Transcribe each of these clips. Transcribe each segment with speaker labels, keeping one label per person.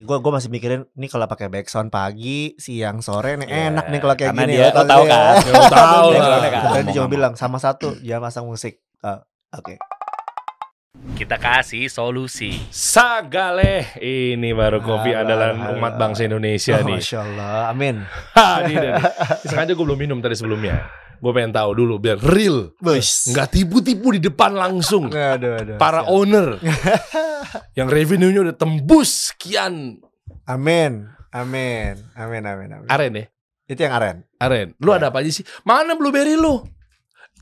Speaker 1: Gue gue masih mikirin nih kalau pakai backsound pagi, siang, sore nih
Speaker 2: Iya,
Speaker 1: enak nih kalau kayak
Speaker 2: karena
Speaker 1: gini. ya."
Speaker 2: dia- lo tahu kan?
Speaker 3: Ya,
Speaker 1: Lo
Speaker 2: Lo tahu
Speaker 1: Iya,
Speaker 2: lah.
Speaker 3: kan?
Speaker 1: Tadi dia cuma
Speaker 2: Ngomong-ngomong.
Speaker 1: bilang sama satu jangan pasang musik. Ah, Oke.
Speaker 4: Kita kasih solusi.
Speaker 3: Sagaleh ini baru kopi
Speaker 1: Alah,
Speaker 3: andalan
Speaker 1: alah. iya.
Speaker 3: umat bangsa Indonesia
Speaker 1: Oh,
Speaker 3: nih.
Speaker 1: Masya Allah, amin.
Speaker 3: Ha, ini dia nih. Sengaja gue belum minum tadi sebelumnya. Gue pengen tahu dulu biar real,
Speaker 1: Bus.
Speaker 3: nggak tipu-tipu di depan langsung.
Speaker 1: Aduh, aduh.
Speaker 3: Para
Speaker 1: siap.
Speaker 3: owner yang revenue-nya udah tembus sekian
Speaker 1: Amin. Amin. Amin, amin, amin.
Speaker 3: aren ya.
Speaker 1: Itu yang aren.
Speaker 3: Aren,
Speaker 1: Iya.
Speaker 3: lu ada apa aja sih? Mana blueberry lu?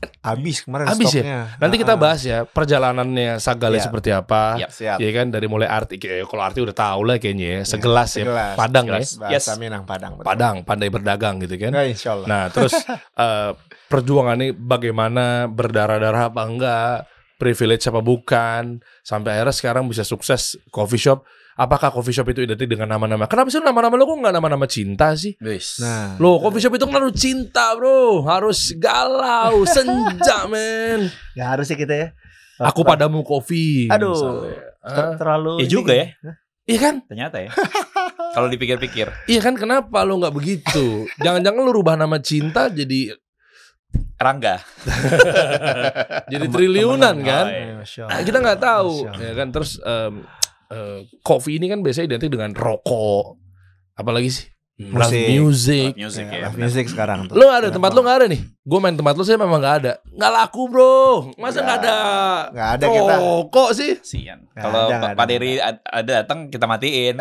Speaker 1: Habis kemarin
Speaker 3: Habis ya?
Speaker 1: stoknya.
Speaker 3: Nanti kita
Speaker 1: Ah, ah.
Speaker 3: bahas ya perjalanannya Sagaleh
Speaker 1: Iya.
Speaker 3: seperti apa.
Speaker 2: Iya.
Speaker 1: Siap.
Speaker 3: Iya kan dari mulai arti kayak kalau arti udah tahu lah kayaknya ya. Segelas ya.
Speaker 1: Segelas.
Speaker 3: Padang ya.
Speaker 2: Segelas.
Speaker 1: Bahasa
Speaker 2: Yes.
Speaker 1: Minang Padang. betul.
Speaker 3: Padang, pandai berdagang gitu kan.
Speaker 1: Ya, insya Allah.
Speaker 3: Nah, terus eh, perjuangannya bagaimana berdarah-darah apa enggak, privilege apa bukan, sampai akhirnya sekarang bisa sukses coffee shop. Apakah coffee shop itu identik dengan nama-nama? Kenapa sih nama-nama lo kok nggak nama-nama cinta sih?
Speaker 2: Nah,
Speaker 1: Nah,
Speaker 3: Lo coffee shop itu kan harus cinta bro, harus galau, senja men.
Speaker 1: ya harus sih kita ya.
Speaker 3: Aku padamu coffee.
Speaker 1: Aduh.
Speaker 3: misalnya.
Speaker 1: Ter-
Speaker 3: Ah,
Speaker 1: terlalu
Speaker 2: ya
Speaker 1: ini.
Speaker 2: juga ya,
Speaker 3: Iya kan?
Speaker 2: ternyata ya. Kalau dipikir-pikir,
Speaker 3: Iya kan kenapa lo nggak begitu? Jangan-jangan lo rubah nama cinta jadi
Speaker 2: Rangga.
Speaker 3: jadi triliunan kan?
Speaker 2: Oh, iya.
Speaker 1: Masya
Speaker 3: Nah,
Speaker 1: Allah.
Speaker 3: kita nggak tahu
Speaker 1: Masya Allah.
Speaker 3: ya kan terus em, eh, coffee ini kan biasanya identik dengan rokok apalagi sih
Speaker 1: Hmm.
Speaker 3: Live
Speaker 1: Musik.
Speaker 3: music
Speaker 2: Music
Speaker 1: Ya,
Speaker 2: ya.
Speaker 1: live music sekarang tuh.
Speaker 3: lo ada
Speaker 1: Enak
Speaker 3: tempat lo
Speaker 1: banget.
Speaker 3: nggak ada nih gue main tempat lo saya memang nggak ada nggak laku bro masa nggak ada
Speaker 1: Nggak ada kita.
Speaker 3: rokok sih
Speaker 2: Sian.
Speaker 1: Nggak
Speaker 2: Kalau
Speaker 1: ada, nggak
Speaker 2: Pak Pak
Speaker 1: ada. Eh,
Speaker 2: Dery ad- ada datang kita matiin.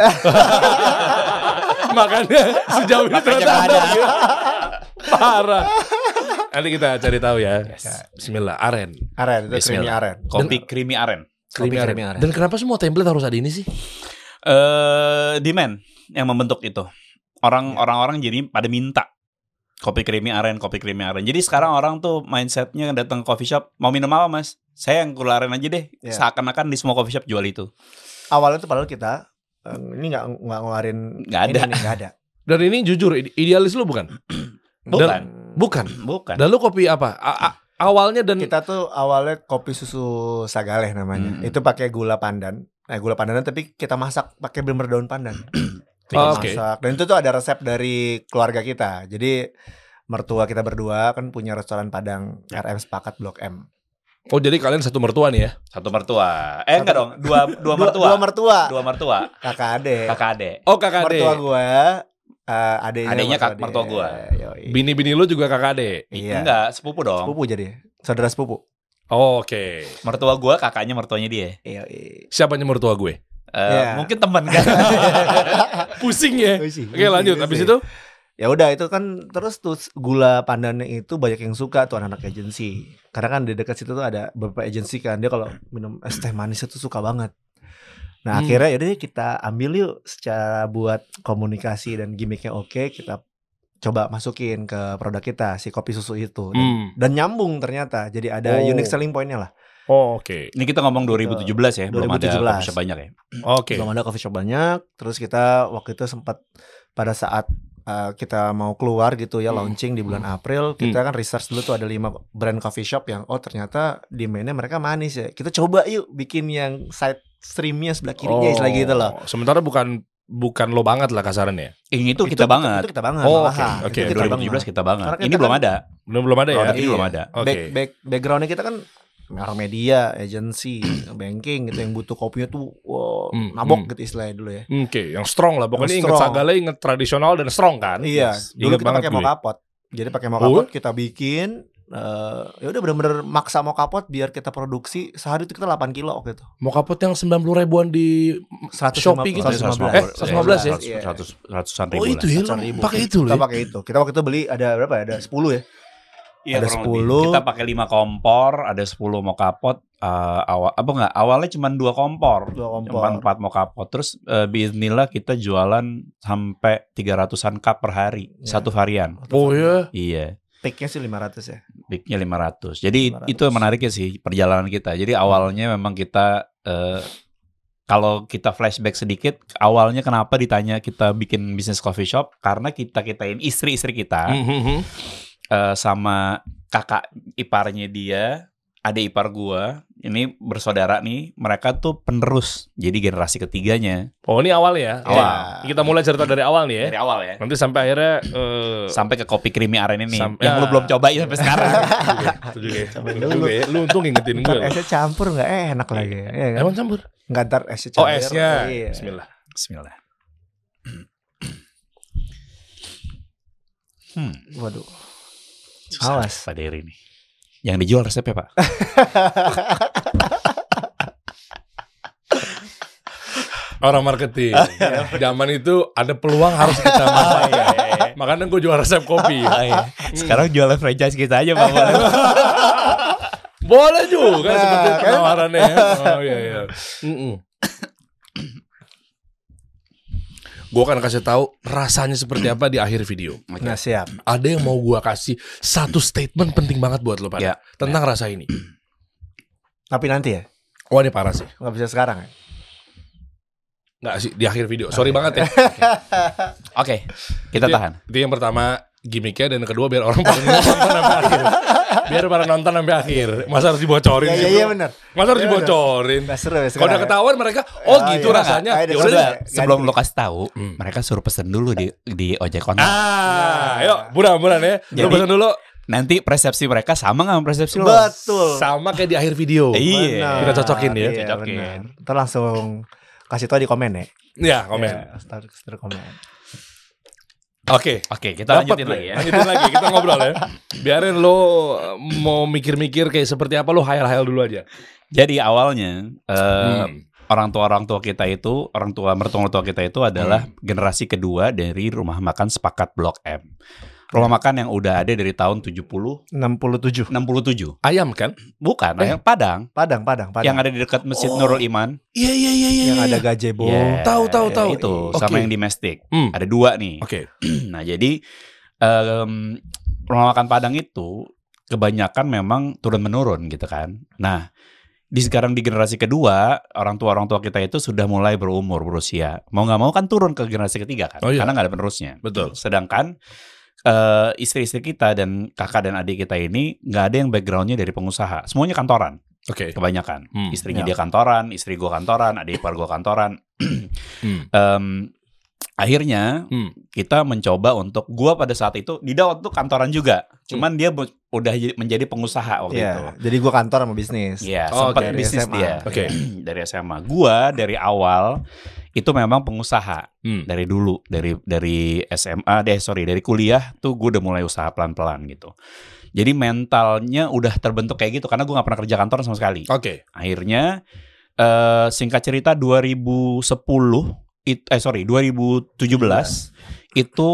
Speaker 3: makanya sejauh ini
Speaker 2: Makanya
Speaker 3: ternyata
Speaker 2: nggak
Speaker 3: ada
Speaker 2: ada.
Speaker 3: parah nanti kita cari tahu ya Bismillah aren
Speaker 1: Aren, itu creamy
Speaker 2: Bismillah.
Speaker 1: aren.
Speaker 2: Kopi creamy aren.
Speaker 1: Kopi
Speaker 3: Creamy aren.
Speaker 1: creamy aren.
Speaker 3: dan kenapa semua template harus ada ini sih
Speaker 2: Eh, demand yang membentuk itu. Orang
Speaker 1: Ya.
Speaker 2: orang-orang jadi pada minta kopi creamy aren, kopi creamy aren. Jadi sekarang orang tuh mindsetnya datang ke coffee shop mau minum apa mas? Saya yang keluar aren aja deh.
Speaker 1: Iya.
Speaker 2: Seakan-akan di semua coffee shop jual itu.
Speaker 1: Awalnya tuh padahal kita eh, ini nggak nggak ngeluarin
Speaker 2: Nggak ada.
Speaker 1: ini nih, nggak ada.
Speaker 3: dan ini jujur ide- idealis lo bukan
Speaker 2: Bukan.
Speaker 1: Dan-
Speaker 3: bukan
Speaker 2: Bukan.
Speaker 3: Dan lu kopi apa? A- a- awalnya dan
Speaker 1: Kita tuh awalnya kopi susu sagaleh namanya.
Speaker 2: Mm-mm.
Speaker 1: Itu pakai gula pandan. Nah, gula pandan tapi kita masak pakai bener daun pandan.
Speaker 2: Hmm.
Speaker 1: Kita
Speaker 3: Oh, oke.
Speaker 1: masak. Dan itu tuh ada resep dari keluarga kita. Jadi mertua kita berdua kan punya restoran Padang RM Sepakat Blok M.
Speaker 3: Oh jadi kalian satu mertua nih ya?
Speaker 2: Satu mertua. Eh
Speaker 1: Satu-
Speaker 2: enggak dong, dua dua mertua.
Speaker 1: Dua mertua.
Speaker 2: Dua mertua.
Speaker 1: Kakak adek.
Speaker 2: Kakak adek.
Speaker 3: Oh kakak
Speaker 1: mertua
Speaker 3: ade.
Speaker 1: gue eh adenya
Speaker 2: Adenya kak-
Speaker 1: dia.
Speaker 2: mertua gua.
Speaker 1: Yoi.
Speaker 3: Bini-bini lu juga kakak ade.
Speaker 1: iya
Speaker 2: Enggak, sepupu dong.
Speaker 1: sepupu jadi ya? saudara sepupu
Speaker 3: Oh, Oke.
Speaker 2: Mertua gua kakaknya mertuanya dia.
Speaker 1: iya
Speaker 3: Siapanya mertua gue?
Speaker 2: Eh,
Speaker 1: Iya.
Speaker 2: mungkin teman kan.
Speaker 3: Pusing
Speaker 1: Eh, oh,
Speaker 3: ya. Oke lanjut. Habis itu?
Speaker 1: Iya, ya udah itu kan terus tuh gula pandannya itu banyak yang suka tuh anak-anak agensi karena kan di dekat situ tuh ada beberapa agensi kan dia kalau minum es teh manis itu suka banget nah
Speaker 3: Hmm.
Speaker 1: akhirnya yaudah deh kita ambil yuk secara buat komunikasi dan gimmicknya oke kita coba masukin ke produk kita si kopi susu itu dan,
Speaker 3: Hmm.
Speaker 1: dan nyambung ternyata jadi ada
Speaker 3: Oh.
Speaker 1: unique selling pointnya lah
Speaker 3: Oh, Oke.
Speaker 2: Ini kita ngomong 2017 ya, belum
Speaker 1: 2017.
Speaker 2: ada coffee shop banyak ya.
Speaker 3: Oke.
Speaker 1: belum ada coffee shop banyak terus kita waktu itu sempat pada saat uh, kita mau keluar gitu ya
Speaker 3: Hmm.
Speaker 1: launching di bulan April kita kan research dulu tuh ada lima brand coffee shop yang oh ternyata demandnya mereka manis ya kita coba yuk bikin yang side streamnya sebelah kirinya istilah gitu
Speaker 3: Oh.
Speaker 1: loh
Speaker 3: Sementara bukan bukan lo banget lah kasarannya.
Speaker 2: Yang itu kita banget.
Speaker 1: itu kita banget
Speaker 3: Oh,
Speaker 1: malahan.
Speaker 3: oke, oke,
Speaker 1: Itu kita
Speaker 2: 2017
Speaker 1: banget.
Speaker 2: kita banget.
Speaker 1: Karena
Speaker 2: ini
Speaker 1: kita
Speaker 2: belum
Speaker 1: kan-
Speaker 2: ada.
Speaker 3: Belum belum ada ya.
Speaker 2: Produk ini
Speaker 1: Iya.
Speaker 2: belum ada.
Speaker 3: Oke.
Speaker 1: Back, back, backgroundnya kita kan orang media, agency, banking gitu yang butuh kopinya tuh wow,
Speaker 3: Hmm,
Speaker 1: mabok
Speaker 3: hmm.
Speaker 1: gitu istilahnya dulu ya.
Speaker 3: Oke, yang strong lah. Pokoknya
Speaker 1: Yang
Speaker 3: inget
Speaker 1: strong.
Speaker 3: sagale, inget tradisional dan strong kan.
Speaker 1: Iya,
Speaker 3: Yes.
Speaker 1: dulu
Speaker 3: Inget
Speaker 1: kita
Speaker 3: banget ya.
Speaker 1: pakai
Speaker 3: gue.
Speaker 1: mau kapot. Jadi pakai mau
Speaker 3: Oh.
Speaker 1: kapot kita bikin eh ya udah bener-bener maksa mau kapot biar kita produksi sehari itu kita 8 kilo waktu itu.
Speaker 3: Mau kapot yang 90 ribuan di
Speaker 1: 150
Speaker 3: Shopee gitu.
Speaker 1: 115.
Speaker 3: Eh, 115 ya?
Speaker 1: Iya.
Speaker 2: 100 ratusan ribu.
Speaker 3: Oh itu ya, lo
Speaker 1: ribu.
Speaker 3: pakai itu
Speaker 1: Kita
Speaker 3: loh. ya?
Speaker 1: pakai itu. Kita waktu itu beli ada berapa ya? Ada 10 ya.
Speaker 2: Iya,
Speaker 1: Ada
Speaker 2: kurang
Speaker 1: 10.
Speaker 2: lebih. Kita pakai 5 kompor, ada 10 mau kapot. eh, awal apa enggak? Awalnya cuma 2 kompor.
Speaker 1: Dua
Speaker 2: Empat
Speaker 1: kompor.
Speaker 2: empat mau kapot. Terus eh, biiznillah kita jualan sampai 300-an cup per hari,
Speaker 1: Iya.
Speaker 2: satu varian.
Speaker 3: Oh ya.
Speaker 2: Iya.
Speaker 1: Peaknya sih 500 ya.
Speaker 2: Peaknya 500. Jadi
Speaker 1: 500.
Speaker 2: itu yang menariknya sih perjalanan kita. Jadi awalnya memang kita eh, kalau kita flashback sedikit, awalnya kenapa ditanya kita bikin bisnis coffee shop? Karena kita kitain istri-istri kita
Speaker 3: Mhm.
Speaker 2: eh, sama kakak iparnya dia, adik ipar gua, ini bersaudara nih, mereka tuh penerus. Jadi generasi ketiganya.
Speaker 3: Oh ini awal ya.
Speaker 2: Awal.
Speaker 1: Iya.
Speaker 3: Ya. Kita mulai cerita dari awal nih ya.
Speaker 2: Dari awal ya.
Speaker 3: Nanti sampai akhirnya eh,
Speaker 2: Sampai ke kopi creamy aren ini
Speaker 3: Sam-
Speaker 2: yang lu
Speaker 3: Ah.
Speaker 2: belum cobain sampai sekarang.
Speaker 3: itu juga ya.
Speaker 1: Coba
Speaker 3: Itu
Speaker 1: Iya, dulu.
Speaker 3: juga ya. Lu untung ngingetin gue.
Speaker 1: Ntar
Speaker 3: loh.
Speaker 1: esnya campur nggak eh, enak lagi ya, ya kan?
Speaker 3: Iya. Emang campur?
Speaker 1: Nggak ntar esnya
Speaker 3: Oh
Speaker 1: campur.
Speaker 3: esnya.
Speaker 1: Iya.
Speaker 3: Bismillah.
Speaker 2: Bismillah. Hmm,
Speaker 1: Waduh.
Speaker 2: susah
Speaker 1: Awas.
Speaker 2: Pak Dery nih. Yang dijual resepnya, Pak.
Speaker 3: Orang marketing.
Speaker 1: Iya.
Speaker 3: Zaman itu ada peluang harus kita manfaatkan. Makanya gue jual resep kopi.
Speaker 1: Ah, iya.
Speaker 2: Sekarang jualan franchise kita aja, Pak. Boleh.
Speaker 3: Boleh juga
Speaker 1: Nah,
Speaker 3: seperti
Speaker 1: kan?
Speaker 3: penawarannya. Oh iya iya. Gue akan kasih tahu rasanya seperti apa di akhir video.
Speaker 1: Nah siap.
Speaker 3: Ada yang mau gua kasih satu statement penting banget buat lo pada
Speaker 1: Iya.
Speaker 2: Ya.
Speaker 3: tentang rasa ini.
Speaker 1: Tapi nanti ya,
Speaker 3: Wah ini parah sih.
Speaker 1: nggak bisa sekarang ya.
Speaker 3: Nggak sih di akhir
Speaker 1: Iya.
Speaker 3: video. Sorry banget ya.
Speaker 2: Oke, kita
Speaker 3: Itu-
Speaker 2: tahan.
Speaker 3: Iya. Itu yang pertama gimmicknya dan yang kedua biar orang pada nonton sampai akhir. Biar pada nonton sampai akhir. Masa harus dibocorin
Speaker 1: Iya
Speaker 3: sih?
Speaker 1: iya
Speaker 3: bro?
Speaker 1: iya benar.
Speaker 3: Masa harus
Speaker 1: Iya, bener.
Speaker 3: dibocorin?
Speaker 1: Nggak seru ya
Speaker 3: Kalau
Speaker 1: sekarang.
Speaker 3: udah
Speaker 1: ya.
Speaker 3: ketahuan mereka, oh,
Speaker 1: Oh,
Speaker 3: gitu
Speaker 1: iya.
Speaker 3: rasanya.
Speaker 1: Ayo,
Speaker 3: Yaudah,
Speaker 1: udah,
Speaker 2: Sudah, sebelum
Speaker 1: ganti.
Speaker 2: lo kasih tahu,
Speaker 3: Hmm.
Speaker 2: mereka suruh pesen dulu di di ojek online.
Speaker 3: Ah,
Speaker 1: Iya.
Speaker 3: ayo buram-buram ya. Lu
Speaker 2: Jadi-
Speaker 3: pesan dulu
Speaker 2: Nanti persepsi mereka sama nggak sama persepsi lo?
Speaker 1: Betul.
Speaker 3: sama kayak di akhir video.
Speaker 2: Iya.
Speaker 1: Benar.
Speaker 3: Kita cocokin ya.
Speaker 1: Iya,
Speaker 2: Cocokin.
Speaker 1: benar. Ntar langsung kasih tau di komen ya.
Speaker 3: Ya, komen.
Speaker 2: Iya.
Speaker 1: Ya, ntar- ntar komen.
Speaker 3: Oke.
Speaker 2: Oke, kita
Speaker 3: Dapet
Speaker 2: lanjutin
Speaker 3: deh.
Speaker 2: lagi ya.
Speaker 3: Lanjutin lagi, kita ngobrol ya. Biarin lo eh, mau mikir-mikir kayak seperti apa lo hayal-hayal dulu aja.
Speaker 2: Jadi awalnya eh,
Speaker 3: Hmm.
Speaker 2: orang tua orang tua kita itu, orang tua mertua mertua kita itu adalah generasi kedua dari rumah makan sepakat Blok M. Rumah makan yang udah ada dari tahun 70
Speaker 1: 67.
Speaker 2: 67.
Speaker 3: Ayam kan?
Speaker 2: Bukan,
Speaker 3: Eh.
Speaker 2: yang Padang,
Speaker 1: Padang, Padang, Padang.
Speaker 2: yang ada di dekat Masjid
Speaker 3: Oh.
Speaker 2: Nurul Iman.
Speaker 3: Iya, iya, iya, iya.
Speaker 1: Yang
Speaker 3: iya.
Speaker 1: ada gazebo.
Speaker 2: Ya,
Speaker 3: tahu, tahu, tahu.
Speaker 2: Itu
Speaker 3: Oke.
Speaker 2: sama yang di Mestik.
Speaker 3: Hmm.
Speaker 2: Ada dua nih.
Speaker 3: Oke.
Speaker 2: Nah, jadi em, rumah makan Padang itu kebanyakan memang turun menurun gitu kan. Nah, di sekarang di generasi kedua, orang tua orang tua kita itu sudah mulai berumur, berusia. Mau nggak mau kan turun ke generasi ketiga kan,
Speaker 3: Oh, iya.
Speaker 2: karena nggak ada penerusnya.
Speaker 3: Betul.
Speaker 2: Sedangkan eh, istri-istri kita dan kakak dan adik kita ini nggak ada yang backgroundnya dari pengusaha, semuanya kantoran
Speaker 3: Oke.
Speaker 2: kebanyakan.
Speaker 3: Hmm.
Speaker 2: Istrinya
Speaker 1: Ya.
Speaker 2: dia kantoran, istri gua kantoran, adik ipar gua kantoran.
Speaker 3: Hmm.
Speaker 2: Eh, Em, akhirnya
Speaker 3: Hmm.
Speaker 2: kita mencoba untuk gua pada saat itu Dida waktu itu kantoran juga cuman dia bu- udah j- menjadi pengusaha waktu
Speaker 1: Iya,
Speaker 2: itu
Speaker 1: jadi gua kantor sama bisnis.
Speaker 2: Iya,
Speaker 3: Oh,
Speaker 2: sempat
Speaker 3: dari
Speaker 2: bisnis
Speaker 1: SMA.
Speaker 2: dia
Speaker 3: Oke.
Speaker 2: dari SMA gua dari awal itu memang pengusaha
Speaker 3: Hmm.
Speaker 2: dari dulu dari dari SMA deh sorry dari kuliah tuh gue udah mulai usaha pelan pelan gitu jadi mentalnya udah terbentuk kayak gitu karena gue nggak pernah kerja kantor sama sekali
Speaker 3: Oke.
Speaker 2: akhirnya eh singkat cerita 2010 it- eh sorry 2017 itu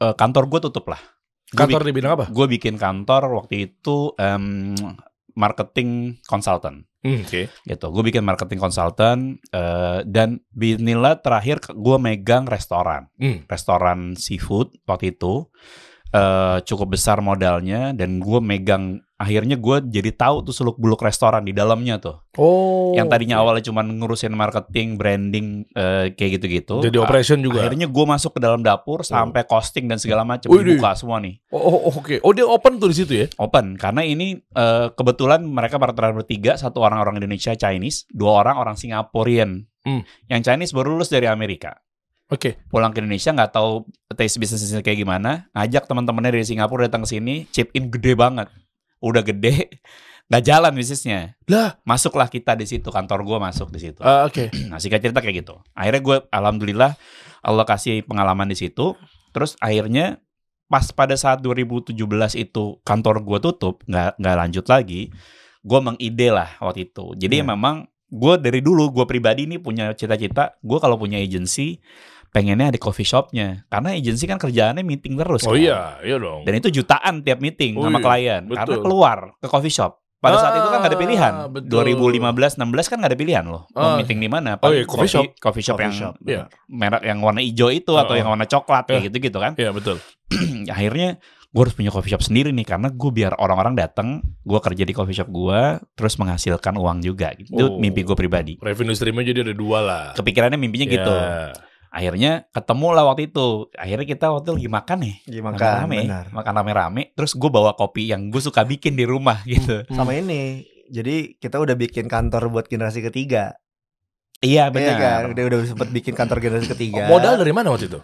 Speaker 2: eh, kantor gue tutup lah
Speaker 3: Iya. Kantor di bidang apa?
Speaker 2: gue bikin kantor waktu itu em, marketing consultant
Speaker 3: Hmm, Oke.
Speaker 2: gitu gue bikin marketing consultant eh, dan binila terakhir gue megang restoran
Speaker 3: Hmm.
Speaker 2: restoran seafood waktu itu eh cukup besar modalnya dan gue megang akhirnya gue jadi tahu tuh seluk beluk restoran di dalamnya tuh
Speaker 3: Oh.
Speaker 2: yang tadinya awalnya cuma ngurusin marketing, branding eh, kayak gitu-gitu.
Speaker 3: Jadi
Speaker 2: A-
Speaker 3: operation juga. Oh.
Speaker 2: Akhirnya gue masuk ke dalam dapur sampai costing dan segala macam
Speaker 3: Widih.
Speaker 2: dibuka semua nih
Speaker 3: Oh, oh, oh, oke. Oh, dia open tuh di situ ya?
Speaker 2: open karena ini eh, kebetulan mereka partneran bertiga satu orang orang Indonesia Chinese dua orang orang Singaporean
Speaker 3: Hmm.
Speaker 2: yang Chinese baru lulus dari Amerika
Speaker 3: Oke.
Speaker 2: pulang ke Indonesia nggak tahu taste bisnisnya kayak gimana ngajak teman-temannya dari Singapura datang ke sini chip in gede banget udah gede nggak jalan bisnisnya
Speaker 3: Lah.
Speaker 2: masuklah kita di situ kantor gue masuk di situ
Speaker 3: Ah, oke.
Speaker 2: Nah singkat cerita kayak gitu. Akhirnya gue alhamdulillah Allah kasih pengalaman di situ. Terus akhirnya pas pada saat 2017 itu kantor gue tutup, nggak nggak lanjut lagi. Gue mengide lah waktu itu.
Speaker 1: Iya.
Speaker 2: Jadi memang gue dari dulu gue pribadi nih punya cita-cita. Gue kalau punya agensi pengennya ada coffee shopnya. Karena agensi kan kerjaannya meeting terus.
Speaker 3: Oh
Speaker 2: kan.
Speaker 3: iya, iya dong.
Speaker 2: Dan itu jutaan tiap meeting
Speaker 3: Oh
Speaker 2: sama
Speaker 3: iya,
Speaker 2: klien karena
Speaker 3: betul.
Speaker 2: keluar ke coffee shop. Pada saat itu kan gak ada
Speaker 3: Ah,
Speaker 2: pilihan.
Speaker 3: betul.
Speaker 2: 2015 16 kan gak ada pilihan loh. Mau
Speaker 3: Ah.
Speaker 2: meeting di mana?
Speaker 3: Oh iya, coffee shop.
Speaker 2: Coffee shop
Speaker 1: Coffee
Speaker 2: yang
Speaker 1: shop,
Speaker 3: iya.
Speaker 2: merek yang warna hijau itu atau
Speaker 3: Ah,
Speaker 2: yang warna coklat
Speaker 3: Iya.
Speaker 2: kayak gitu-gitu kan.
Speaker 3: Iya, betul.
Speaker 2: Akhirnya gue harus punya coffee shop sendiri nih karena gue biar orang-orang datang, gue kerja di coffee shop gue terus menghasilkan uang juga.
Speaker 3: Oh.
Speaker 2: Itu mimpi gue pribadi.
Speaker 3: Revenue streamnya jadi ada dua lah.
Speaker 2: Kepikirannya mimpinya gitu.
Speaker 3: Ya.
Speaker 2: Akhirnya ketemu lah waktu itu. Akhirnya kita waktu itu lagi makan nih.
Speaker 1: Gimana
Speaker 2: Makan rame,
Speaker 1: Iya, benar.
Speaker 2: makan rame-rame. Terus gue bawa kopi yang gue suka bikin di rumah gitu.
Speaker 1: Hmm. Sama ini Jadi kita udah bikin kantor buat generasi ketiga. Iya
Speaker 2: Iya
Speaker 1: kan?
Speaker 2: benar.
Speaker 1: Udah udah sempet bikin kantor generasi ketiga.
Speaker 3: Modal dari mana waktu itu?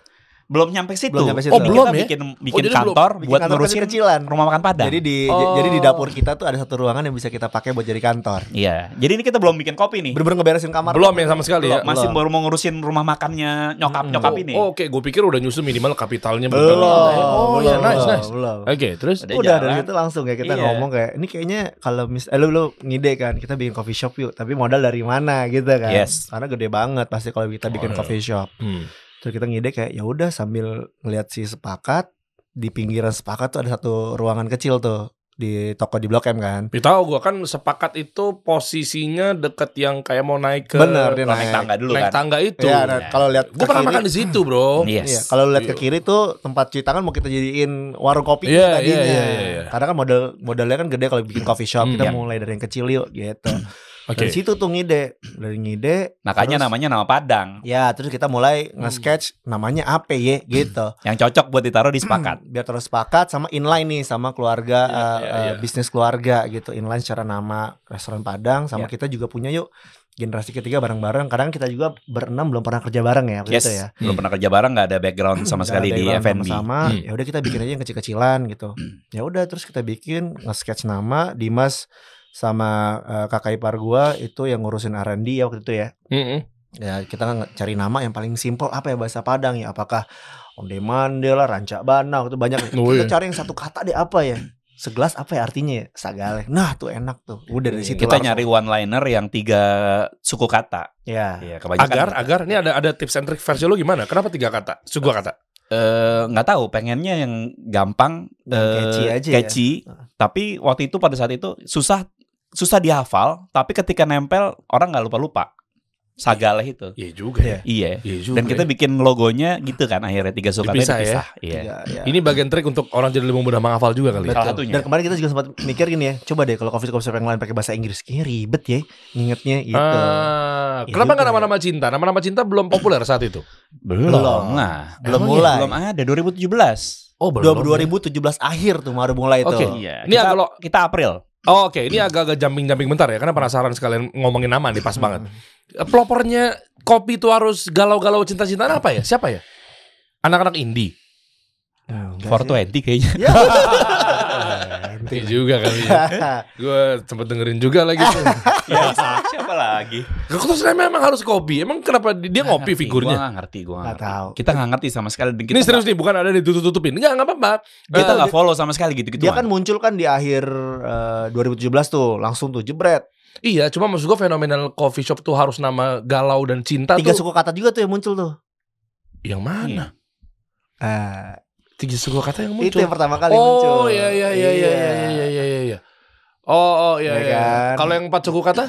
Speaker 2: Belum nyampe situ.
Speaker 1: Belum nyampe situ.
Speaker 2: Oh,
Speaker 1: Kita
Speaker 2: belum ya?
Speaker 3: bikin-
Speaker 2: Bikin
Speaker 3: bikin
Speaker 2: kantor
Speaker 1: Bikin
Speaker 2: buat
Speaker 1: kantor
Speaker 2: ngurusin
Speaker 1: kecilan.
Speaker 2: rumah makan Padang.
Speaker 1: Jadi di
Speaker 3: Oh.
Speaker 1: j- jadi di dapur kita tuh ada satu ruangan yang bisa kita pakai buat jadi kantor.
Speaker 2: Iya. Jadi ini kita belum bikin kopi nih.
Speaker 1: Bener-bener ngeberesin kamar.
Speaker 3: Belum ya sama sekali ya.
Speaker 1: Belum.
Speaker 2: Masih baru mau ngurusin rumah makannya nyokap-nyokap
Speaker 3: Oh,
Speaker 2: ini.
Speaker 3: oh, Oke, gue pikir udah nyusun minimal kapitalnya
Speaker 1: Belum.
Speaker 3: Oh ya,
Speaker 1: belum,
Speaker 3: nice nice.
Speaker 1: Belum.
Speaker 3: Oke, terus
Speaker 2: Udah
Speaker 1: Udah
Speaker 2: jalan.
Speaker 1: dari situ langsung ya kita
Speaker 2: Iya.
Speaker 1: ngomong kayak ini kayaknya kalau mis eh, lu lu ngide kan kita bikin coffee shop yuk tapi modal dari mana gitu kan.
Speaker 2: Yes.
Speaker 1: Karena gede banget pasti kalau kita bikin
Speaker 3: Oh.
Speaker 1: coffee shop.
Speaker 3: Hmm.
Speaker 1: Terus kita ngide kayak ya udah sambil ngeliat si sepakat di pinggiran sepakat tuh ada satu ruangan kecil tuh di toko di Blok M kan.
Speaker 3: Ya, tahu gue kan sepakat itu posisinya deket yang kayak mau naik ke
Speaker 1: Bener dia
Speaker 2: Kalau naik
Speaker 1: iya, naik.
Speaker 2: tangga dulu
Speaker 3: naik
Speaker 2: kan.
Speaker 3: tangga itu.
Speaker 1: Iya, nah, kalau lihat
Speaker 3: Gue
Speaker 1: ke
Speaker 3: pernah
Speaker 1: kiri-
Speaker 3: makan di situ, Bro.
Speaker 2: Yes.
Speaker 1: Iya, kalau lihat ke
Speaker 3: Iya.
Speaker 1: kiri tuh tempat cuci tangan mau kita jadiin warung kopi
Speaker 3: Iya,
Speaker 1: tadinya.
Speaker 3: iya, iya, iya, iya.
Speaker 1: Karena kan modal modalnya kan gede kalau bikin coffee shop.
Speaker 3: Hmm,
Speaker 1: kita
Speaker 2: iya.
Speaker 1: mulai dari yang kecil yuk gitu.
Speaker 3: Oke.
Speaker 1: Dari situ tuh ngide, dari ngide.
Speaker 2: Makanya
Speaker 1: terus-
Speaker 2: namanya nama Padang
Speaker 1: Ya, terus kita mulai
Speaker 3: Hmm.
Speaker 1: nge-sketch namanya apa ya gitu.
Speaker 2: yang cocok buat ditaruh di sepakat.
Speaker 1: Biar terus sepakat sama inline nih sama keluarga
Speaker 3: Iya,
Speaker 1: eh,
Speaker 3: iya,
Speaker 1: eh,
Speaker 3: iya.
Speaker 1: bisnis keluarga gitu. Inline secara nama restoran Padang sama
Speaker 3: Iya.
Speaker 1: kita juga punya yuk generasi ketiga bareng-bareng. Kadang kita juga berenam belum pernah kerja bareng ya waktu
Speaker 2: yes.
Speaker 1: itu ya.
Speaker 2: Belum pernah kerja bareng nggak ada background sama sekali di F&B.
Speaker 1: sama
Speaker 3: Hmm.
Speaker 1: ya udah kita bikin aja yang kecil-kecilan gitu
Speaker 2: Hmm.
Speaker 1: ya udah terus kita bikin nge-sketch nama Dimas sama eh, kakak ipar gua itu yang ngurusin R&D ya waktu itu ya
Speaker 3: Mm-mm.
Speaker 1: ya kita nge- cari nama yang paling simpel apa ya bahasa Padang ya apakah Om Demande lah Rancak Bana itu banyak
Speaker 3: Oh,
Speaker 1: kita
Speaker 3: iya.
Speaker 1: cari yang satu kata deh apa ya segelas apa ya artinya ya sagaleh nah tuh enak tuh udah dari situ
Speaker 2: Iya. Kita
Speaker 1: langsung.
Speaker 2: nyari one liner yang tiga suku kata.
Speaker 1: ya
Speaker 2: Iya, kebanyakan
Speaker 3: Agar agar ini ada ada tips and trick versi lu gimana? Kenapa tiga kata? Suku kata.
Speaker 2: eh, nggak tahu pengennya yang gampang
Speaker 1: Yang
Speaker 2: eh,
Speaker 1: catchy aja ya.
Speaker 2: catchy. tapi waktu itu pada saat itu susah susah dihafal tapi ketika nempel orang nggak lupa lupa sagaleh itu
Speaker 3: Iya juga
Speaker 1: ya.
Speaker 2: iya
Speaker 3: Iya juga.
Speaker 2: dan kita bikin logonya gitu kan akhirnya tiga suku
Speaker 3: Dipisah ya.
Speaker 2: iya
Speaker 1: Ya, ya.
Speaker 3: ini bagian trik untuk orang jadi lebih mudah menghafal juga kali. ya?
Speaker 1: Betul.
Speaker 2: Salah satunya.
Speaker 1: Dan kemarin kita juga sempat mikir gini ya, coba deh kalau coffee shop shop yang lain pakai bahasa Inggris, kayaknya ribet ya ngingetnya gitu.
Speaker 3: Ah,
Speaker 1: Iya
Speaker 3: kenapa
Speaker 1: juga
Speaker 3: nggak
Speaker 1: ya.
Speaker 3: nama-nama cinta? Nama-nama cinta belum populer saat itu.
Speaker 2: belum
Speaker 1: Belum.
Speaker 2: lah
Speaker 1: Belum
Speaker 2: Emang
Speaker 1: mulai.
Speaker 2: ya? belum ada 2017
Speaker 3: Oh,
Speaker 1: 2017 akhir tuh baru mulai tuh.
Speaker 3: Oke.
Speaker 2: iya
Speaker 3: Ini
Speaker 2: kita,
Speaker 3: kalau-
Speaker 2: kita April
Speaker 3: Oh, Oke, ini agak-agak jumping-jumping bentar ya, karena penasaran sekalian ngomongin nama nih pas banget. Eh, Pelopornya kopi itu harus galau-galau cinta-cintaan apa ya? Siapa ya? Anak-anak indie.
Speaker 1: Nah, Enggak sih.
Speaker 2: 420 kayaknya
Speaker 1: Ya.
Speaker 3: Iya juga kali. Ya. Gue sempet dengerin juga lagi. tuh.
Speaker 1: Iya,
Speaker 2: ya, siapa lagi
Speaker 3: Terus memang harus kopi. Emang kenapa dia ngopi
Speaker 2: gue
Speaker 3: figurnya?
Speaker 2: nggak ngerti gue
Speaker 1: Nggak tahu.
Speaker 2: kita nggak ngerti sama sekali dan kita
Speaker 3: Ini serius nih, bukan ada ditutup-tutupin. Enggak, enggak apa-apa.
Speaker 2: kita
Speaker 3: Eh,
Speaker 2: nggak follow sama sekali gitu gitu
Speaker 1: Dia kan muncul kan di akhir eh, 2017 tuh, langsung tuh jebret.
Speaker 3: Iya, cuma maksud gue fenomenal coffee shop tuh harus nama galau dan cinta
Speaker 1: Tiga
Speaker 3: tuh.
Speaker 1: suku kata juga tuh yang muncul tuh.
Speaker 3: Yang
Speaker 2: Iya.
Speaker 3: mana?
Speaker 1: Eh,
Speaker 3: Tiga suku kata yang
Speaker 1: itu
Speaker 3: muncul.
Speaker 1: yang pertama kali muncul.
Speaker 3: oh, iya iya iya iya iya iya iya iya iya. Oh, oh iya
Speaker 1: Ya
Speaker 3: iya.
Speaker 1: kan?
Speaker 3: Kalau yang empat suku kata?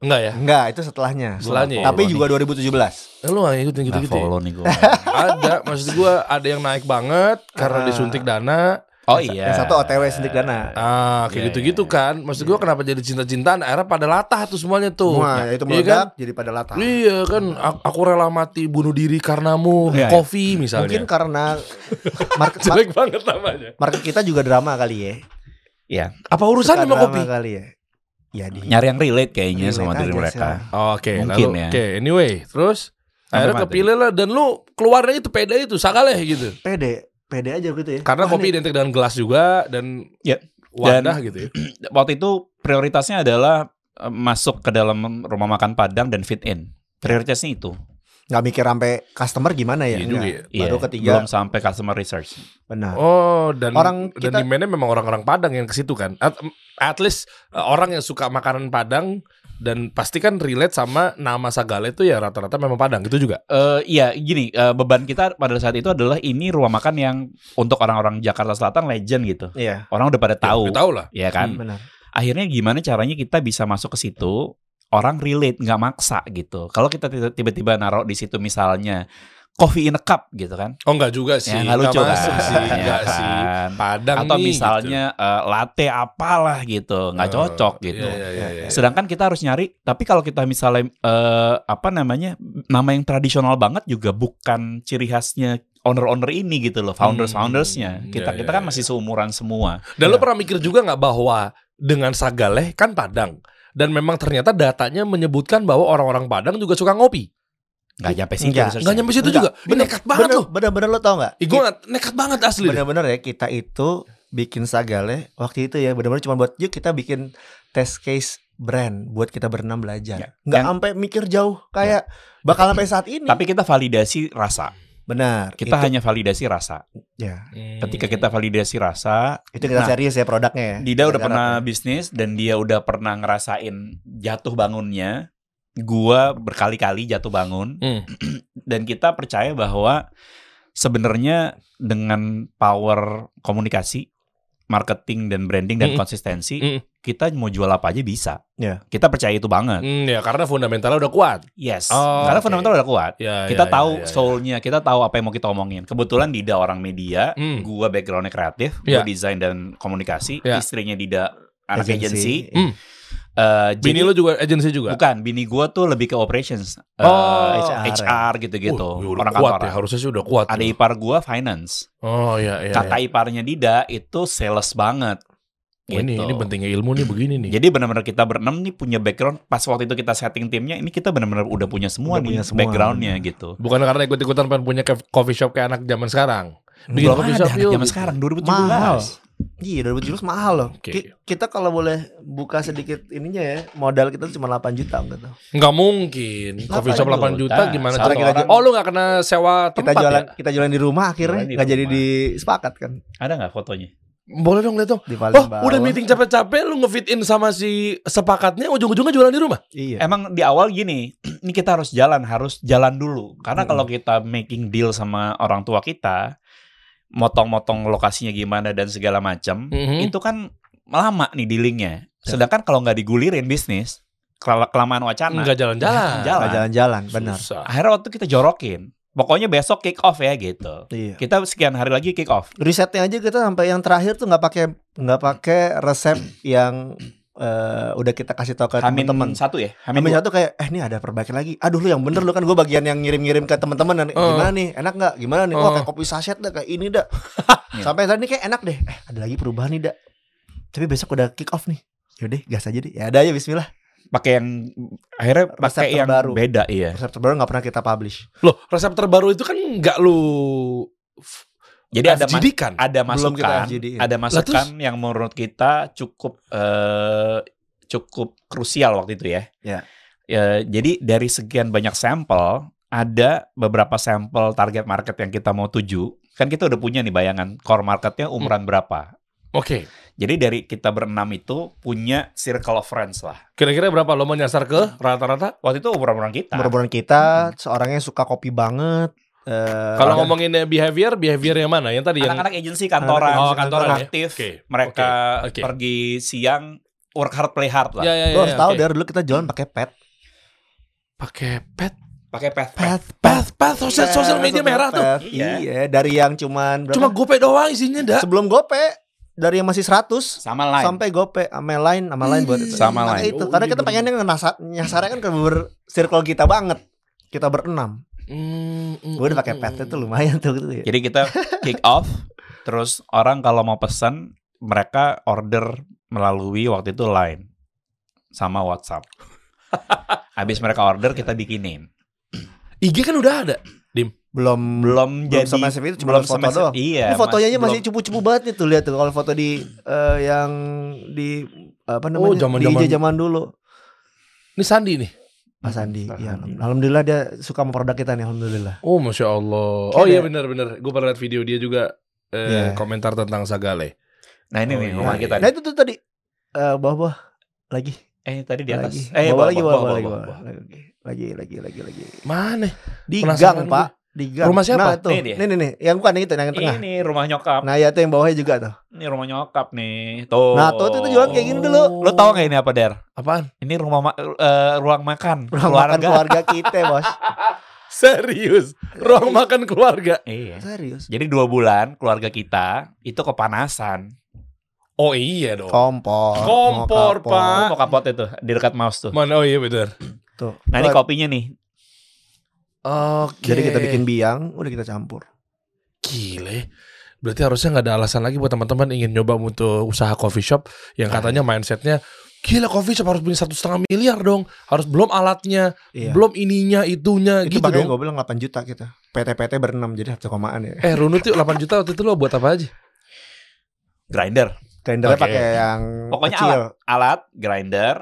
Speaker 3: Enggak ya?
Speaker 1: Enggak, itu setelahnya.
Speaker 3: Setelahnya ya.
Speaker 1: Tapi juga 2017.
Speaker 3: Eh, lu gak ngikutin
Speaker 2: gitu
Speaker 3: gitu-gitu ya?
Speaker 2: follow nih gue
Speaker 3: Ada, maksud gue ada yang naik banget karena
Speaker 1: Ah.
Speaker 3: disuntik dana.
Speaker 2: oh iya
Speaker 1: Yang satu OTW Sendik Dana.
Speaker 3: Ah,
Speaker 2: Iya,
Speaker 3: kayak gitu-gitu
Speaker 2: iya.
Speaker 3: kan. Maksud gue kenapa jadi cinta-cintaan akhirnya pada latah tuh semuanya tuh.
Speaker 1: Wah, itu
Speaker 3: Iya kan?
Speaker 1: meledak jadi pada latar.
Speaker 3: Iya kan, A- aku rela mati bunuh diri karenamu,
Speaker 2: Iya, iya.
Speaker 3: kopi misalnya.
Speaker 1: Mungkin karena market,
Speaker 3: Jelek banget namanya.
Speaker 1: market kita juga drama kali ya.
Speaker 2: iya
Speaker 3: Apa urusan
Speaker 1: Suka
Speaker 3: sama
Speaker 1: drama
Speaker 3: Kan kopi?
Speaker 1: kali ya. Ya di
Speaker 2: nyari yang relate
Speaker 1: Relate
Speaker 2: kayaknya sama diri
Speaker 1: aja
Speaker 2: mereka.
Speaker 1: sih
Speaker 3: Oke,
Speaker 2: Mungkin
Speaker 3: lalu
Speaker 2: ya.
Speaker 3: oke, anyway, terus
Speaker 2: Sampai
Speaker 3: akhirnya
Speaker 2: mana
Speaker 3: kepilih lah dan lu keluarnya itu peda itu sakaleh gitu.
Speaker 1: pede, pede aja gitu ya. Wah,
Speaker 3: Karena
Speaker 1: nih,
Speaker 3: kopi identik dengan gelas juga dan
Speaker 2: Ya.
Speaker 3: wadah gitu ya.
Speaker 2: Waktu itu prioritasnya adalah eh, masuk ke dalam rumah makan Padang dan fit in. Prioritasnya itu.
Speaker 1: nggak mikir sampai customer gimana ya?
Speaker 3: Iya juga
Speaker 1: enggak.
Speaker 3: ya.
Speaker 1: Baru
Speaker 2: Iya,
Speaker 1: ketiga.
Speaker 2: Belum sampai customer research.
Speaker 1: Benar.
Speaker 3: Oh, dan
Speaker 1: Orang
Speaker 3: dan
Speaker 1: kita-
Speaker 3: demandnya memang orang-orang Padang yang ke situ kan. At, at least uh, orang yang suka makanan Padang dan pasti kan relate sama nama sagale itu ya rata-rata memang Padang gitu juga.
Speaker 2: Eh iya, gini, eh, beban kita pada saat itu adalah ini rumah makan yang untuk orang-orang Jakarta Selatan legend gitu.
Speaker 1: Iya,
Speaker 2: Orang udah pada tahu.
Speaker 3: Ya, tahu lah.
Speaker 2: Iya kan?
Speaker 1: benar.
Speaker 2: Akhirnya gimana caranya kita bisa masuk ke situ? Orang relate nggak maksa gitu. Kalau kita tiba- tiba-tiba naruh di situ misalnya coffee in a cup gitu kan?
Speaker 3: Oh, enggak juga sih.
Speaker 2: Ya nggak lucu
Speaker 3: Nggak
Speaker 2: kan?
Speaker 3: masuk sih,
Speaker 2: Ya
Speaker 3: enggak sih.
Speaker 2: kan?
Speaker 3: Padang
Speaker 2: atau
Speaker 3: nih,
Speaker 2: misalnya eh, latte apalah gitu
Speaker 3: gitu.
Speaker 2: nggak cocok
Speaker 3: Eh,
Speaker 2: gitu
Speaker 3: Iya, iya, iya, iya.
Speaker 2: sedangkan kita harus nyari tapi kalau kita misalnya eh, apa namanya nama yang tradisional banget juga bukan ciri khasnya owner-owner ini gitu loh founders foundersnya
Speaker 3: Hmm,
Speaker 2: kita
Speaker 3: iya,
Speaker 2: kita
Speaker 3: iya,
Speaker 2: kan
Speaker 3: iya.
Speaker 2: masih seumuran semua
Speaker 3: Dan lo pernah mikir juga nggak bahwa dengan Sagaleh kan Padang. Dan memang ternyata datanya menyebutkan bahwa orang-orang Padang juga suka ngopi.
Speaker 2: Nggak nyampe situ.
Speaker 1: Enggak.
Speaker 2: researchnya.
Speaker 3: Nggak nyampe situ
Speaker 1: Enggak.
Speaker 3: juga. Ini nekat banget
Speaker 1: bener,
Speaker 3: loh.
Speaker 1: Bener-bener lo tau gak?
Speaker 3: Ih,
Speaker 2: Iya.
Speaker 3: gue nggak- nekat banget asli. deh.
Speaker 1: bener-bener ya kita itu bikin sagale waktu itu ya bener-bener cuma buat yuk kita bikin test case brand buat kita berenam
Speaker 2: Ya.
Speaker 1: belajar nggak
Speaker 2: Yang- Ya.
Speaker 1: sampai mikir jauh kayak bakal sampai saat ini
Speaker 2: Tapi kita validasi rasa.
Speaker 1: benar
Speaker 2: Kita
Speaker 1: itu,
Speaker 2: hanya validasi rasa.
Speaker 1: ya
Speaker 3: Iya,
Speaker 2: Hmm. Ketika kita validasi rasa,
Speaker 1: itu kita
Speaker 2: Nah,
Speaker 1: serius ya produknya ya
Speaker 2: Dida udah
Speaker 1: Gara-gara
Speaker 2: pernah
Speaker 1: apa?
Speaker 2: bisnis dan dia udah pernah ngerasain jatuh bangunnya. Gua berkali-kali jatuh bangun.
Speaker 3: Hmm.
Speaker 2: dan kita percaya bahwa sebenarnya dengan power komunikasi, marketing dan branding dan
Speaker 3: Mm-mm.
Speaker 2: konsistensi,
Speaker 3: Mm-mm.
Speaker 2: kita mau jual apa aja bisa.
Speaker 1: Ya.
Speaker 2: Kita percaya itu banget.
Speaker 3: Hmm, ya karena fundamentalnya udah kuat.
Speaker 2: Yes.
Speaker 3: Oh,
Speaker 2: Karena
Speaker 3: oke.
Speaker 2: fundamental udah kuat.
Speaker 3: Ya,
Speaker 2: Kita
Speaker 3: ya,
Speaker 2: tahu
Speaker 3: ya, ya, ya.
Speaker 2: soul-nya, kita tahu apa yang mau kita omongin. Kebetulan Dida orang media,
Speaker 3: Hmm.
Speaker 2: gua background-nya kreatif,
Speaker 3: Ya.
Speaker 2: gua desain dan komunikasi,
Speaker 3: Ya.
Speaker 2: istrinya
Speaker 1: ya.
Speaker 2: Dida anak
Speaker 1: Agency.
Speaker 2: agensi.
Speaker 3: Hmm.
Speaker 2: Eh,
Speaker 3: Bini
Speaker 2: jadi-
Speaker 3: lo juga agensi juga.
Speaker 2: bukan, bini gua tuh lebih ke operations, Eh,
Speaker 3: Oh.
Speaker 2: HR, HR gitu-gitu,
Speaker 3: Wih, udah
Speaker 2: gitu. orang
Speaker 3: kuat
Speaker 2: kantoran.
Speaker 3: ya, harusnya sih udah kuat.
Speaker 2: ada
Speaker 3: tuh.
Speaker 2: ipar gua finance.
Speaker 3: Oh iya iya.
Speaker 2: Kata
Speaker 3: iya.
Speaker 2: iparnya Dida itu sales banget.
Speaker 3: Oh, ini
Speaker 2: Gitu.
Speaker 3: ini pentingnya ilmu nih begini nih.
Speaker 2: Jadi benar-benar kita berenam nih punya background pas waktu itu kita setting timnya ini kita benar-benar udah punya semua
Speaker 1: Udah
Speaker 2: nih
Speaker 1: punya semua.
Speaker 2: backgroundnya gitu.
Speaker 3: Bukan karena ikut-ikutan pengen punya ke- coffee shop kayak anak zaman sekarang. Bikin
Speaker 2: Belum
Speaker 3: coffee
Speaker 2: ada
Speaker 3: shop
Speaker 2: anak
Speaker 3: yuk,
Speaker 2: zaman
Speaker 3: gitu.
Speaker 2: sekarang 2017.
Speaker 1: Mahal. Iya, 2017 mahal loh.
Speaker 3: Oke.
Speaker 2: iya.
Speaker 1: Ki- Kita kalau boleh buka sedikit ininya ya, modal kita cuma 8 juta enggak tuh.
Speaker 3: Nggak mungkin. Coffee shop 8 juta
Speaker 2: juta.
Speaker 3: gimana
Speaker 2: Sekarang
Speaker 3: cara
Speaker 1: kita
Speaker 3: orang?
Speaker 1: jual-
Speaker 3: Oh, lu nggak kena sewa
Speaker 1: Kita
Speaker 3: tempat
Speaker 1: jualan
Speaker 3: ya?
Speaker 1: kita jualan di rumah akhirnya
Speaker 2: Jualan di
Speaker 1: nggak jadi
Speaker 2: rumah.
Speaker 1: disepakat kan
Speaker 2: Ada nggak fotonya?
Speaker 3: Boleh dong lihat dong.
Speaker 1: di paling
Speaker 3: Oh,
Speaker 1: bawah.
Speaker 3: udah meeting capek-capek lu ngefit in sama si sepakatnya ujung-ujungnya jualan di rumah.
Speaker 1: Iya.
Speaker 2: Emang di awal gini, ini kita harus jalan, harus jalan dulu. Karena kalau kita making deal sama orang tua kita, motong-motong lokasinya gimana dan segala macam,
Speaker 3: Mhm.
Speaker 2: itu kan lama
Speaker 1: Ya.
Speaker 2: nih dealingnya. Sedangkan kalau nggak digulirin bisnis, kela- kelamaan wacana.
Speaker 3: Enggak
Speaker 2: Nah, Nggak
Speaker 3: kan jalan-jalan.
Speaker 2: jalan.
Speaker 1: Nggak jalan-jalan, benar.
Speaker 3: Susah.
Speaker 2: Akhirnya waktu itu kita jorokin. Pokoknya besok kick off ya gitu.
Speaker 1: Iya.
Speaker 2: Kita sekian hari lagi kick off.
Speaker 1: Risetnya aja kita sampai yang terakhir tuh nggak pakai nggak pakai resep yang eh, udah kita kasih tahu ke
Speaker 2: Hamin
Speaker 1: teman-teman.
Speaker 2: satu ya. Hamin,
Speaker 1: Amin
Speaker 2: dua.
Speaker 1: satu kayak eh ini ada perbaikan lagi. Aduh lu yang bener lu kan gue bagian yang ngirim-ngirim ke teman-teman dan
Speaker 3: Oh.
Speaker 1: gimana nih enak nggak gimana nih wah
Speaker 3: Oh. Iya.
Speaker 1: kayak kopi saset dah kayak ini dah. Sampai tadi kayak enak deh. Eh ada lagi perubahan nih dah. Tapi besok udah kick off nih. Yaudah gas aja deh. Ya ada aja Bismillah.
Speaker 2: Pakai yang akhirnya pakai
Speaker 1: Resep
Speaker 2: yang
Speaker 1: terbaru.
Speaker 2: beda
Speaker 3: Ya.
Speaker 2: iya.
Speaker 1: Resep terbaru nggak pernah kita publish.
Speaker 3: Loh, resep terbaru itu kan nggak lu f-
Speaker 2: Jadi ada ma-
Speaker 3: FGD kan?
Speaker 2: ada
Speaker 1: Belum kita
Speaker 2: masukan,
Speaker 1: FGD-in.
Speaker 2: ada masukan yang menurut kita cukup eh, cukup krusial waktu itu ya.
Speaker 1: Ya.
Speaker 2: Ya, jadi dari sekian banyak sampel, ada beberapa sampel target market yang kita mau tuju. Kan kita udah punya nih bayangan core marketnya umuran
Speaker 3: Hmm.
Speaker 2: berapa.
Speaker 3: Oke.
Speaker 2: Jadi dari kita berenam itu punya circle of friends lah.
Speaker 3: Kira-kira berapa lo menyasar ke rata-rata?
Speaker 2: Waktu itu umuran-umuran kita.
Speaker 1: Berbulan kita seorangnya suka kopi banget. Eh,
Speaker 3: Hmm. Kalau ngomongin behavior, behavior yang mana? Yang tadi yang
Speaker 2: Anak-anak agensi kantoran,
Speaker 3: Oh, kantoran ya.
Speaker 2: aktif.
Speaker 3: Oke.
Speaker 2: Mereka
Speaker 3: Oke. Oke.
Speaker 2: pergi siang work hard play hard lah.
Speaker 3: Ya, ya, ya.
Speaker 1: Lo harus tahu
Speaker 3: oke.
Speaker 1: dari dulu kita jualan pakai pet.
Speaker 3: pakai pet
Speaker 2: Pakai path,
Speaker 1: Pet,
Speaker 3: pet pet sosial
Speaker 1: Iya,
Speaker 3: sosial media
Speaker 1: sosial
Speaker 3: merah tuh.
Speaker 1: pet.
Speaker 2: Iya.
Speaker 1: Iya. dari yang cuman berapa?
Speaker 3: Cuma gope doang isinya dah.
Speaker 1: sebelum gope dari yang masih 100
Speaker 2: sama lain.
Speaker 1: sampai gope sama lain sama lain buat itu.
Speaker 2: Sama
Speaker 1: Makanya
Speaker 2: lain.
Speaker 1: Itu.
Speaker 3: Oh,
Speaker 1: Karena
Speaker 3: iya
Speaker 1: kita
Speaker 3: bener.
Speaker 1: pengennya nasa- nyasarnya kan ke ber circle kita banget. Kita berenam.
Speaker 3: Hmm,
Speaker 1: Gue udah pakai pet itu lumayan tuh gitu ya.
Speaker 2: Jadi kita kick off, terus orang kalau mau pesan mereka order melalui waktu itu line sama WhatsApp. Habis mereka order kita bikinin.
Speaker 3: IG kan udah ada.
Speaker 1: Belum
Speaker 2: Belum,
Speaker 1: Belum
Speaker 2: jadi
Speaker 1: semasif itu, cuma foto
Speaker 2: semasif-
Speaker 1: doang.
Speaker 2: Iya.
Speaker 1: Ini fotonya
Speaker 2: mas-
Speaker 1: aja masih
Speaker 2: belum-
Speaker 1: cupu-cupu banget nih tuh lihat tuh kalau foto di eh, yang di apa namanya
Speaker 3: Oh, zaman-
Speaker 1: di
Speaker 3: zaman-
Speaker 1: IG zaman dulu
Speaker 3: Ini Sandi nih.
Speaker 1: Pak
Speaker 3: Hmm,
Speaker 1: Sandi.
Speaker 2: Pak
Speaker 1: Ya,
Speaker 2: Sandi.
Speaker 1: alhamdulillah dia suka sama produk kita nih alhamdulillah.
Speaker 3: Oh masya Allah.
Speaker 1: Kayak
Speaker 3: Oh iya
Speaker 1: ada-
Speaker 3: benar benar. Gue pernah lihat video dia juga eh,
Speaker 1: Iya.
Speaker 3: komentar tentang Sagale.
Speaker 2: Nah ini
Speaker 3: Oh,
Speaker 2: nih
Speaker 3: iya,
Speaker 2: rumah
Speaker 3: iya.
Speaker 2: kita.
Speaker 1: Nah itu tuh tadi eh bawah-bawah lagi
Speaker 2: Eh tadi di atas.
Speaker 1: lagi.
Speaker 2: Eh
Speaker 1: bawah, lagi
Speaker 2: bawah,
Speaker 1: bawah,
Speaker 2: bawah,
Speaker 1: lagi
Speaker 2: bawah,
Speaker 1: bawah, lagi lagi lagi lagi lagi.
Speaker 3: Mana?
Speaker 1: Di
Speaker 3: Penasaran
Speaker 1: gang, Pak. Di gang.
Speaker 3: Rumah siapa?
Speaker 1: Nah, tuh.
Speaker 2: Ini dia?
Speaker 1: Nih nih nih, yang bukan yang itu yang tengah.
Speaker 2: Ini rumah nyokap.
Speaker 1: Nah, ya tuh yang bawahnya juga tuh.
Speaker 2: Ini rumah nyokap nih. Tuh.
Speaker 1: Nah, tuh, tuh, tuh jualan kayak gini dulu.
Speaker 2: Lo tau gak ini apa Der?
Speaker 3: Apaan?
Speaker 2: Ini rumah ma- eh, ruang makan
Speaker 1: Ruang
Speaker 2: keluarga.
Speaker 1: makan keluarga kita, Bos.
Speaker 3: Serius? Ruang makan keluarga?
Speaker 2: Iya.
Speaker 1: Serius.
Speaker 2: Jadi dua bulan keluarga kita itu kepanasan.
Speaker 3: Oh iya dong.
Speaker 1: Kompor.
Speaker 3: Kompor,
Speaker 1: mau kapok.
Speaker 3: Pak.
Speaker 2: Mau kapot itu di dekat mouse tuh.
Speaker 3: Mana? Oh iya benar.
Speaker 1: Tuh.
Speaker 2: Nah ini kopinya nih.
Speaker 3: Oke.
Speaker 1: Jadi kita bikin biang, udah kita campur.
Speaker 3: Gile. Berarti harusnya nggak ada alasan lagi buat teman-teman ingin nyoba untuk usaha coffee shop yang katanya mindsetnya gila coffee shop harus punya satu setengah miliar dong, harus belum alatnya,
Speaker 1: Iya.
Speaker 3: belum ininya itunya
Speaker 1: itu
Speaker 3: gitu
Speaker 1: makanya
Speaker 3: dong.
Speaker 1: gue bilang 8 juta kita. PT-PT berenam jadi satu komaan ya.
Speaker 3: Eh Runut yuk 8 juta waktu itu lo buat apa aja?
Speaker 2: grinder.
Speaker 1: Kalendernya
Speaker 3: Oke.
Speaker 1: pakai yang
Speaker 2: Pokoknya
Speaker 1: kecil.
Speaker 2: Alat grinder.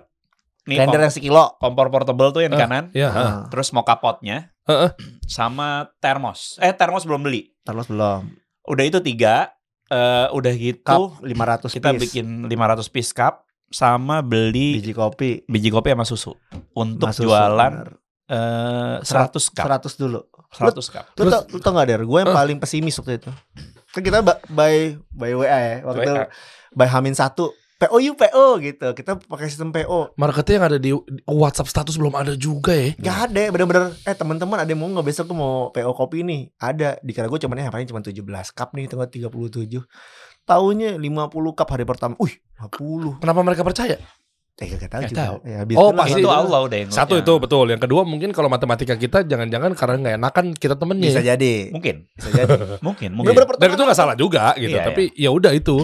Speaker 2: Nih
Speaker 1: Kalender
Speaker 2: kom-
Speaker 1: yang sekilo.
Speaker 2: kompor portable tuh yang di
Speaker 3: Eh,
Speaker 2: kanan.
Speaker 3: Ya,
Speaker 1: Heeh.
Speaker 2: Terus mau kapotnya.
Speaker 3: Heeh.
Speaker 2: Sama termos. Eh termos belum beli.
Speaker 1: Terus belum.
Speaker 2: Udah itu tiga. eh udah gitu
Speaker 1: Cup 500
Speaker 2: kita
Speaker 1: piece.
Speaker 2: bikin 500 piece cup sama beli
Speaker 1: biji kopi
Speaker 2: biji kopi sama susu untuk
Speaker 1: Masuk
Speaker 2: jualan
Speaker 1: sumber.
Speaker 2: eh 100 cup
Speaker 1: 100 dulu.
Speaker 2: 100 cup
Speaker 1: Lu
Speaker 3: Terus-
Speaker 1: tau, lu tau gak Der, gue yang
Speaker 3: Eh.
Speaker 1: paling pesimis waktu itu Kan kita ba- by, by WA ya Waktu itu
Speaker 3: WA.
Speaker 1: by Hamin 1 PO yuk PO gitu Kita pakai sistem PO
Speaker 3: Marketnya yang ada di di WhatsApp status belum ada juga ya.
Speaker 2: Hmm.
Speaker 1: Gak ada bener-bener Eh teman-teman ada yang mau gak besok gue mau PO kopi nih Ada Dikira gue cuman ya paling cuma 17 cup nih Tengah 37 Taunya 50 cup hari pertama Wih 50
Speaker 3: Kenapa mereka percaya?
Speaker 1: Eh gak tau
Speaker 3: Nggak
Speaker 1: juga
Speaker 3: tahu.
Speaker 1: ya, habis
Speaker 3: Oh,
Speaker 1: kenal
Speaker 3: pasti
Speaker 2: itu
Speaker 1: satu.
Speaker 2: Allah udah yang
Speaker 3: Satu
Speaker 2: ngelutnya.
Speaker 3: itu betul. Yang kedua mungkin kalau matematika kita jangan-jangan karena nggak enakan kita temennya.
Speaker 1: Bisa jadi
Speaker 2: mungkin
Speaker 1: Bisa jadi
Speaker 2: mungkin mungkin
Speaker 1: Bener-bener
Speaker 3: Dan
Speaker 1: pertama
Speaker 3: itu nggak salah juga gitu.
Speaker 2: Iya,
Speaker 3: tapi ya udah itu.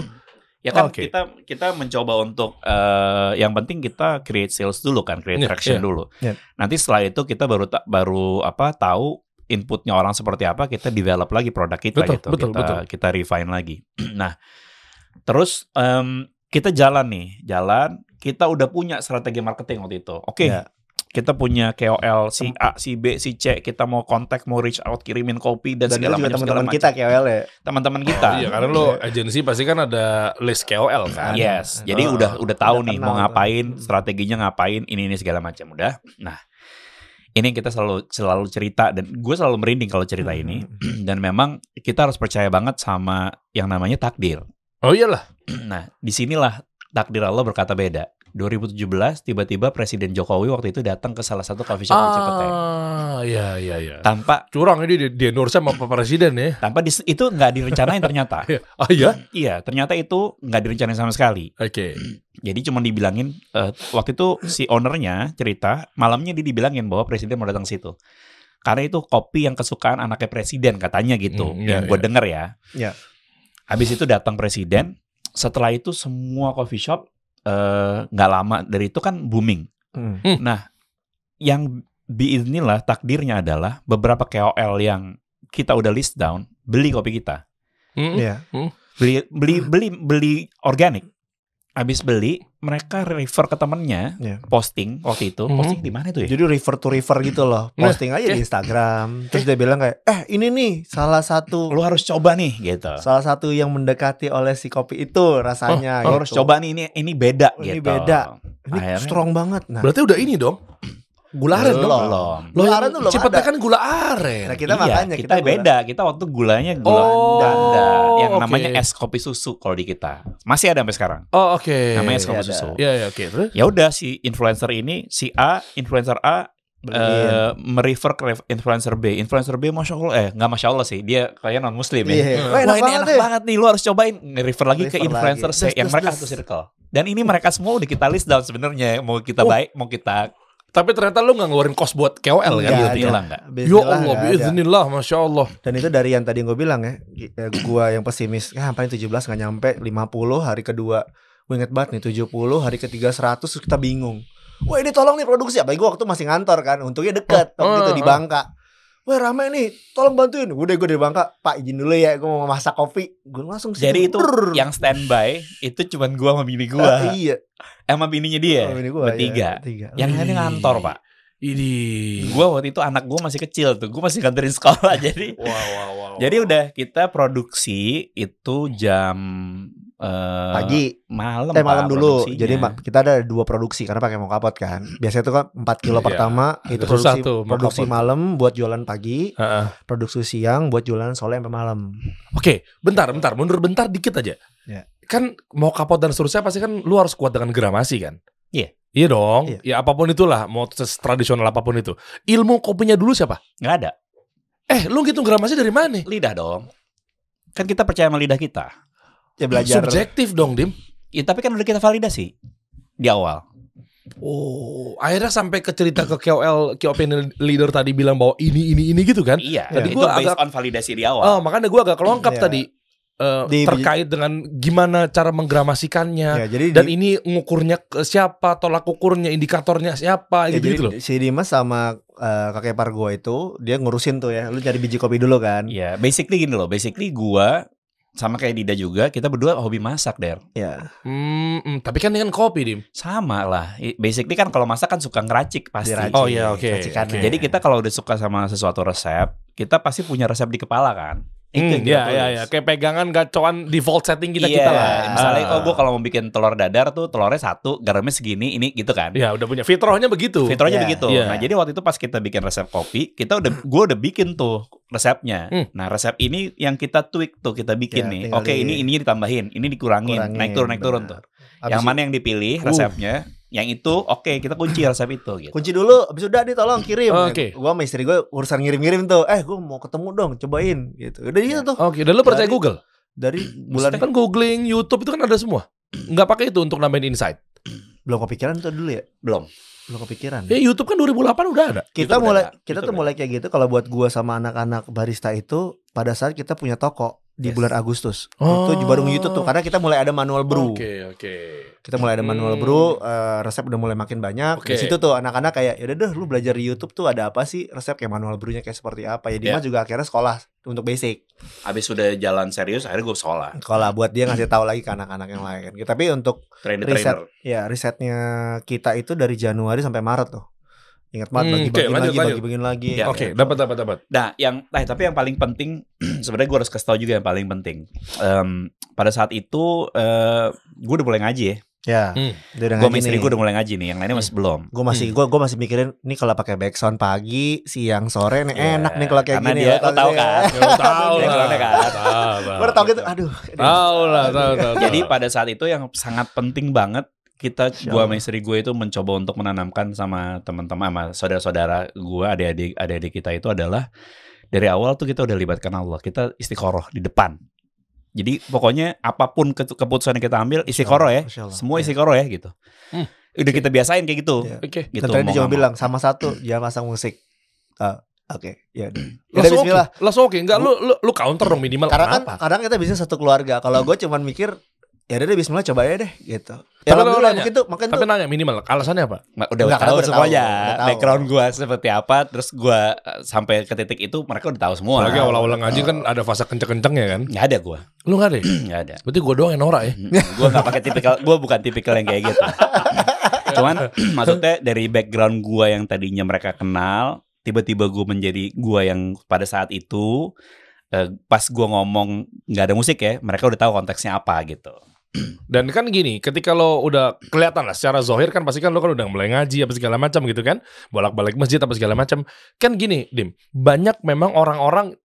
Speaker 2: ya kan
Speaker 3: Oke.
Speaker 2: kita kita mencoba untuk eh, yang penting kita create sales dulu kan create
Speaker 3: Iya,
Speaker 2: traction
Speaker 3: iya.
Speaker 2: dulu
Speaker 1: Iya.
Speaker 2: nanti setelah itu kita baru ta- baru apa tahu inputnya orang seperti apa kita develop lagi produk kita
Speaker 3: Betul,
Speaker 2: gitu
Speaker 3: betul,
Speaker 2: kita
Speaker 3: betul.
Speaker 2: kita refine lagi nah terus em, kita jalan nih jalan kita udah punya strategi marketing waktu itu oke
Speaker 1: Iya.
Speaker 2: kita punya KOL si A si B si C kita mau kontak mau reach out kirimin kopi
Speaker 1: Dan
Speaker 2: dan,
Speaker 1: itu
Speaker 2: segala
Speaker 1: juga
Speaker 2: macam segala
Speaker 1: teman-teman
Speaker 2: macam.
Speaker 1: kita KOL ya
Speaker 2: teman-teman kita
Speaker 3: iya, karena lo agensi pasti kan ada list KOL kan.
Speaker 2: Yes,
Speaker 1: Ada.
Speaker 2: jadi
Speaker 3: Ada.
Speaker 2: udah udah tahu
Speaker 1: Udah
Speaker 2: nih
Speaker 1: kenal
Speaker 2: mau
Speaker 1: tuh.
Speaker 2: ngapain,
Speaker 1: Hmm.
Speaker 2: strateginya ngapain, ini ini segala macam udah. Nah, ini yang kita selalu selalu cerita dan gue selalu merinding kalau cerita
Speaker 1: Hmm.
Speaker 2: ini dan memang kita harus percaya banget sama yang namanya takdir.
Speaker 3: Oh iyalah.
Speaker 2: Nah, disinilah takdir Allah berkata beda. 2017 tiba-tiba Presiden Jokowi waktu itu datang ke salah satu coffee
Speaker 1: Oh.
Speaker 2: shop di
Speaker 1: ya.
Speaker 2: Cipete
Speaker 3: Ah, iya iya iya.
Speaker 2: tanpa
Speaker 3: Curang ini di, di endorse sama Pak Presiden ya.
Speaker 2: tanpa dis- itu nggak direncanain ternyata.
Speaker 3: Iya. Ah iya.
Speaker 2: iya, ternyata itu nggak direncanain sama sekali.
Speaker 3: Oke.
Speaker 2: Jadi cuma dibilangin eh, waktu itu si ownernya cerita malamnya dia dibilangin bahwa presiden mau datang ke situ. Karena itu kopi yang kesukaan anaknya presiden katanya gitu.
Speaker 3: Hmm, iya,
Speaker 2: yang gue
Speaker 3: iya.
Speaker 2: denger ya.
Speaker 1: Iya.
Speaker 2: Habis itu datang presiden, setelah itu semua coffee shop eh, nggak lama dari itu kan booming.
Speaker 1: Hmm.
Speaker 2: Yang biiznilah takdirnya adalah beberapa KOL yang kita udah list down beli kopi kita
Speaker 3: Hmm.
Speaker 1: Iya
Speaker 2: beli beli beli beli organik habis beli mereka refer ke temennya
Speaker 1: Iya.
Speaker 2: posting waktu itu
Speaker 3: Mhm.
Speaker 2: posting di mana itu ya
Speaker 1: Jadi refer to refer gitu loh.
Speaker 3: Nah,
Speaker 1: Posting aja
Speaker 3: eh.
Speaker 1: di Instagram. Terus dia bilang kayak, "Eh, ini nih salah satu
Speaker 2: lu harus coba nih gitu
Speaker 1: salah satu yang mendekati oleh si kopi itu rasanya."
Speaker 2: lu
Speaker 1: gitu.
Speaker 2: Oh, harus coba nih ini ini beda
Speaker 1: Ini
Speaker 2: gitu
Speaker 1: beda. Ini
Speaker 2: Akhirnya-
Speaker 1: strong banget. Nah,
Speaker 3: Berarti udah ini dong. Gula aren
Speaker 1: Belum.
Speaker 3: dong.
Speaker 2: belum
Speaker 3: Lo
Speaker 1: Gula aren tuh belum
Speaker 3: Cipete
Speaker 1: ada.
Speaker 3: kan gula
Speaker 1: nah
Speaker 3: aren.
Speaker 1: kita
Speaker 2: Iya,
Speaker 1: makanya
Speaker 2: kita,
Speaker 1: gula.
Speaker 2: beda kita waktu gulanya gula
Speaker 3: Oh,
Speaker 2: danda yang
Speaker 3: oke.
Speaker 2: namanya es kopi susu kalau di kita masih ada sampai sekarang
Speaker 3: Oh oke.
Speaker 2: namanya es kopi
Speaker 1: ada.
Speaker 2: susu
Speaker 3: Iya iya oke. Terus?
Speaker 2: ya udah si influencer ini si A influencer A
Speaker 1: Beliin.
Speaker 2: eh merefer ke ref- influencer B. Influencer B masya Allah, eh nggak masya Allah sih, dia kayaknya non muslim ya.
Speaker 1: Iya. Wah,
Speaker 2: Wah ini
Speaker 1: banget
Speaker 2: enak
Speaker 1: deh.
Speaker 2: banget nih, lu harus cobain refer lagi ke
Speaker 1: Refer
Speaker 2: influencer
Speaker 1: lagi.
Speaker 2: C
Speaker 1: Des,
Speaker 2: yang
Speaker 1: des,
Speaker 2: mereka
Speaker 1: des.
Speaker 2: satu circle. Dan ini mereka semua udah kita list down sebenarnya mau kita
Speaker 3: Oh.
Speaker 2: baik, mau kita Gitu,
Speaker 3: Tapi ternyata lo nggak ngeluarin kos buat KOL
Speaker 1: Nggak
Speaker 3: kan?
Speaker 1: ada.
Speaker 2: hilang nggak?
Speaker 3: Ya
Speaker 1: Iya, Bismillah
Speaker 3: Allah,
Speaker 1: nggak ada.
Speaker 3: biiznillah, masya Allah.
Speaker 1: Dan itu dari yang tadi gue bilang ya, gi- eh, gua yang pesimis, ya paling 17 nggak nyampe, 50 hari kedua gue inget banget nih 70 hari ketiga 100 terus kita bingung. Wah ini tolong nih produksi apa? Gue waktu masih ngantor kan, untungnya dekat
Speaker 3: Oh,
Speaker 1: waktu itu
Speaker 3: oh,
Speaker 1: di
Speaker 3: oh.
Speaker 1: Bangka. Wah rame nih, tolong bantuin. Udah gue dari Bangka, Pak izin dulu ya, gue mau masak kopi. Gue langsung ke
Speaker 2: Jadi
Speaker 1: situ.
Speaker 2: itu
Speaker 1: Brrr.
Speaker 2: yang standby itu cuman gua sama bini
Speaker 1: Ah,
Speaker 2: gua,
Speaker 1: iya.
Speaker 2: eh, sama bininya dia.
Speaker 1: Oh, ini gua, iya,
Speaker 2: bertiga. Ya,
Speaker 1: bertiga.
Speaker 2: Yang
Speaker 3: Wih.
Speaker 2: lainnya ngantor pak.
Speaker 3: Ini.
Speaker 1: iya.
Speaker 2: Gua waktu itu anak gua masih kecil tuh, gua masih nganterin sekolah jadi
Speaker 3: Wow wow wow.
Speaker 2: Jadi udah kita produksi itu jam eh,
Speaker 1: Pagi,
Speaker 2: malam
Speaker 1: eh
Speaker 2: Pak,
Speaker 1: malam dulu.
Speaker 2: produksinya.
Speaker 1: Jadi ma- kita ada dua produksi karena pakai mau kapot kan. Biasanya itu kan 4 kilo
Speaker 3: Iya,
Speaker 1: pertama itu
Speaker 3: agak susah
Speaker 1: produksi,
Speaker 3: tuh mau
Speaker 1: produksi
Speaker 3: kapot.
Speaker 1: malam buat jualan pagi.
Speaker 3: Heeh.
Speaker 1: produksi siang buat jualan sore sampai malam.
Speaker 3: Oke, bentar, bentar, mundur bentar dikit aja.
Speaker 1: Ya.
Speaker 3: Kan mau kapot dan seterusnya pasti kan lu harus kuat dengan gramasi kan?
Speaker 2: Iya.
Speaker 3: Iya dong.
Speaker 1: Iya.
Speaker 3: Ya apapun itulah, mau ses- tradisional apapun itu. Ilmu kopinya dulu siapa?
Speaker 2: nggak ada
Speaker 3: Eh, lu ngitung gramasi dari mana?
Speaker 2: lidah dong. Kan kita percaya sama lidah kita.
Speaker 1: Ya belajar.
Speaker 3: Subjektif dong, Dim.
Speaker 2: Ya, tapi kan udah kita validasi di awal.
Speaker 3: Oh, akhirnya sampai ke cerita ke KOL, key opinion leader tadi bilang bahwa ini ini ini gitu kan?
Speaker 2: Iya.
Speaker 1: Tadi
Speaker 2: itu
Speaker 3: gua
Speaker 2: based
Speaker 3: agak-
Speaker 2: on validasi di awal.
Speaker 3: Oh, makanya gua agak kelongkap
Speaker 1: Iya.
Speaker 3: tadi. eh,
Speaker 1: Di-
Speaker 3: terkait dengan gimana cara menggeramasikannya
Speaker 1: Ya, jadi
Speaker 3: dan
Speaker 1: di-
Speaker 3: ini ngukurnya ke siapa, tolak ukurnya, indikatornya siapa
Speaker 1: Ya,
Speaker 3: gitu,
Speaker 1: jadi
Speaker 3: gitu loh.
Speaker 1: si Dimas sama eh, kakek par gua itu dia ngurusin tuh ya. Lu cari biji kopi dulu kan. Iya.
Speaker 2: Iya, basically gini loh. Basically gua sama kayak Dida juga, kita berdua hobi masak, Der.
Speaker 1: Ya,
Speaker 3: Hmm, hmm, tapi kan dengan kopi, Dim.
Speaker 2: Sama lah. I- Basically kan kalau masak kan suka ngeracik pasti.
Speaker 1: Diracik,
Speaker 3: Oh, iya, oke,
Speaker 1: racikan. ya.
Speaker 3: oke.
Speaker 2: Jadi kita kalau udah suka sama sesuatu resep, kita pasti punya resep di kepala kan.
Speaker 3: Hmm,
Speaker 2: yang kita
Speaker 3: ya,
Speaker 2: tulis.
Speaker 3: ya, ya. Kayak pegangan gacoan default setting kita
Speaker 2: Iya,
Speaker 3: kita lah.
Speaker 2: Misalnya,
Speaker 3: Ah.
Speaker 2: oh gue kalau mau bikin telur dadar tuh telurnya satu, garamnya segini, ini gitu kan.
Speaker 3: Ya udah punya fitrohnya begitu.
Speaker 1: Iya.
Speaker 2: Fiturnya begitu.
Speaker 3: Iya.
Speaker 2: Nah, jadi waktu itu pas kita bikin resep kopi, kita udah gue udah bikin tuh resepnya.
Speaker 3: Hmm.
Speaker 2: Nah, resep ini yang kita tweak tuh, kita
Speaker 1: Ya,
Speaker 2: bikin nih.
Speaker 1: tinggal
Speaker 2: Oke,
Speaker 1: di-
Speaker 2: ini ini ditambahin, ini dikurangin,
Speaker 1: Kurangin,
Speaker 2: naik turun naik turun tuh.
Speaker 1: benar.
Speaker 2: yang
Speaker 1: Abis-
Speaker 2: mana yang dipilih resepnya? Yang itu oke, kita kunci resep itu gitu.
Speaker 1: Kunci dulu, abis itu udah nih tolong kirim.
Speaker 3: Oh, Oke.
Speaker 1: Gua sama istri gua urusan ngirim-ngirim tuh. Eh, gua mau ketemu dong, cobain gitu. Udah
Speaker 2: Iya.
Speaker 1: gitu tuh.
Speaker 3: Oke, dan lu percaya
Speaker 1: Jadi-
Speaker 3: Google?
Speaker 1: Dari
Speaker 3: Bulan
Speaker 1: bulan
Speaker 3: kan googling, YouTube itu kan ada semua. Nggak pakai itu untuk nambahin insight.
Speaker 1: belum kepikiran tuh dulu ya.
Speaker 2: Belum.
Speaker 1: Belum
Speaker 2: Hmm.
Speaker 1: kepikiran.
Speaker 3: Ya YouTube kan 2008 gitu udah ada.
Speaker 1: kita
Speaker 2: Itu beda,
Speaker 1: mulai kita
Speaker 2: itu
Speaker 1: tuh
Speaker 2: beda.
Speaker 1: mulai kayak gitu kalau buat gua sama anak-anak barista itu pada saat kita punya toko di
Speaker 2: Yes.
Speaker 1: bulan Agustus
Speaker 3: Oh.
Speaker 1: itu baru YouTube tuh karena kita mulai ada manual brew
Speaker 3: oke.
Speaker 1: kita mulai ada manual
Speaker 3: Hmm.
Speaker 1: brew eh, resep udah mulai makin banyak di
Speaker 3: Oke.
Speaker 1: situ tuh anak-anak kayak yaudah deh lu belajar di YouTube tuh ada apa sih resep kayak manual brewnya kayak seperti apa ya Dimas juga akhirnya sekolah untuk basic
Speaker 2: Abis sudah jalan serius, akhirnya gue sekolah.
Speaker 1: sekolah buat dia ngasih
Speaker 3: Hmm.
Speaker 1: tahu lagi ke anak-anak yang lain gitu tapi untuk
Speaker 2: Trainer
Speaker 1: Riset.
Speaker 2: trainer.
Speaker 1: ya risetnya kita itu dari Januari sampai Maret tuh Ingat banget
Speaker 3: Hmm,
Speaker 1: bagi-bagi
Speaker 3: oke, lanjut,
Speaker 1: lagi,
Speaker 3: lanjut.
Speaker 1: bagi-bagi lagi.
Speaker 2: Ya,
Speaker 3: Oke, dapat dapat dapat.
Speaker 2: Nah, yang nah, tapi yang paling penting sebenarnya gue harus kasih tau juga yang paling penting. Em, pada saat itu gue udah mulai ngaji ya.
Speaker 1: Ya,
Speaker 3: Hmm.
Speaker 1: dia udah
Speaker 2: Gue sama
Speaker 1: ngaji
Speaker 2: istri
Speaker 1: nih. Hmm.
Speaker 2: gue udah mulai ngaji nih. Yang lainnya masih belum.
Speaker 1: gue masih gua gue masih mikirin nih kalau pakai backsound pagi siang sore nih
Speaker 2: Iya,
Speaker 1: enak nih kalau kayak
Speaker 2: Karena
Speaker 1: gini
Speaker 2: dia-
Speaker 1: ya,
Speaker 2: lo tahu kan?
Speaker 3: Ya, lu tahu
Speaker 2: Iya,
Speaker 3: lah.
Speaker 2: iya, kan?
Speaker 1: gue udah tau gitu aduh
Speaker 3: Tahu lah, tahu tahu. tahu.
Speaker 2: Jadi pada saat itu yang sangat penting banget kita
Speaker 1: Insya
Speaker 2: gua
Speaker 1: Allah.
Speaker 2: sama istri gue itu mencoba untuk menanamkan sama teman-teman sama saudara-saudara gua adik-adik adik-adik kita itu adalah dari awal tuh kita udah libatkan Allah kita istiqoroh di depan jadi pokoknya apapun ke- keputusan yang kita ambil istiqoroh ya
Speaker 1: Masya Allah.
Speaker 2: semua
Speaker 1: Iya.
Speaker 2: istiqoroh ya gitu
Speaker 3: Hmm.
Speaker 2: udah kita biasain kayak gitu
Speaker 1: Iya.
Speaker 3: Oke.
Speaker 2: gitu
Speaker 1: dan tadi dia cuma
Speaker 2: mau nggak mau.
Speaker 1: bilang sama satu jangan pasang musik Ah, oke ya udah Ya udah,
Speaker 3: Langsung oke.
Speaker 1: Bismillah
Speaker 3: Langsung oke. Enggak lu lu lu counter dong minimal.
Speaker 1: karena kan
Speaker 3: Kenapa?
Speaker 1: kadang kita bisa satu keluarga kalau gue cuman mikir ya udah deh Bismillah coba aja deh gitu
Speaker 3: Tapi
Speaker 1: ya alhamdulillah
Speaker 3: kalau
Speaker 1: mungkin tuh makan
Speaker 3: tapi
Speaker 1: tuh
Speaker 3: nanya minimal alasannya apa?
Speaker 2: Ma- udah
Speaker 1: Enggak,
Speaker 2: tahu
Speaker 1: karena udah
Speaker 2: semuanya
Speaker 1: tahu, udah tahu.
Speaker 2: background gua seperti apa terus gua eh, sampai ke titik itu mereka udah tahu semua
Speaker 3: Apalagi awal-awal ngaji kan ada fase kenceng-kenceng ya kan?
Speaker 2: nggak ada gua
Speaker 3: Lu enggak deh.
Speaker 2: nggak ada
Speaker 3: Berarti gua doang yang norak ya.
Speaker 2: gue gak pakai tipikal gue bukan tipikal yang kayak gitu cuman maksudnya dari background gue yang tadinya mereka kenal tiba-tiba gue menjadi gue yang pada saat itu eh, pas gue ngomong nggak ada musik ya mereka udah tahu konteksnya apa gitu
Speaker 3: Dan kan gini, ketika lo udah kelihatan lah secara zohir kan pasti kan lo kan udah mulai ngaji apa segala macam gitu kan, bolak-balik masjid apa segala macam. Kan gini, Dim, banyak memang orang-orang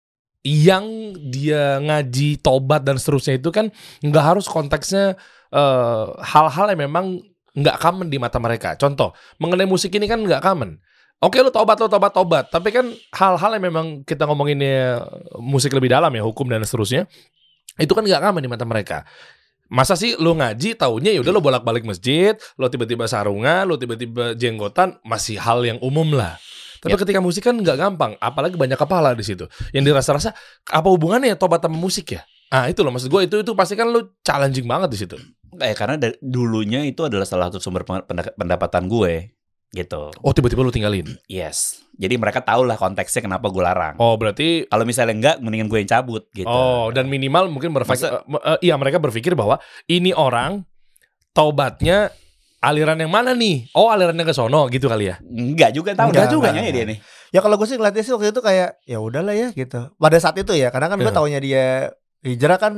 Speaker 3: yang dia ngaji tobat dan seterusnya itu kan nggak harus konteksnya eh, hal-hal yang memang nggak common di mata mereka. Contoh, mengenai musik ini kan nggak common. Oke lo tobat lo tobat tobat, tapi kan hal-hal yang memang kita ngomonginnya musik lebih dalam ya hukum dan seterusnya itu kan nggak common di mata mereka. Masa sih lo ngaji taunya ya udah lo bolak-balik masjid, lo tiba-tiba sarungan, lo tiba-tiba jenggotan, masih hal yang umum lah. Tapi
Speaker 2: Ya.
Speaker 3: ketika musik kan nggak gampang, apalagi banyak kepala di situ. Yang dirasa-rasa apa hubungannya ya tobat sama musik ya? Ah itu loh maksud gue itu itu pasti kan lo challenging banget di situ.
Speaker 2: eh karena da- dulunya itu adalah salah satu sumber peng- pendak- pendapatan gue gitu
Speaker 3: Oh tiba-tiba lo tinggalin.
Speaker 2: yes jadi mereka tahu lah konteksnya kenapa gue larang
Speaker 3: Oh berarti
Speaker 2: kalau misalnya enggak mendingan gue yang cabut gitu
Speaker 3: Oh, dan minimal mungkin berpikir,
Speaker 2: Masa-
Speaker 3: eh, eh, iya mereka berpikir bahwa ini orang taubatnya aliran yang mana nih? Oh, alirannya ke sono gitu kali ya.
Speaker 2: enggak juga tahu
Speaker 1: Enggak
Speaker 2: dah,
Speaker 1: juga.
Speaker 2: nanya dia nih
Speaker 1: ya kalau gue sih ngeliatnya sih waktu itu kayak ya udahlah ya gitu pada saat itu ya karena kan gue
Speaker 3: Iya.
Speaker 1: taunya dia hijrah kan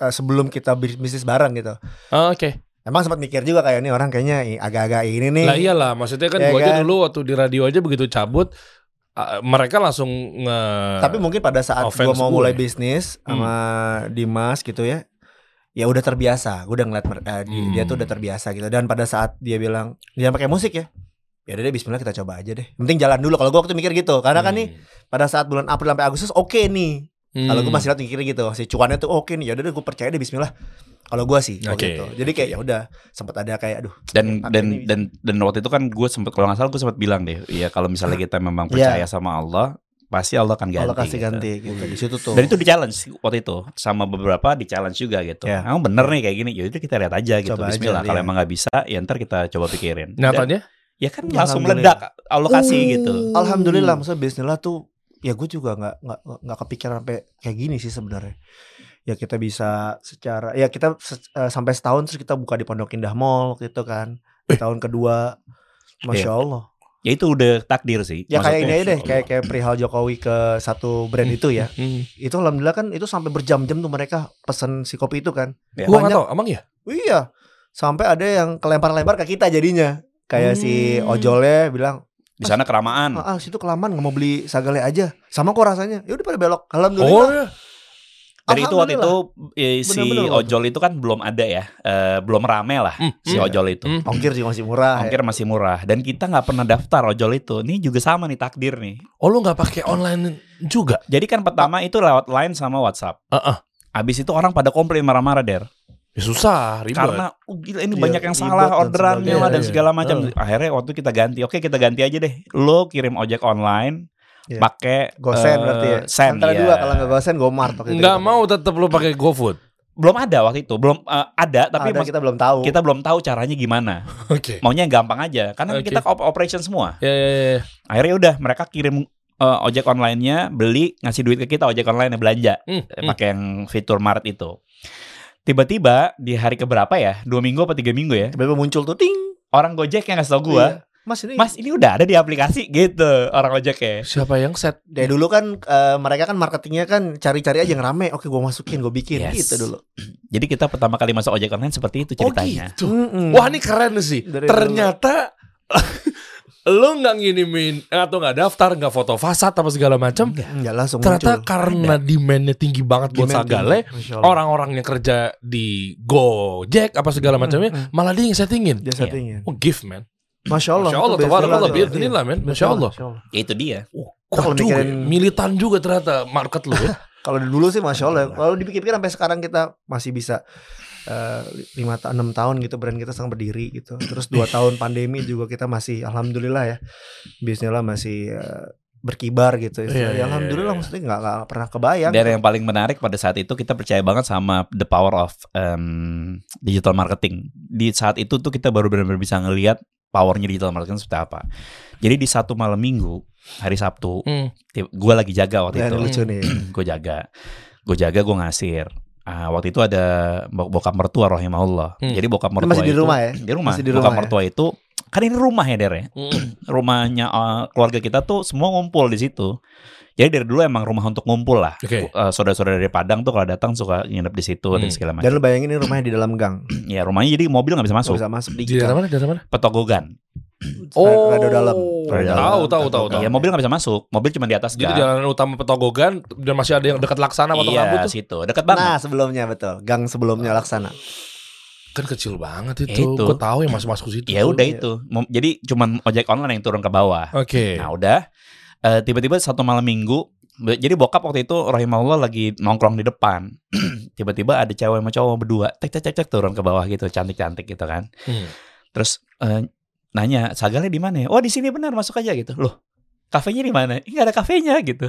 Speaker 1: eh, sebelum kita bisnis bareng gitu
Speaker 3: Oh, Oke.
Speaker 1: Emang sempat mikir juga kayak ini orang kayaknya i- agak-agak ini nih.
Speaker 3: Lah iyalah, maksudnya kan
Speaker 1: Iya
Speaker 3: gua aja
Speaker 1: kan?
Speaker 3: dulu waktu di radio aja begitu cabut eh, mereka langsung nge
Speaker 1: Tapi mungkin pada saat gua mau
Speaker 3: Offense gue. Hmm.
Speaker 1: mulai bisnis sama Dimas gitu ya. Ya udah terbiasa, gue udah ngeliat mer- eh, di-
Speaker 3: Hmm.
Speaker 1: dia tuh udah terbiasa gitu. Dan pada saat dia bilang dia pakai musik ya, ya udah deh Bismillah kita coba aja deh. Yang Penting jalan dulu. Kalau gue waktu mikir gitu, karena kan nih
Speaker 3: Hmm.
Speaker 1: pada saat bulan April sampai Agustus oke nih. Kalau gue masih lihat mikirnya gitu, si cuannya tuh oke nih. Ya udah deh gue percaya deh Bismillah. Kalau gue sih
Speaker 3: Oke,
Speaker 1: waktu itu. Jadi kayak ya udah sempat ada kayak aduh
Speaker 2: dan
Speaker 1: Pakai
Speaker 2: dan
Speaker 1: Iya, ini.
Speaker 2: dan dan waktu itu kan gue sempet kalau nggak salah gue sempet bilang deh ya kalau iya, misalnya kita memang
Speaker 1: Iya.
Speaker 2: percaya sama Allah pasti Allah akan ganti.
Speaker 1: Allah kasih
Speaker 2: gitu.
Speaker 1: ganti gitu di situ tuh
Speaker 2: Dan itu di challenge waktu itu sama beberapa di challenge juga gitu.
Speaker 1: Ya.
Speaker 2: Emang bener nih kayak gini, ya itu kita lihat aja gitu.
Speaker 1: Coba aja,
Speaker 2: Bismillah, kalau
Speaker 1: iya.
Speaker 2: emang nggak bisa, ya ntar kita coba pikirin. Dan-
Speaker 3: nyatanya
Speaker 2: ya kan
Speaker 1: Ya,
Speaker 2: langsung
Speaker 1: alhamdulillah.
Speaker 2: meledak, Allah
Speaker 1: Uh.
Speaker 2: kasih gitu.
Speaker 3: Hmm.
Speaker 1: Alhamdulillah maksudnya Bismillah tuh ya gue juga nggak nggak nggak kepikiran sampai kayak gini sih sebenarnya ya kita bisa secara ya kita se- eh, sampai setahun terus kita buka di Pondok Indah Mall gitu kan Di
Speaker 3: Eh.
Speaker 1: tahun kedua
Speaker 3: Iya.
Speaker 1: Masya Allah
Speaker 2: Ya itu udah takdir sih.
Speaker 1: ya kayak ini
Speaker 2: Maksudnya,
Speaker 1: aja deh kayak kayak perihal Jokowi ke satu brand itu ya
Speaker 3: Hmm.
Speaker 1: itu alhamdulillah kan itu sampai berjam-jam tuh mereka pesen si kopi itu kan
Speaker 2: Ya,
Speaker 3: gua nggak
Speaker 1: banyak-
Speaker 3: tahu emang ya
Speaker 1: iya sampai ada yang kelempar-lempar ke kita jadinya kayak si
Speaker 3: Hmm.
Speaker 1: ojolnya bilang
Speaker 2: Di sana keramaan.
Speaker 1: Ah, ah, situ kelamaan nggak mau beli sagale aja. Sama kok rasanya. Ya udah pada belok.
Speaker 3: oh
Speaker 1: Alhamdulillah.
Speaker 3: ya
Speaker 2: Dari itu waktu itu eh, si
Speaker 1: Ah, Bener-bener waktu
Speaker 2: ojol itu kan belum ada ya, eh, belum rame lah
Speaker 3: Hmm,
Speaker 2: si
Speaker 3: hmm.
Speaker 2: ojol itu.
Speaker 3: Hmm.
Speaker 1: Ongkir juga masih murah.
Speaker 2: Ongkir masih murah dan kita nggak pernah daftar ojol itu. Ini juga sama nih takdir nih.
Speaker 3: oh lu nggak pakai online juga
Speaker 2: Jadi kan pertama itu lewat line sama WhatsApp.
Speaker 3: Heeh.
Speaker 2: Abis itu orang pada komplain marah-marah der.
Speaker 3: ya susah ribet
Speaker 2: Karena "Oh, gila ini
Speaker 1: Iya,
Speaker 2: banyak yang
Speaker 1: ribet
Speaker 2: salah
Speaker 1: dan
Speaker 2: orderannya
Speaker 3: sebagainya.
Speaker 2: lah dan
Speaker 3: Iya,
Speaker 2: segala macam.
Speaker 1: Heeh.
Speaker 2: Akhirnya waktu kita ganti, oke kita ganti aja deh. Lo kirim ojek online
Speaker 1: Iya.
Speaker 2: pakai
Speaker 1: Gosen
Speaker 2: eh,
Speaker 1: berarti ya.
Speaker 2: Sen,
Speaker 1: Antara
Speaker 2: iya.
Speaker 1: dua kalau nggak gosen gomart waktu itu.
Speaker 3: nggak mau tetap lu pakai GoFood
Speaker 2: Belum ada waktu itu, belum eh, ada tapi
Speaker 1: Tapi
Speaker 2: mas- kita,
Speaker 1: kita belum tahu.
Speaker 2: belum tahu caranya gimana.
Speaker 3: oke
Speaker 2: Maunya yang gampang aja karena
Speaker 3: Oke.
Speaker 2: kita op- operation semua.
Speaker 3: ya ya ya
Speaker 2: Akhirnya udah mereka kirim eh, ojek online-nya beli ngasih duit ke kita ojek online belanja
Speaker 3: Hmm,
Speaker 2: Eh,
Speaker 3: hmm.
Speaker 2: pakai yang fitur Maret itu. Tiba-tiba di hari keberapa ya? Dua minggu apa tiga minggu ya?
Speaker 1: Tiba-tiba muncul tuh ting.
Speaker 2: Orang Gojek yang ngasih tau gua,
Speaker 1: Iya. Mas ini
Speaker 2: Mas ini udah ada di aplikasi gitu orang
Speaker 3: Hmm.
Speaker 2: Gojeknya.
Speaker 3: siapa yang set
Speaker 1: dari dulu kan eh, mereka kan marketingnya kan cari-cari aja yang rame. Oke, gua masukin, gua bikin
Speaker 2: Yes.
Speaker 1: gitu dulu.
Speaker 2: Jadi kita pertama kali masuk ojek online seperti itu ceritanya.
Speaker 3: gitu
Speaker 1: Mm-mm.
Speaker 3: Wah ini keren sih.
Speaker 1: Hmm. Dari
Speaker 3: Ternyata lo nggak ngirimin atau nggak daftar, nggak foto fasad apa segala macam.
Speaker 1: Nggak langsung
Speaker 3: Ternyata
Speaker 1: muncul.
Speaker 3: karena demandnya tinggi banget buat
Speaker 1: Demand
Speaker 3: Sagale,
Speaker 1: tinggi. Masya Allah.
Speaker 3: orang-orang yang kerja di Gojek apa segala macamnya,
Speaker 1: hmm.
Speaker 3: malah dia yang settingin.
Speaker 1: dia settingnya.
Speaker 3: Oh gift man.
Speaker 1: Masya Allah.
Speaker 3: Masya Allah,
Speaker 1: itu
Speaker 3: tabarakallah,
Speaker 1: biasanya.
Speaker 3: biiznillah,
Speaker 1: Iya,
Speaker 3: men. kan? Masya Allah.
Speaker 2: Ya itu dia.
Speaker 3: Oh,
Speaker 1: Kalau
Speaker 3: kuat juga,
Speaker 1: mikirin-
Speaker 3: ya. militan juga ternyata market lo. ya.
Speaker 1: Kalau dulu sih masya Allah. Kalau dipikir-pikir sampai sekarang kita masih bisa eh, lima ta- enam tahun gitu brand kita sedang berdiri gitu. Terus dua tahun pandemi juga kita masih alhamdulillah ya bisnisnya masih eh, berkibar gitu.
Speaker 3: Iya,
Speaker 1: istilahnya.
Speaker 3: iya,
Speaker 1: alhamdulillah
Speaker 3: iya.
Speaker 1: maksudnya nggak nggak pernah kebayang.
Speaker 2: Dan yang paling menarik pada saat itu kita percaya banget sama the power of em, digital marketing. Di saat itu tuh kita baru benar-benar bisa ngelihat powernya digital marketing seperti apa. Jadi di satu malam minggu hari Sabtu,
Speaker 3: Hmm.
Speaker 2: gue lagi jaga waktu
Speaker 1: Nah,
Speaker 2: itu.
Speaker 1: ini lucu nih.
Speaker 2: gue jaga gue jaga gue ngasir Ah, waktu itu ada bo- bokap mertua rahimahullah
Speaker 3: Hmm.
Speaker 2: jadi bokap
Speaker 1: Ini
Speaker 2: mertua
Speaker 1: masih di
Speaker 2: itu-
Speaker 1: rumah ya.
Speaker 2: di rumah
Speaker 1: Masih di
Speaker 2: bokap
Speaker 1: rumah ya?
Speaker 2: mertua itu kan ini rumah ya der ya
Speaker 3: Hmm.
Speaker 2: rumahnya eh, keluarga kita tuh semua ngumpul di situ jadi dari dulu emang rumah untuk ngumpul lah
Speaker 3: Oke.
Speaker 2: Eh, saudara-saudara dari Padang tuh kalau datang suka nginep di situ dan
Speaker 3: Hmm.
Speaker 2: segala
Speaker 1: Dan
Speaker 2: macam
Speaker 1: lu bayangin ini rumahnya di dalam gang.
Speaker 2: ya rumahnya jadi mobil nggak bisa
Speaker 1: Nggak
Speaker 2: masuk
Speaker 1: bisa masuk di
Speaker 3: Di daerah mana? Daerah mana?
Speaker 2: petogogan
Speaker 1: Oh. Rada dalam. Iya,
Speaker 2: Rada dalam.
Speaker 3: Tahu, tahu, tahu, tahu.
Speaker 2: ya mobil nggak bisa masuk mobil cuma di atas
Speaker 3: Jadi
Speaker 2: gang
Speaker 3: jalanan utama Petogogan dan masih ada yang dekat Laksana potong
Speaker 2: iya
Speaker 3: rambut tuh.
Speaker 2: situ deket banget
Speaker 1: Nah sebelumnya betul gang sebelumnya laksana.
Speaker 3: Kan kecil banget
Speaker 2: Ya,
Speaker 3: itu.
Speaker 2: itu.
Speaker 3: Gue tahu yang masuk-masuk situ.
Speaker 2: ya udah
Speaker 1: iya.
Speaker 2: itu Mom- jadi cuman ojek online yang turun ke bawah
Speaker 3: Oke.
Speaker 2: Nah udah eh, tiba-tiba satu malam minggu be- jadi bokap waktu itu rahimahullah lagi nongkrong di depan. tiba-tiba ada cewek sama cowok berdua tek tek tek tek turun ke bawah gitu cantik-cantik gitu kan.
Speaker 3: Hmm.
Speaker 2: Terus eh, nanya sagalnya di mana ya? Oh di sini benar masuk aja gitu. Loh kafenya di mana? Enggak ada kafenya gitu.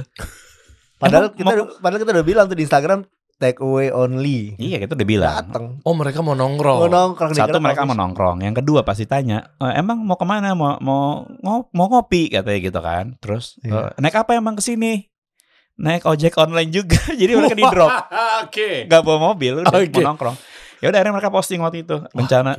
Speaker 1: Padahal
Speaker 2: Emang
Speaker 1: kita padahal kita udah bilang tuh di Instagram take away only.
Speaker 2: Iya kita udah bilang.
Speaker 1: Dateng.
Speaker 3: Oh mereka mau nongkrong.
Speaker 1: Mau nongkrong di kereta
Speaker 2: Satu mereka
Speaker 1: coffee
Speaker 2: mau nongkrong, yang kedua pasti tanya "Eh, emang mau kemana, mau mau ngo- mau ngopi katanya gitu kan. Terus
Speaker 1: Iya.
Speaker 2: "Eh, naik apa emang ke sini? Naik ojek online juga, jadi mereka di drop.
Speaker 3: Oke.
Speaker 2: nggak bawa mobil udah
Speaker 3: Oke.
Speaker 2: mau nongkrong ya udah akhirnya mereka posting waktu itu rencana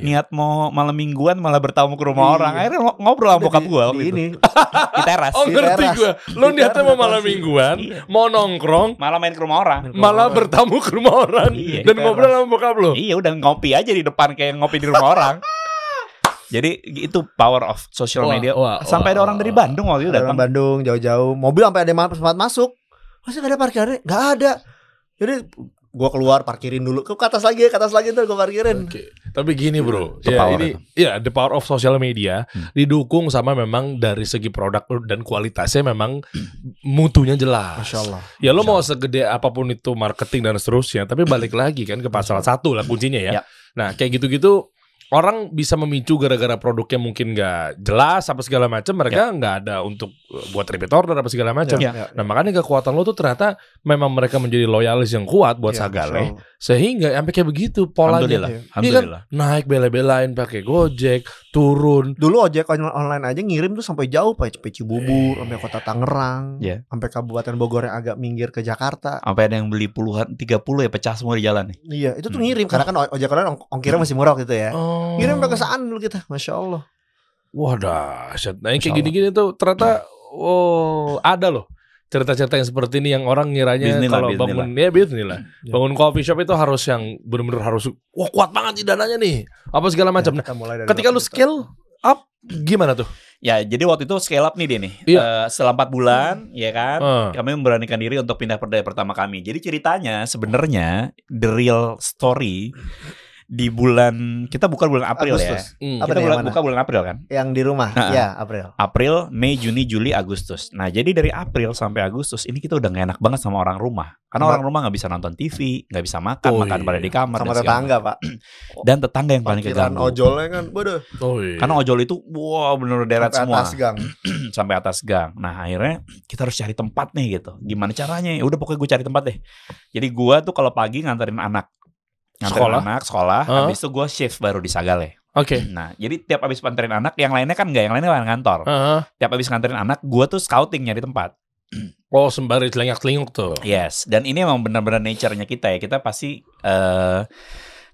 Speaker 3: gila.
Speaker 2: niat mau malam mingguan malah bertamu ke rumah
Speaker 1: Iya.
Speaker 2: orang akhirnya ngo- ngobrol
Speaker 1: Udah
Speaker 2: sama Oh, bokap
Speaker 1: di-
Speaker 2: gue waktu
Speaker 1: di
Speaker 2: itu
Speaker 1: ini
Speaker 2: di teras
Speaker 3: Oh
Speaker 1: Di
Speaker 3: ngerti
Speaker 1: teras.
Speaker 3: gue. Lo
Speaker 1: Di
Speaker 3: niatnya
Speaker 1: teras
Speaker 3: mau
Speaker 1: ada
Speaker 3: malam
Speaker 1: kursi.
Speaker 3: mingguan,
Speaker 2: Iya.
Speaker 3: mau nongkrong,
Speaker 2: malah main ke rumah orang
Speaker 3: malah bertamu ke rumah orang
Speaker 2: Iya,
Speaker 3: dan
Speaker 1: di
Speaker 3: ngobrol sama bokap lo.
Speaker 2: iya udah ngopi aja di depan kayak ngopi di rumah orang jadi itu power of social
Speaker 3: Wah,
Speaker 2: media
Speaker 3: wah,
Speaker 2: sampai ada
Speaker 3: wah,
Speaker 2: orang dari
Speaker 3: wah.
Speaker 2: Bandung waktu itu
Speaker 1: Orang
Speaker 2: datang
Speaker 1: Bandung jauh-jauh mobil sampai ada yang ma- sempat masuk masih nggak ada parkirannya nggak ada jadi gua keluar parkirin dulu ke ke atas lagi ke atas lagi ntar gua parkirin
Speaker 3: Oke. Tapi gini bro,
Speaker 2: The
Speaker 3: ya
Speaker 2: power
Speaker 3: ini ya the power of social media didukung sama memang dari segi produk dan kualitasnya memang mutunya jelas.
Speaker 1: masya Allah
Speaker 3: Ya lo mau segede apapun itu marketing dan seterusnya, tapi balik lagi kan ke pasal satu lah kuncinya ya.
Speaker 2: Ya.
Speaker 3: Nah kayak gitu-gitu orang bisa memicu gara-gara produknya mungkin nggak jelas apa segala macam mereka nggak ada untuk eh, buat repeat order apa segala macam
Speaker 2: Ya.
Speaker 1: Ya.
Speaker 3: nah makanya kekuatan lo tuh ternyata memang mereka menjadi loyalis yang kuat buat
Speaker 1: Ya,
Speaker 3: Sagale
Speaker 1: so,
Speaker 3: sehingga ya, sampai kayak begitu polanya
Speaker 2: Alhamdulillah.
Speaker 1: Iya.
Speaker 2: Alhamdulillah.
Speaker 3: naik bela-belain pakai gojek turun
Speaker 1: Dulu ojek on- online aja ngirim tuh sampai jauh Pak sampai Cibubur, sampai kota Tangerang,
Speaker 2: Iya.
Speaker 1: sampai kabupaten Bogor yang agak minggir ke Jakarta.
Speaker 2: Sampai ada yang beli puluhan 30 ya pecah semua di jalan nih.
Speaker 1: Iya, itu tuh
Speaker 2: Hmm.
Speaker 1: ngirim karena kan o- ojek online ong- ongkirnya masih murah gitu ya.
Speaker 3: oh.
Speaker 1: Ngirim sampai kesaan dulu kita, masya Allah.
Speaker 3: Wah dahsyat. Nah yang
Speaker 2: Masya
Speaker 3: kayak gini-gini tuh ternyata oh ada loh cerita-cerita yang seperti ini yang orang ngiranya
Speaker 2: Bismillah,
Speaker 3: kalau bangun ya bismillah.
Speaker 1: Ya.
Speaker 3: Bangun coffee shop itu harus yang bener-bener harus wah kuat banget sih dananya nih. Apa segala macam.
Speaker 1: Ya,
Speaker 3: Nah,
Speaker 1: kita mulai dari
Speaker 3: ketika lu
Speaker 1: 8 juta.
Speaker 3: scale up gimana tuh?
Speaker 2: Ya, jadi waktu itu scale up nih dia nih.
Speaker 3: Iya.
Speaker 2: Eh, setelah 4 bulan,
Speaker 1: Hmm.
Speaker 2: ya kan?
Speaker 3: Eh,
Speaker 2: Kami memberanikan diri untuk pindah perdaya pertama kami. Jadi ceritanya sebenarnya the real story di bulan kita buka bulan April
Speaker 1: Agustus.
Speaker 3: hmm.
Speaker 1: Apa
Speaker 2: ya. Kita
Speaker 1: nih,
Speaker 2: bulan,
Speaker 1: yang mana?
Speaker 2: buka bulan April kan?
Speaker 1: yang di rumah,
Speaker 2: Ha-ha.
Speaker 1: ya April.
Speaker 2: April, Mei, Juni, Juli, Agustus. Nah, jadi dari April sampai Agustus ini kita udah nggak enak banget sama orang rumah. Karena
Speaker 1: Ma-
Speaker 2: orang rumah nggak bisa nonton TV, nggak bisa makan,
Speaker 3: Oh,
Speaker 2: makan
Speaker 3: iya.
Speaker 2: pada di kamar
Speaker 1: Sama
Speaker 2: dan segala
Speaker 1: tetangga Pak.
Speaker 2: macam. Dan tetangga yang paling
Speaker 1: Parkiran
Speaker 2: keganggu.
Speaker 1: ojolnya kan, bodoh.
Speaker 3: Oh, iya.
Speaker 2: Karena ojol itu wow bener deret
Speaker 1: Sampai
Speaker 2: semua
Speaker 1: atas gang.
Speaker 2: sampai atas gang. Nah, akhirnya kita harus cari tempat nih gitu. Gimana caranya? Ya udah pokoknya gue cari tempat deh. Jadi gua tuh kalau pagi nganterin anak Nganterin
Speaker 3: Sekolah?
Speaker 2: anak sekolah,
Speaker 3: Hah?
Speaker 2: habis itu gua shift baru di Sagale.
Speaker 3: Oke.
Speaker 2: Nah, jadi tiap habis nganterin anak, yang lainnya kan enggak, yang lainnya kan kantor.
Speaker 3: Heeh.
Speaker 2: Tiap habis nganterin anak, gua tuh scouting nyari tempat.
Speaker 3: Oh sembari celengak-celenguk tuh.
Speaker 2: Yes, dan ini emang benar-benar nature-nya kita ya. Kita pasti eh,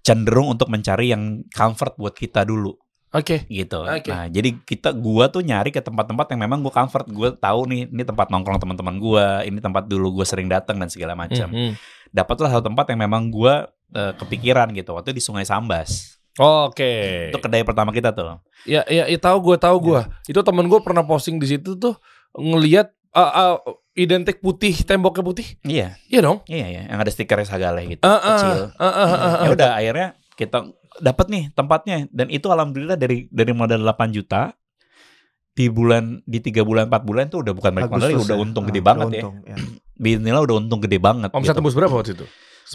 Speaker 2: cenderung untuk mencari yang comfort buat kita dulu
Speaker 3: Oke.
Speaker 2: gitu.
Speaker 3: Oke.
Speaker 2: Nah, jadi kita gua tuh nyari ke tempat-tempat yang memang gua comfort, gua tahu nih ini tempat nongkrong teman-teman gua, ini tempat dulu gua sering datang dan segala macam.
Speaker 3: Mhm.
Speaker 2: Dapatlah satu tempat yang memang gua eh, kepikiran gitu. Waktu di Sungai Sambas.
Speaker 3: Oke.
Speaker 2: Itu kedai pertama kita tuh.
Speaker 3: Ya, ya, ya tahu gue tahu gue. Itu temen gue pernah posting di situ tuh ngelihat eh, eh, identik putih temboknya putih.
Speaker 2: Iya,
Speaker 3: Iya dong.
Speaker 2: iya iya, yang ada stikernya Sagale gitu,
Speaker 3: Ah, ah,
Speaker 2: kecil.
Speaker 3: ah, ah, ah, ah.
Speaker 2: ya udah akhirnya kita dapat nih tempatnya dan itu alhamdulillah dari dari modal 8 juta di bulan di tiga bulan empat bulan itu udah bukan balik modal ya,
Speaker 1: Agustus ya.
Speaker 2: udah untung
Speaker 1: Ah,
Speaker 2: gede
Speaker 1: udah
Speaker 2: banget ya.
Speaker 1: untung, ya.
Speaker 2: Bismillah udah untung gede banget.
Speaker 3: Omset
Speaker 2: gitu.
Speaker 3: tembus berapa waktu itu?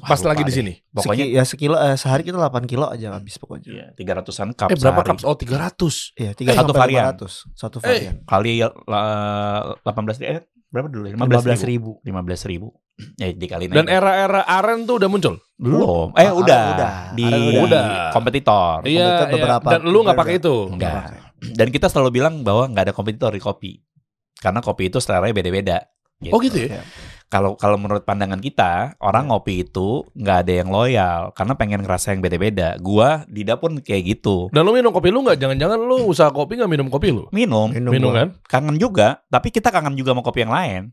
Speaker 2: Wah,
Speaker 3: Pas
Speaker 2: lupa
Speaker 3: lagi di
Speaker 2: deh.
Speaker 3: sini.
Speaker 2: Pokoknya
Speaker 1: Seki- ya sekilo eh, sehari kita 8 kilo aja habis pokoknya.
Speaker 2: iya, 300-an cup
Speaker 3: eh berapa
Speaker 2: sehari.
Speaker 3: cups? Oh 300.
Speaker 1: Iya, 3
Speaker 2: Satu
Speaker 1: sampai
Speaker 2: varian. Eh,
Speaker 1: 500, satu varian.
Speaker 2: kali la- 18 ribu, eh, berapa dulu? 15 ribu.
Speaker 1: 15.000.
Speaker 2: 15 ribu. Ya dikali
Speaker 3: Dan era-era aren tuh udah muncul.
Speaker 2: belum. Eh
Speaker 1: eh, Ah,
Speaker 2: udah.
Speaker 1: udah. Ah,
Speaker 2: Di
Speaker 1: Udah.
Speaker 3: Udah.
Speaker 2: kompetitor.
Speaker 1: Kebetulan beberapa-
Speaker 3: Iya, Dan lu nggak pakai
Speaker 1: beberapa.
Speaker 3: itu.
Speaker 2: Enggak. Dan kita selalu bilang bahwa nggak ada kompetitor di kopi. Karena kopi itu seleranya beda-beda.
Speaker 3: Oh gitu ya.
Speaker 2: kalau kalau menurut pandangan kita orang ngopi itu nggak ada yang loyal karena pengen ngerasa yang beda-beda. Gua Dida pun kayak gitu.
Speaker 3: Dan lu minum kopi lu nggak? Jangan-jangan lu usaha kopi nggak minum kopi lu?
Speaker 2: Minum,
Speaker 1: Minum,
Speaker 3: Minum
Speaker 1: gua.
Speaker 3: kan?
Speaker 2: kangen juga, tapi kita kangen juga sama kopi yang lain.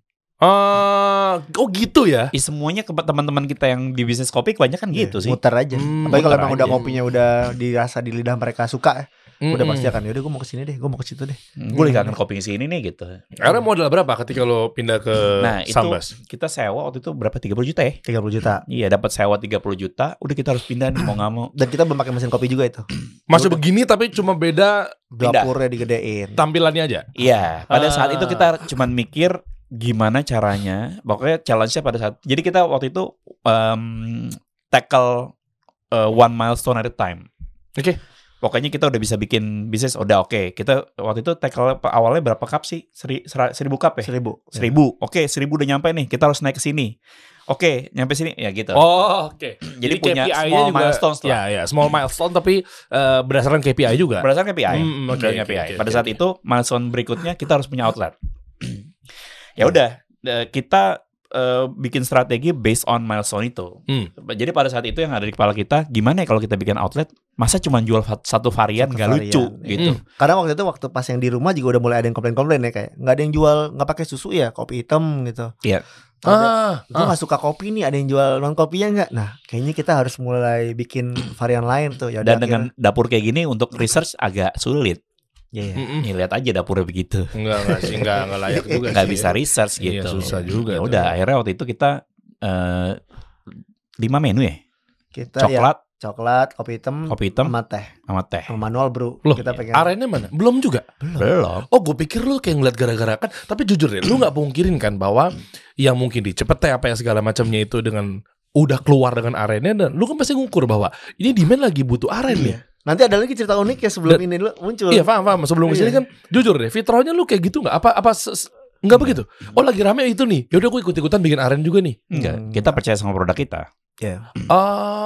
Speaker 3: Ah, oh gitu ya.
Speaker 2: Ih, semuanya ke teman-teman kita yang di bisnis kopi kebanyakan
Speaker 1: Iya,
Speaker 2: gitu sih.
Speaker 1: Muter aja.
Speaker 3: Hmm,
Speaker 1: Tapi kalau
Speaker 2: muter
Speaker 1: emang udah
Speaker 2: aja.
Speaker 1: kopinya udah dirasa di lidah mereka suka, ya, udah
Speaker 3: Mm-mm.
Speaker 1: pasti akan yaudah gue mau ke sini deh, gue mau ke situ deh.
Speaker 2: Gue lagi kangen kopi yang sini nih gitu.
Speaker 3: Era modal berapa ketika lu pindah ke
Speaker 2: Nah, itu-
Speaker 3: Sambas?
Speaker 2: Kita sewa waktu itu berapa 30 juta ya?
Speaker 1: 30 juta.
Speaker 2: Iya, dapat sewa 30 juta, udah kita harus pindah nih mau nggak mau.
Speaker 1: Dan kita belum pakai mesin kopi juga itu.
Speaker 3: Masih begini tapi cuma beda
Speaker 1: Dapurnya digedein.
Speaker 3: tampilannya aja.
Speaker 2: Iya, pada saat
Speaker 3: Ah.
Speaker 2: itu kita cuman mikir gimana caranya. Pokoknya challenge-nya pada saat. Jadi kita waktu itu em, tackle eh, one milestone at a time.
Speaker 3: Oke.
Speaker 2: Pokoknya kita udah bisa bikin bisnis udah oke. Kita waktu itu tackle awalnya berapa cup sih? Seri, sera- seribu cup ya?
Speaker 1: Seribu.
Speaker 2: Seribu. Oke, seribu udah nyampe nih. Kita harus naik ke sini. Oke, nyampe sini ya gitu.
Speaker 3: Oh, oke.
Speaker 2: jadi, punya
Speaker 3: KPI-nya
Speaker 2: small
Speaker 3: juga-
Speaker 2: milestones lah.
Speaker 3: Ya, ya, small milestone tapi eh, berdasarkan KPI juga.
Speaker 2: Berdasarkan KPI.
Speaker 3: Hmm, oke,
Speaker 2: Berdasarkan
Speaker 3: oke,
Speaker 2: KPI.
Speaker 3: oke,
Speaker 2: Pada
Speaker 3: oke,
Speaker 2: saat
Speaker 3: oke.
Speaker 2: itu milestone berikutnya kita harus punya outlet. ya udah, eh, kita eh, bikin strategi based on milestone itu.
Speaker 3: Hmm.
Speaker 2: Jadi pada saat itu yang ada di kepala kita, gimana ya kalau kita bikin outlet, masa cuma jual fa- satu varian
Speaker 1: Satu
Speaker 2: nggak
Speaker 1: varian,
Speaker 2: lucu
Speaker 1: iya.
Speaker 2: gitu.
Speaker 3: Hmm.
Speaker 1: Karena waktu itu waktu pas yang di rumah juga udah mulai ada yang komplain-komplain ya kayak nggak ada yang jual nggak pakai susu ya kopi hitam gitu.
Speaker 2: Iya.
Speaker 1: Ada,
Speaker 3: Ah,
Speaker 1: Gue nggak suka kopi nih ada yang jual non kopinya nggak? Nah kayaknya kita harus mulai bikin varian lain tuh. Ya udah
Speaker 2: Dan dengan dapur kayak gini untuk research agak sulit.
Speaker 1: akhirnya- Iya, iya.
Speaker 3: ah. Mm-mm.
Speaker 2: Nih lihat aja dapurnya begitu.
Speaker 3: Enggak, enggak sih, enggak, enggak layak Hmm. juga
Speaker 2: nggak
Speaker 3: sih.
Speaker 2: bisa research
Speaker 3: Iya,
Speaker 2: gitu.
Speaker 3: susah juga
Speaker 2: Ya
Speaker 3: tuh.
Speaker 2: udah, akhirnya waktu itu kita eh, lima menu ya,
Speaker 1: kita ya
Speaker 2: coklat,
Speaker 1: coklat, kopi hitam,
Speaker 2: kopi hitam,
Speaker 1: sama Hmm. teh,
Speaker 2: sama teh.
Speaker 1: sama manual bro.
Speaker 3: Loh,
Speaker 1: kita pengen
Speaker 3: Arennya mana? Belum juga.
Speaker 2: Ya. Belum.
Speaker 3: Oh, gue pikir lu kayak ngeliat gara-gara kan. Tapi jujur deh, lu nggak pungkirin kan bahwa yang mungkin di Cepete apa yang segala macamnya
Speaker 2: Iya.
Speaker 3: itu dengan udah keluar dengan arennya dan lu kan pasti ngukur bahwa ini demand lagi butuh aren ya.
Speaker 1: Nanti ada lagi cerita unik ya sebelum ini dulu muncul.
Speaker 3: Iya paham paham. Sebelum
Speaker 1: Iya.
Speaker 3: kesini kan jujur deh, fitrahnya lu kayak gitu nggak? Apa apa se- se- nggak begitu?
Speaker 2: Hmm.
Speaker 3: Oh lagi rame itu nih. Yaudah gue ikut ikutan bikin aren juga nih.
Speaker 2: Enggak,
Speaker 1: Hmm.
Speaker 2: kita percaya sama produk kita.
Speaker 1: Iya,
Speaker 3: Oh.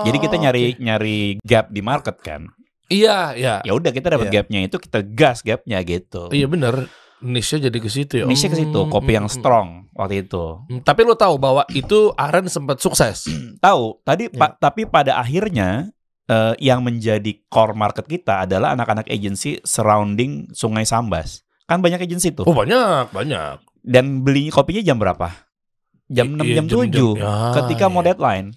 Speaker 2: Hmm. Jadi kita nyari
Speaker 3: oke.
Speaker 2: nyari gap di market kan.
Speaker 3: Iya iya.
Speaker 2: Ya udah kita dapat gapnya itu kita gas gapnya gitu.
Speaker 3: Iya bener. Niche-nya jadi ke situ ya.
Speaker 2: Niche ke situ,
Speaker 3: Hmm,
Speaker 2: kopi yang
Speaker 3: hmm, hmm.
Speaker 2: strong waktu itu.
Speaker 3: Hmm, Tapi lu tahu bahwa itu aren sempat sukses.
Speaker 2: Tahu, tadi
Speaker 3: Iya.
Speaker 2: Pak, tapi pada akhirnya eh, yang menjadi core market kita adalah anak-anak agency surrounding Sungai Sambas. Kan banyak agency tuh.
Speaker 3: Oh banyak banyak.
Speaker 2: Dan beli kopinya jam berapa? Jam 6
Speaker 3: Iya,
Speaker 2: jam 7.
Speaker 3: ya,
Speaker 2: ketika mau
Speaker 3: iya.
Speaker 2: deadline.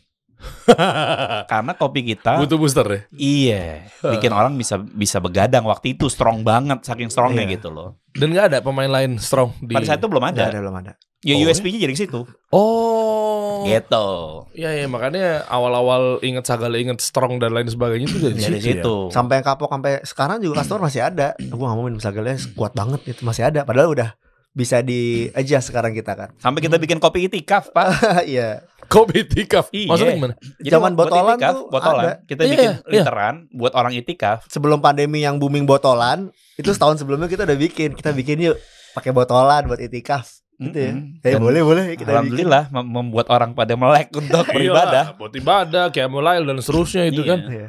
Speaker 2: Karena kopi kita
Speaker 3: Butuh booster ya? deh.
Speaker 2: iya, bikin orang bisa bisa begadang waktu itu strong banget saking strongnya
Speaker 1: Iya.
Speaker 2: gitu loh.
Speaker 3: Dan nggak ada pemain lain strong di.
Speaker 2: Pada saat itu belum
Speaker 1: Nggak
Speaker 3: Iya,
Speaker 2: ada.
Speaker 1: ada belum ada.
Speaker 2: Ya
Speaker 3: Oh,
Speaker 2: USP-nya jadi ke situ.
Speaker 3: Oh.
Speaker 2: Gitu.
Speaker 3: Iya iya makanya awal-awal inget sagala inget strong dan lain sebagainya itu dari situ.
Speaker 2: Jadi
Speaker 3: ya.
Speaker 2: situ.
Speaker 1: Sampai yang kapok sampai sekarang juga customer masih ada. Gue nggak mau minum sagelnya kuat banget itu masih ada. Padahal udah bisa di adjust sekarang kita kan.
Speaker 2: Sampai kita bikin kopi itikaf, Pak.
Speaker 1: Iya.
Speaker 3: Kopi tikaf.
Speaker 2: Iya.
Speaker 3: Maksudnya gimana?
Speaker 2: Jadi
Speaker 1: Zaman
Speaker 2: buat
Speaker 1: botolan
Speaker 2: itikaf,
Speaker 1: tuh
Speaker 2: botolan.
Speaker 1: ada.
Speaker 2: Kita
Speaker 3: Iya,
Speaker 2: bikin
Speaker 3: iya.
Speaker 2: literan buat orang itikaf.
Speaker 1: Sebelum pandemi yang booming botolan itu setahun sebelumnya kita udah bikin. Kita bikin yuk pakai botolan buat itikaf. Gitu ya.
Speaker 2: Mm-mm.
Speaker 1: Eh
Speaker 2: Dan
Speaker 1: boleh boleh kita bikin.
Speaker 2: Alhamdulillah mem- membuat orang pada melek untuk
Speaker 3: Iya.
Speaker 2: beribadah.
Speaker 3: Iyalah, Buat ibadah, kayak mulai dan seterusnya itu
Speaker 2: Iya.
Speaker 3: kan.
Speaker 1: Iya.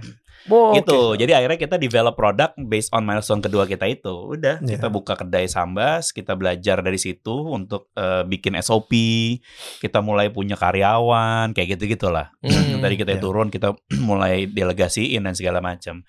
Speaker 3: Oh,
Speaker 2: gitu.
Speaker 3: oke.
Speaker 2: Jadi akhirnya kita develop produk based on milestone kedua kita itu. Udah,
Speaker 1: Iya.
Speaker 2: kita buka kedai sambas, kita belajar dari situ untuk eh, bikin SOP, kita mulai punya karyawan, kayak gitu-gitulah.
Speaker 3: Hmm.
Speaker 2: Dari kita
Speaker 1: Iya.
Speaker 2: turun, kita mulai delegasiin dan segala macam.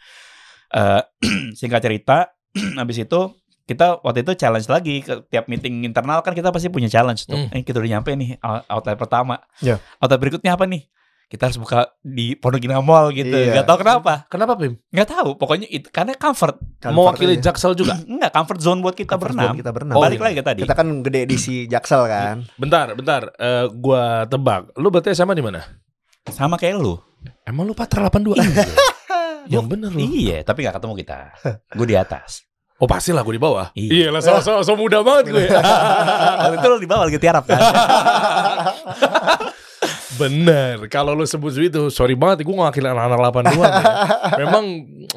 Speaker 2: Eh, singkat cerita, habis itu kita waktu itu challenge lagi ke tiap meeting internal kan kita pasti punya challenge tuh.
Speaker 3: Hmm.
Speaker 2: Eh, kita udah nyampe nih out- outlet pertama.
Speaker 1: Iya.
Speaker 2: Outlet berikutnya apa nih? Kita harus buka di Pondok Indah Mall gitu.
Speaker 1: Iya.
Speaker 2: Gak tau kenapa.
Speaker 3: Kenapa Pim?
Speaker 2: Nggak tahu, pokoknya itu karena comfort.
Speaker 1: Comfort
Speaker 3: Mewakili
Speaker 1: aja.
Speaker 3: Jaksel juga.
Speaker 2: Enggak, comfort zone buat kita
Speaker 1: Comfort
Speaker 2: berenam.
Speaker 1: zone Kita berenam.
Speaker 2: Balik lagi ke tadi.
Speaker 1: Kita kan gede di si Jaksel kan.
Speaker 3: Bentar, bentar. Eh, gua tebak. Lu berarti sama di mana?
Speaker 2: Sama kayak lu.
Speaker 3: Emang lu Patra 82 Iya. Yang bener lu.
Speaker 2: Iya, tapi nggak ketemu kita. Gue di atas.
Speaker 3: Oh pastilah gue di bawah.
Speaker 2: Iya.
Speaker 3: lah, so, so, so muda banget ya. gue.
Speaker 2: Waktu itu lu di bawah lagi tiarap kan.
Speaker 3: bener. Kalau lu sebut itu, sorry banget, gue ngakil anak-anak 82. ya. Memang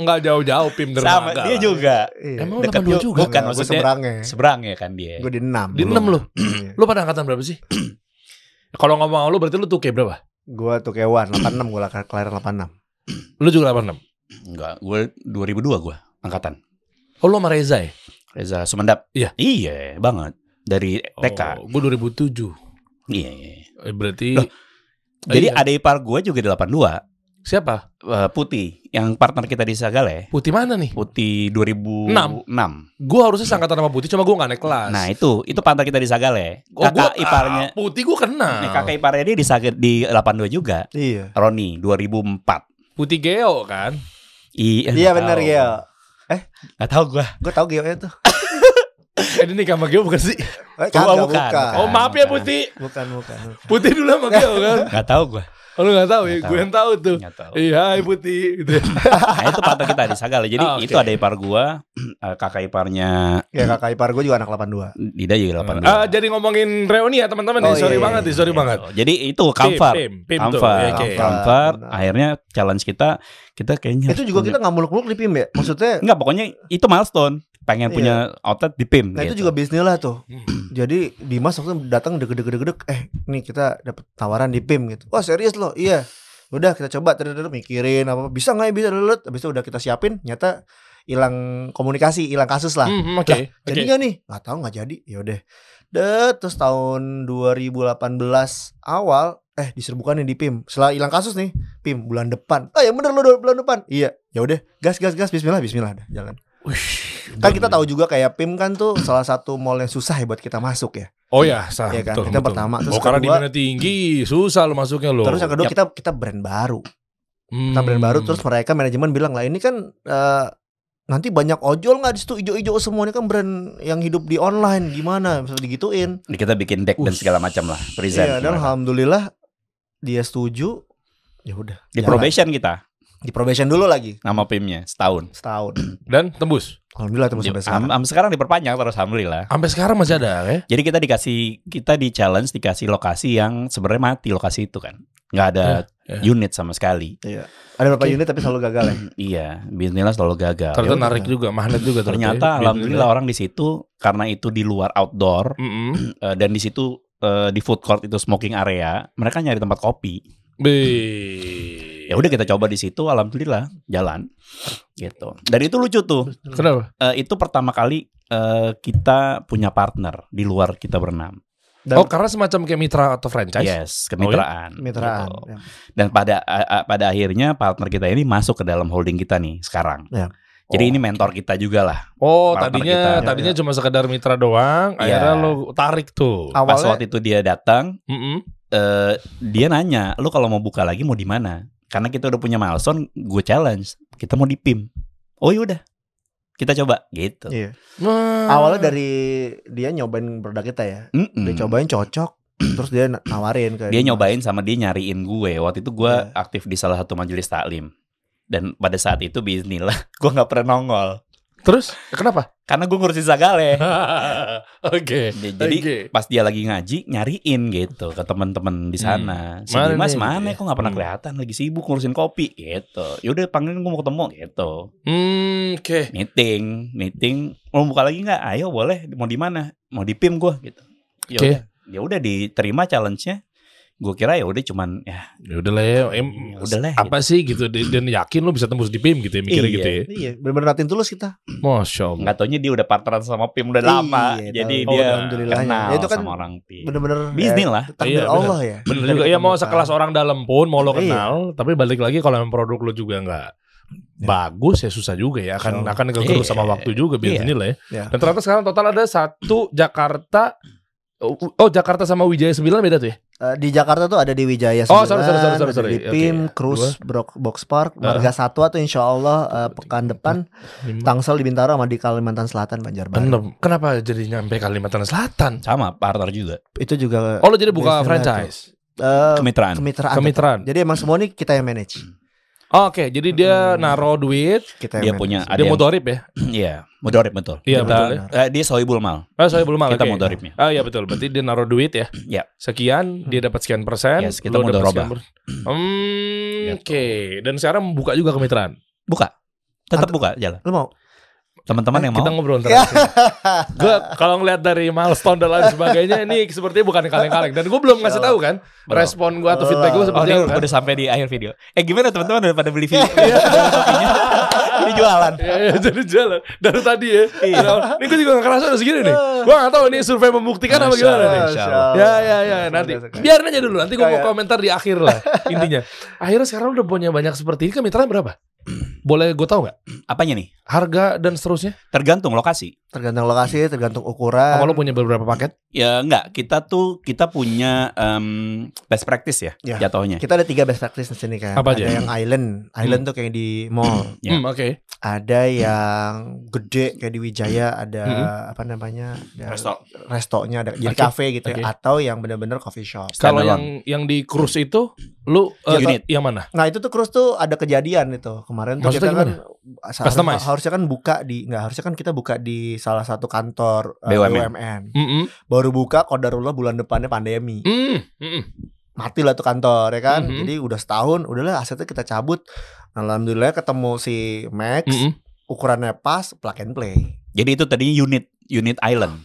Speaker 3: nggak jauh-jauh Pim
Speaker 2: Sama
Speaker 3: dermaga.
Speaker 2: dia juga.
Speaker 1: Iya.
Speaker 3: Emang lu
Speaker 2: Deket
Speaker 3: 82 juga?
Speaker 2: Bukan
Speaker 1: Gue
Speaker 2: maksudnya
Speaker 1: seberangnya.
Speaker 2: seberang ya kan dia.
Speaker 1: Gue di Iya. 6.
Speaker 3: Di 6 lu. Lu pada angkatan berapa sih? Kalau ngomong sama lu berarti lu tuh kayak berapa?
Speaker 1: Gue tuh kewan 86 gue kelahiran 86.
Speaker 3: Lu juga 86.
Speaker 2: Enggak, gue 2002 gue angkatan.
Speaker 3: Oh lu sama Reza ya?
Speaker 2: Reza Sumendap.
Speaker 3: Iya.
Speaker 2: Iya, banget. Dari TK.
Speaker 3: Oh, gue 2007.
Speaker 2: Iya, iya.
Speaker 3: Eh, Berarti
Speaker 2: Loh, Jadi
Speaker 3: Iya.
Speaker 2: ada ipar gue juga di 82.
Speaker 3: siapa?
Speaker 2: eh, putih yang partner kita di Sagale
Speaker 3: Putih mana nih?
Speaker 2: Putih 2006
Speaker 3: Gue harusnya sangkatan sama Putih, cuma gue gak naik kelas.
Speaker 2: Nah iya. itu itu pantai kita di Sagale.
Speaker 3: Oh, gua-
Speaker 2: Kakak iparnya,
Speaker 3: ah, Putih gue kenal.
Speaker 2: nih, kakak iparnya dia di Saga, di 82 juga.
Speaker 1: Iya.
Speaker 2: Roni 2004.
Speaker 3: Putih Geo kan?
Speaker 2: I,
Speaker 1: Iya benar Gio.
Speaker 2: Gak tau gue.
Speaker 1: Gue tau Gio nya tuh.
Speaker 3: Eh, ini nikah sama Geo bukan sih?
Speaker 1: Eh,
Speaker 2: Oh,
Speaker 1: kagak,
Speaker 2: bukan,
Speaker 1: bukan.
Speaker 2: bukan.
Speaker 3: Oh maaf ya
Speaker 2: bukan.
Speaker 3: Putih.
Speaker 1: Bukan, bukan. bukan.
Speaker 3: Putih dulu sama Geo kan?
Speaker 2: Gak tau gue.
Speaker 3: Oh, lu gak tahu ya?
Speaker 2: Nggak
Speaker 3: Gue yang tahu tuh.
Speaker 2: Gak tau.
Speaker 3: Iya, hai Putih. Gitu.
Speaker 2: Nah itu pantai kita di Sagale. Jadi
Speaker 3: Ah, oke.
Speaker 2: itu ada ipar gue, kakak iparnya
Speaker 1: Ya kakak ipar gue juga anak 82.
Speaker 2: Dida juga 82.
Speaker 3: Ah, jadi ngomongin reuni ya teman-teman
Speaker 1: Oh,
Speaker 3: nih. Sorry
Speaker 1: iya,
Speaker 3: banget nih, sorry banget.
Speaker 2: Jadi itu comfort.
Speaker 3: Pim, Pim, Pim tuh.
Speaker 2: Comfort,
Speaker 3: Ya, oke.
Speaker 1: Comfort.
Speaker 2: comfort.
Speaker 1: Benar.
Speaker 2: Akhirnya challenge kita, kita kayaknya
Speaker 1: Ah. Itu juga kita nggak muluk-muluk di PIM ya. Maksudnya
Speaker 2: Enggak, pokoknya itu milestone. Pengen
Speaker 1: Iya.
Speaker 2: punya outlet di PIM.
Speaker 1: Nah itu
Speaker 2: gitu.
Speaker 1: juga bisnis lah tuh.
Speaker 3: Hmm.
Speaker 1: Jadi Dimas waktu datang deg deg deg eh nih kita dapat tawaran di PIM gitu. Wah serius loh, iya. Udah kita coba terus mikirin apa bisa nggak ya bisa dulu. Habis itu udah kita siapin, nyata hilang komunikasi, hilang kasus lah.
Speaker 3: Hmm, hmm, Oke,
Speaker 1: Jadi
Speaker 3: oke.
Speaker 1: nggak nih? Nggak tahu nggak jadi. Ya udah. Deh, terus tahun 2018 awal eh diserbukan nih di PIM. Setelah hilang kasus nih, PIM bulan depan. Ah, yang bener lo do- bulan depan. Iya. Ya udah, gas gas gas bismillah bismillah dah, jalan. Kan kita tahu juga kayak PIM kan tuh salah satu mall yang susah ya buat kita masuk ya.
Speaker 3: Oh ya, sah.
Speaker 1: Iya kan,
Speaker 3: betul,
Speaker 1: kita
Speaker 3: betul.
Speaker 1: pertama, terus
Speaker 3: Oh, karena di
Speaker 1: kedua-
Speaker 3: mana tinggi, susah lu masuknya lu.
Speaker 1: Terus yang kedua
Speaker 2: yap.
Speaker 1: kita kita brand baru.
Speaker 3: Hmm.
Speaker 1: Kita brand baru terus mereka manajemen bilang lah ini kan eh, nanti banyak ojol nggak di situ ijo-ijo semuanya kan brand yang hidup di online gimana bisa digituin.
Speaker 2: Jadi kita bikin deck dan
Speaker 3: Us.
Speaker 2: segala macam lah present
Speaker 1: Iya, dan alhamdulillah dia setuju. Ya udah.
Speaker 2: di
Speaker 1: jalan.
Speaker 2: probation kita
Speaker 1: Di probation dulu lagi
Speaker 2: nama PIM-nya setahun.
Speaker 1: setahun.
Speaker 3: Dan tembus.
Speaker 1: Alhamdulillah tembus sampai sekarang.
Speaker 2: Am- am- sekarang diperpanjang terus alhamdulillah.
Speaker 3: Sampai sekarang masih ada ya.
Speaker 2: Jadi kita dikasih kita di challenge dikasih lokasi yang sebenarnya mati lokasi itu kan. nggak ada
Speaker 1: Eh,
Speaker 3: Ya, ya.
Speaker 2: unit sama sekali.
Speaker 1: Iya. Ada beberapa unit tapi selalu gagal ya.
Speaker 2: iya, bisnisnya selalu gagal.
Speaker 3: Ternyata
Speaker 1: Ya,
Speaker 3: narik juga, magnet juga ya.
Speaker 2: Ternyata alhamdulillah orang di situ karena itu di luar outdoor
Speaker 3: Mm
Speaker 1: Hmm.
Speaker 2: eh, dan di situ eh, di food court itu smoking area, mereka nyari tempat kopi. Ya udah kita coba di situ alhamdulillah jalan. Gitu. Dan itu lucu tuh.
Speaker 3: Kenapa?
Speaker 2: Eh, itu pertama kali eh, kita punya partner di luar kita berenam.
Speaker 1: Dan Iya.
Speaker 3: oh karena semacam kayak mitra atau franchise.
Speaker 1: Oh,
Speaker 2: Yes, kemitraan.
Speaker 1: mitraan.
Speaker 2: Gitu.
Speaker 1: Ya.
Speaker 2: Dan pada a- a- pada akhirnya partner kita ini masuk ke dalam holding kita nih sekarang.
Speaker 1: Ya.
Speaker 3: Oh.
Speaker 2: Jadi ini mentor kita juga lah.
Speaker 3: Oh
Speaker 2: Partner
Speaker 3: tadinya
Speaker 2: kita.
Speaker 1: Iya.
Speaker 3: tadinya cuma sekedar mitra doang.
Speaker 2: Iya.
Speaker 3: Akhirnya lo tarik tuh.
Speaker 1: Awalnya
Speaker 2: Pas waktu itu dia datang,
Speaker 3: Mm-mm.
Speaker 2: eh, dia nanya, "Lu kalau mau buka lagi mau di mana?" Karena kita udah punya milestone, gue challenge, kita mau di PIM. Oh yaudah, kita coba gitu.
Speaker 1: Iya.
Speaker 3: Wah.
Speaker 2: Ah.
Speaker 1: Awalnya dari dia nyobain produk kita ya.
Speaker 2: Mm-mm.
Speaker 1: Dia
Speaker 3: Hmm.
Speaker 1: cobain cocok, terus dia na- nawarin gitu. ke
Speaker 2: dia nyobain sama dia nyariin gue. Waktu itu gue
Speaker 1: Iya.
Speaker 2: aktif di salah satu majelis taklim. Dan pada saat itu bismillah, gue nggak pernah nongol.
Speaker 3: Terus kenapa?
Speaker 2: Karena gue ngurusin Sagale.
Speaker 3: Oke.
Speaker 2: Ya, jadi
Speaker 3: Oke.
Speaker 2: pas dia lagi ngaji nyariin gitu ke teman-teman di sana. Si
Speaker 3: Hmm. Mana
Speaker 2: Dimas
Speaker 3: nih?
Speaker 2: mana kok nggak pernah
Speaker 3: Hmm.
Speaker 2: kelihatan lagi sibuk ngurusin kopi gitu. Yaudah panggilin gue mau ketemu gitu.
Speaker 3: Hmm, oke.
Speaker 2: Meeting, meeting. Mau buka lagi nggak? Ayo boleh. Mau di mana? Mau di PIM gue gitu. Ya
Speaker 3: Oke.
Speaker 2: udah, ya udah diterima challenge-nya. Gue kira ya udah cuman ya
Speaker 3: Ya udah lah ya. Em,
Speaker 2: Ya udah lah,
Speaker 3: Apa sih gitu di- dan yakin lo bisa tembus di PIM gitu ya mikirnya
Speaker 2: Iya.
Speaker 3: gitu ya.
Speaker 1: Iya, bener-bener natin tulus kita.
Speaker 3: Masya Allah.
Speaker 2: nggak taunya dia udah partneran sama PIM udah lama.
Speaker 1: Iya,
Speaker 2: jadi
Speaker 1: tahu.
Speaker 2: dia
Speaker 1: Alhamdulillah.
Speaker 2: kenal
Speaker 1: Ya, itu kan
Speaker 2: sama orang PIM.
Speaker 1: Bener-bener
Speaker 2: Bisnis lah.
Speaker 1: eh, takdir
Speaker 3: Iya, bener.
Speaker 1: Allah ya.
Speaker 3: Bener
Speaker 1: Dari
Speaker 3: juga. Iya mau
Speaker 1: kebetulan.
Speaker 3: sekelas orang dalam pun mau lo
Speaker 1: Iya.
Speaker 3: kenal, tapi balik lagi kalau memang produk lo juga nggak bagus ya susah juga ya akan
Speaker 1: Iya.
Speaker 3: akan kegerus
Speaker 2: Iya.
Speaker 3: sama waktu juga biar
Speaker 2: Iya.
Speaker 3: inilah ya.
Speaker 1: Iya.
Speaker 3: Dan ternyata sekarang total ada satu Jakarta Oh, oh, Jakarta sama Wijaya 9 beda tuh ya?
Speaker 1: Eh, di Jakarta tuh ada di Wijaya 9,
Speaker 3: Oh, sorry, sorry, sorry, sorry,
Speaker 1: ada di
Speaker 3: sorry.
Speaker 1: PIM,
Speaker 3: Oke. ya.
Speaker 1: Cruise, Brok- Box Park, Marga Satwa tuh insya Allah eh, pekan depan Tangsel di Bintaro sama di Kalimantan Selatan Banjarbaru.
Speaker 3: Enam. Kenapa jadi nyampe Kalimantan Selatan?
Speaker 2: Sama partner juga.
Speaker 1: Itu juga
Speaker 3: Oh, lo jadi
Speaker 1: Biasanya
Speaker 3: buka franchise.
Speaker 1: eh,
Speaker 2: Kemitraan.
Speaker 1: kemitraan.
Speaker 3: Kemitraan.
Speaker 1: Jadi emang semua ini kita yang manage.
Speaker 3: Oh, Oke, jadi dia naro duit,
Speaker 1: Kita yang
Speaker 2: Dia
Speaker 1: manage.
Speaker 2: punya
Speaker 3: dia
Speaker 2: ada yang
Speaker 3: motorip ya?
Speaker 2: Iya, mudorip betul.
Speaker 3: Iya,
Speaker 2: Kita-
Speaker 3: betul
Speaker 2: eh, dia Sohibul Mal.
Speaker 3: Ah, saya belum
Speaker 2: Kita
Speaker 3: oke.
Speaker 2: mudoripnya.
Speaker 3: Ah iya betul, berarti dia naruh duit ya.
Speaker 2: Iya.
Speaker 3: Sekian, dia dapat sekian persen.
Speaker 2: Yes, kita
Speaker 3: lo
Speaker 2: mau
Speaker 3: dapat
Speaker 2: dorobah. Mm.
Speaker 3: sekian persen. Hmm,
Speaker 2: Gitu.
Speaker 3: oke. Dan sekarang buka juga kemitraan.
Speaker 2: Buka. Tetap
Speaker 1: Atau-
Speaker 2: buka jalan.
Speaker 1: Lu mau?
Speaker 2: Teman-teman yang mau
Speaker 3: Eh, Kita ngobrol ntar. gue kalau ngeliat dari milestone dan lain sebagainya, ini sepertinya bukan kaleng-kaleng. Dan gue belum ngasih tahu kan,
Speaker 2: Iya. Belum.
Speaker 3: respon gue atau
Speaker 1: Belum.
Speaker 3: feedback gue
Speaker 2: Oh,
Speaker 3: seperti
Speaker 2: ini
Speaker 3: apa kan?
Speaker 2: udah sampai di akhir video. Eh gimana teman-teman udah pada beli video?
Speaker 1: Iya.
Speaker 2: Ini jualan.
Speaker 3: Iya, iya, jadi jalan dari tadi ya.
Speaker 2: Iya.
Speaker 3: Nah, Ini gue juga gak kerasa udah segini nih. Gue gak tahu ini survei membuktikan apa
Speaker 2: Masya
Speaker 3: gimana
Speaker 2: Allah.
Speaker 3: nih.
Speaker 2: Insya
Speaker 1: Oh,
Speaker 3: Ya ya ya nanti biarin aja dulu nanti gue mau
Speaker 1: Kayak-
Speaker 3: komentar di akhir lah intinya. Akhirnya sekarang udah punya banyak seperti ini kemitraan berapa? Boleh gue tahu nggak?
Speaker 2: Apanya nih?
Speaker 3: Harga dan seterusnya?
Speaker 2: Tergantung lokasi.
Speaker 1: Tergantung lokasi, tergantung
Speaker 3: Apa
Speaker 1: ukuran.
Speaker 3: lo punya beberapa paket?
Speaker 2: Ya enggak, kita tuh kita punya em, best practice ya,
Speaker 1: Ya.
Speaker 2: jatuhnya.
Speaker 1: Kita ada tiga best practice di sini kan.
Speaker 3: Apa
Speaker 1: ada
Speaker 3: aja?
Speaker 1: yang island, island tuh kayak di mall.
Speaker 2: Ya.
Speaker 3: Hmm, Oke.
Speaker 1: Ada yang gede kayak di Wijaya, ada
Speaker 3: Mm-mm.
Speaker 1: apa namanya? Ada
Speaker 2: Resto.
Speaker 1: restonya, ada jadi
Speaker 3: Hmm. Oke,
Speaker 1: kafe gitu
Speaker 3: oke.
Speaker 1: ya, atau yang benar-benar coffee shop.
Speaker 3: Kalau
Speaker 2: Standalone.
Speaker 3: yang yang di cruise itu lu eh,
Speaker 2: Unit.
Speaker 3: yang mana?
Speaker 1: Nah itu tuh Cruz tuh ada kejadian itu kemarin tuh
Speaker 3: Maksudnya
Speaker 1: kita kan seharusnya-
Speaker 3: Customize?
Speaker 1: harusnya kan buka di nggak harusnya kan kita buka di salah satu kantor eh,
Speaker 2: BUMN.
Speaker 3: Mm-mm.
Speaker 1: baru buka kodarullah bulan depannya pandemi
Speaker 3: Mm, mm-mm.
Speaker 1: mati lah tuh kantor ya kan
Speaker 3: Mhm.
Speaker 1: jadi udah setahun udahlah asetnya kita cabut alhamdulillah ketemu si Max
Speaker 3: Mm-mm.
Speaker 1: ukurannya pas plug and play
Speaker 2: Jadi itu tadi unit unit island.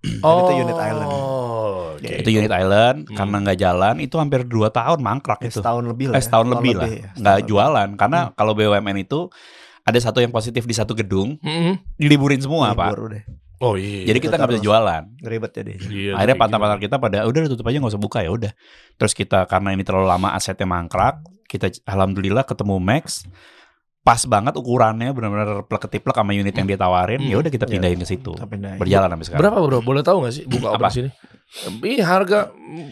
Speaker 1: Jadi itu unit island.
Speaker 3: Oh, oke.
Speaker 1: Ya,
Speaker 2: Itu unit island
Speaker 3: Hmm.
Speaker 2: karena nggak jalan itu hampir 2 tahun mangkrak
Speaker 1: Ya,
Speaker 2: itu.
Speaker 1: setahun lebih lah
Speaker 2: Eh,
Speaker 1: ya,
Speaker 2: setahun lebih
Speaker 1: ya,
Speaker 2: lah.
Speaker 1: setahun
Speaker 2: nggak
Speaker 1: lebih. Hmm.
Speaker 2: jualan karena kalau BUMN itu ada satu yang positif di satu gedung
Speaker 3: Mm-mm.
Speaker 2: diliburin semua pak.
Speaker 1: Libur udah
Speaker 3: Oh iya.
Speaker 2: Jadi kita nggak bisa
Speaker 1: Terus.
Speaker 2: jualan.
Speaker 1: ribet ya, jadi
Speaker 3: Iya,
Speaker 2: Akhirnya
Speaker 3: kayak gitu.
Speaker 2: pantar-pantar kita pada udah tutup aja nggak usah buka ya udah. Terus kita karena ini terlalu lama asetnya mangkrak, kita alhamdulillah ketemu Max pas banget ukurannya benar-benar plek-ketiplek sama unit yang dia tawarin
Speaker 3: Hmm.
Speaker 2: ya udah kita
Speaker 1: Iya.
Speaker 2: pindahin ke situ
Speaker 1: Sampai naik.
Speaker 2: berjalan sampai sekarang
Speaker 3: Berapa bro? Boleh tahu gak sih buka open
Speaker 2: Apa?
Speaker 3: sini? Ini harga mm,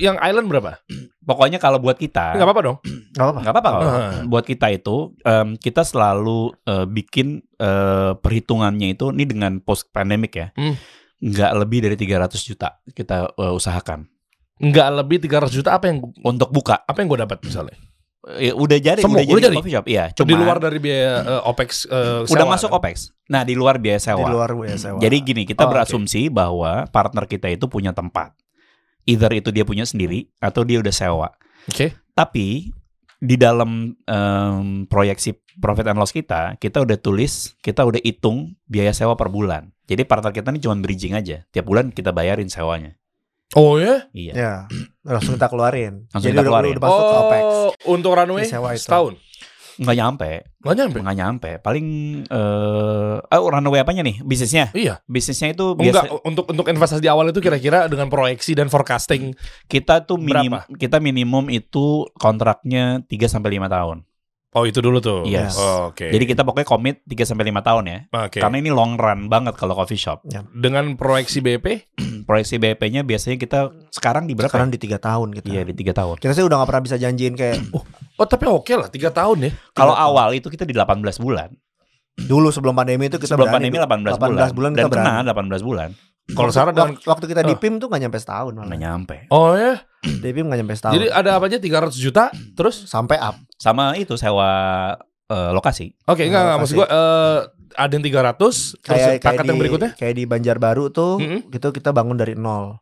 Speaker 3: yang island berapa?
Speaker 2: pokoknya kalau buat kita
Speaker 3: Enggak apa-apa dong.
Speaker 1: nggak apa-apa
Speaker 2: nggak apa-apa kalau
Speaker 3: Ah.
Speaker 2: buat kita itu em, kita selalu eh, bikin eh, perhitungannya itu ini dengan post pandemic ya
Speaker 3: Hmm.
Speaker 2: nggak lebih dari 300 juta kita eh, usahakan
Speaker 3: Enggak lebih 300 juta apa yang
Speaker 2: untuk buka
Speaker 3: apa yang gue dapat misalnya?
Speaker 2: ya, udah jadi,
Speaker 3: Semua,
Speaker 2: udah
Speaker 3: udah
Speaker 2: jadi
Speaker 3: jadi.
Speaker 2: coffee shop. Iya,
Speaker 3: di
Speaker 2: cuman-
Speaker 3: luar dari biaya eh, OPEX eh,
Speaker 2: udah
Speaker 3: sewa,
Speaker 2: masuk
Speaker 3: kan?
Speaker 2: OPEX. Nah, di luar biaya sewa.
Speaker 1: di luar ya sewa.
Speaker 2: Jadi gini, kita
Speaker 3: Oh, oke.
Speaker 2: berasumsi bahwa partner kita itu punya tempat. Either itu dia punya sendiri atau dia udah sewa.
Speaker 3: Oke.
Speaker 2: Tapi di dalam em, proyeksi profit and loss kita, kita udah tulis, kita udah hitung biaya sewa per bulan. Jadi partner kita ini cuma bridging aja. Tiap bulan kita bayarin sewanya.
Speaker 3: Oh ya?
Speaker 2: Iya.
Speaker 1: ya langsung kita keluarin. Jadi
Speaker 2: Langsung kita
Speaker 1: udah,
Speaker 2: keluarin.
Speaker 1: udah masuk ke OPEX.
Speaker 3: Oh, untuk runway
Speaker 1: Disewa itu.
Speaker 3: setahun.
Speaker 2: Nggak nyampe,
Speaker 3: Nggak nyampe.
Speaker 2: nggak nyampe. Paling eh oh, runway apanya nih? Bisnisnya.
Speaker 3: Iya.
Speaker 2: Bisnisnya itu
Speaker 3: Enggak
Speaker 2: biasa
Speaker 3: untuk untuk investasi di awal itu kira-kira dengan proyeksi dan forecasting.
Speaker 2: kita tuh minim,
Speaker 3: Berapa?
Speaker 2: kita minimum itu kontraknya 3 sampai 5 tahun.
Speaker 3: Oh, itu dulu tuh.
Speaker 2: Yes.
Speaker 3: Oh, Oke.
Speaker 2: Jadi kita pokoknya komit 3 sampai 5 tahun ya.
Speaker 3: Oke.
Speaker 2: Karena ini long run banget kalau coffee shop.
Speaker 3: dengan proyeksi BP
Speaker 1: Hmm.
Speaker 2: Proyeksi BP-nya biasanya kita sekarang di berapa? ya?
Speaker 1: Sekarang di tiga tahun kita.
Speaker 2: Iya, di 3 tahun.
Speaker 1: Kita sih udah gak pernah bisa janjiin kayak
Speaker 3: Oh tapi oke lah tiga tahun ya.
Speaker 2: Kalau awal itu kita di 18 bulan.
Speaker 1: dulu sebelum pandemi itu kita
Speaker 2: Sebelum
Speaker 1: berani
Speaker 2: pandemi
Speaker 1: tuh. 18
Speaker 2: 18,
Speaker 1: bulan kita
Speaker 2: Dan
Speaker 1: berani.
Speaker 2: kena 18 bulan.
Speaker 3: Kalau Sarah
Speaker 1: Wak-
Speaker 3: dengan
Speaker 1: waktu kita di
Speaker 2: Oh.
Speaker 3: Eh.
Speaker 1: PIM tuh gak nyampe setahun malah.
Speaker 2: Nggak nyampe.
Speaker 3: oh ya.
Speaker 1: Di PIM gak nyampe setahun.
Speaker 3: Jadi ada apa aja 300 juta terus
Speaker 1: sampai up.
Speaker 2: Sama itu sewa eh, lokasi.
Speaker 3: oke enggak enggak maksud gua eh, ada yang 300 terus
Speaker 1: Kayak kayak
Speaker 3: paket
Speaker 1: di,
Speaker 3: yang berikutnya.
Speaker 1: kayak di Banjarbaru tuh
Speaker 3: Mm-mm.
Speaker 1: gitu kita bangun dari nol.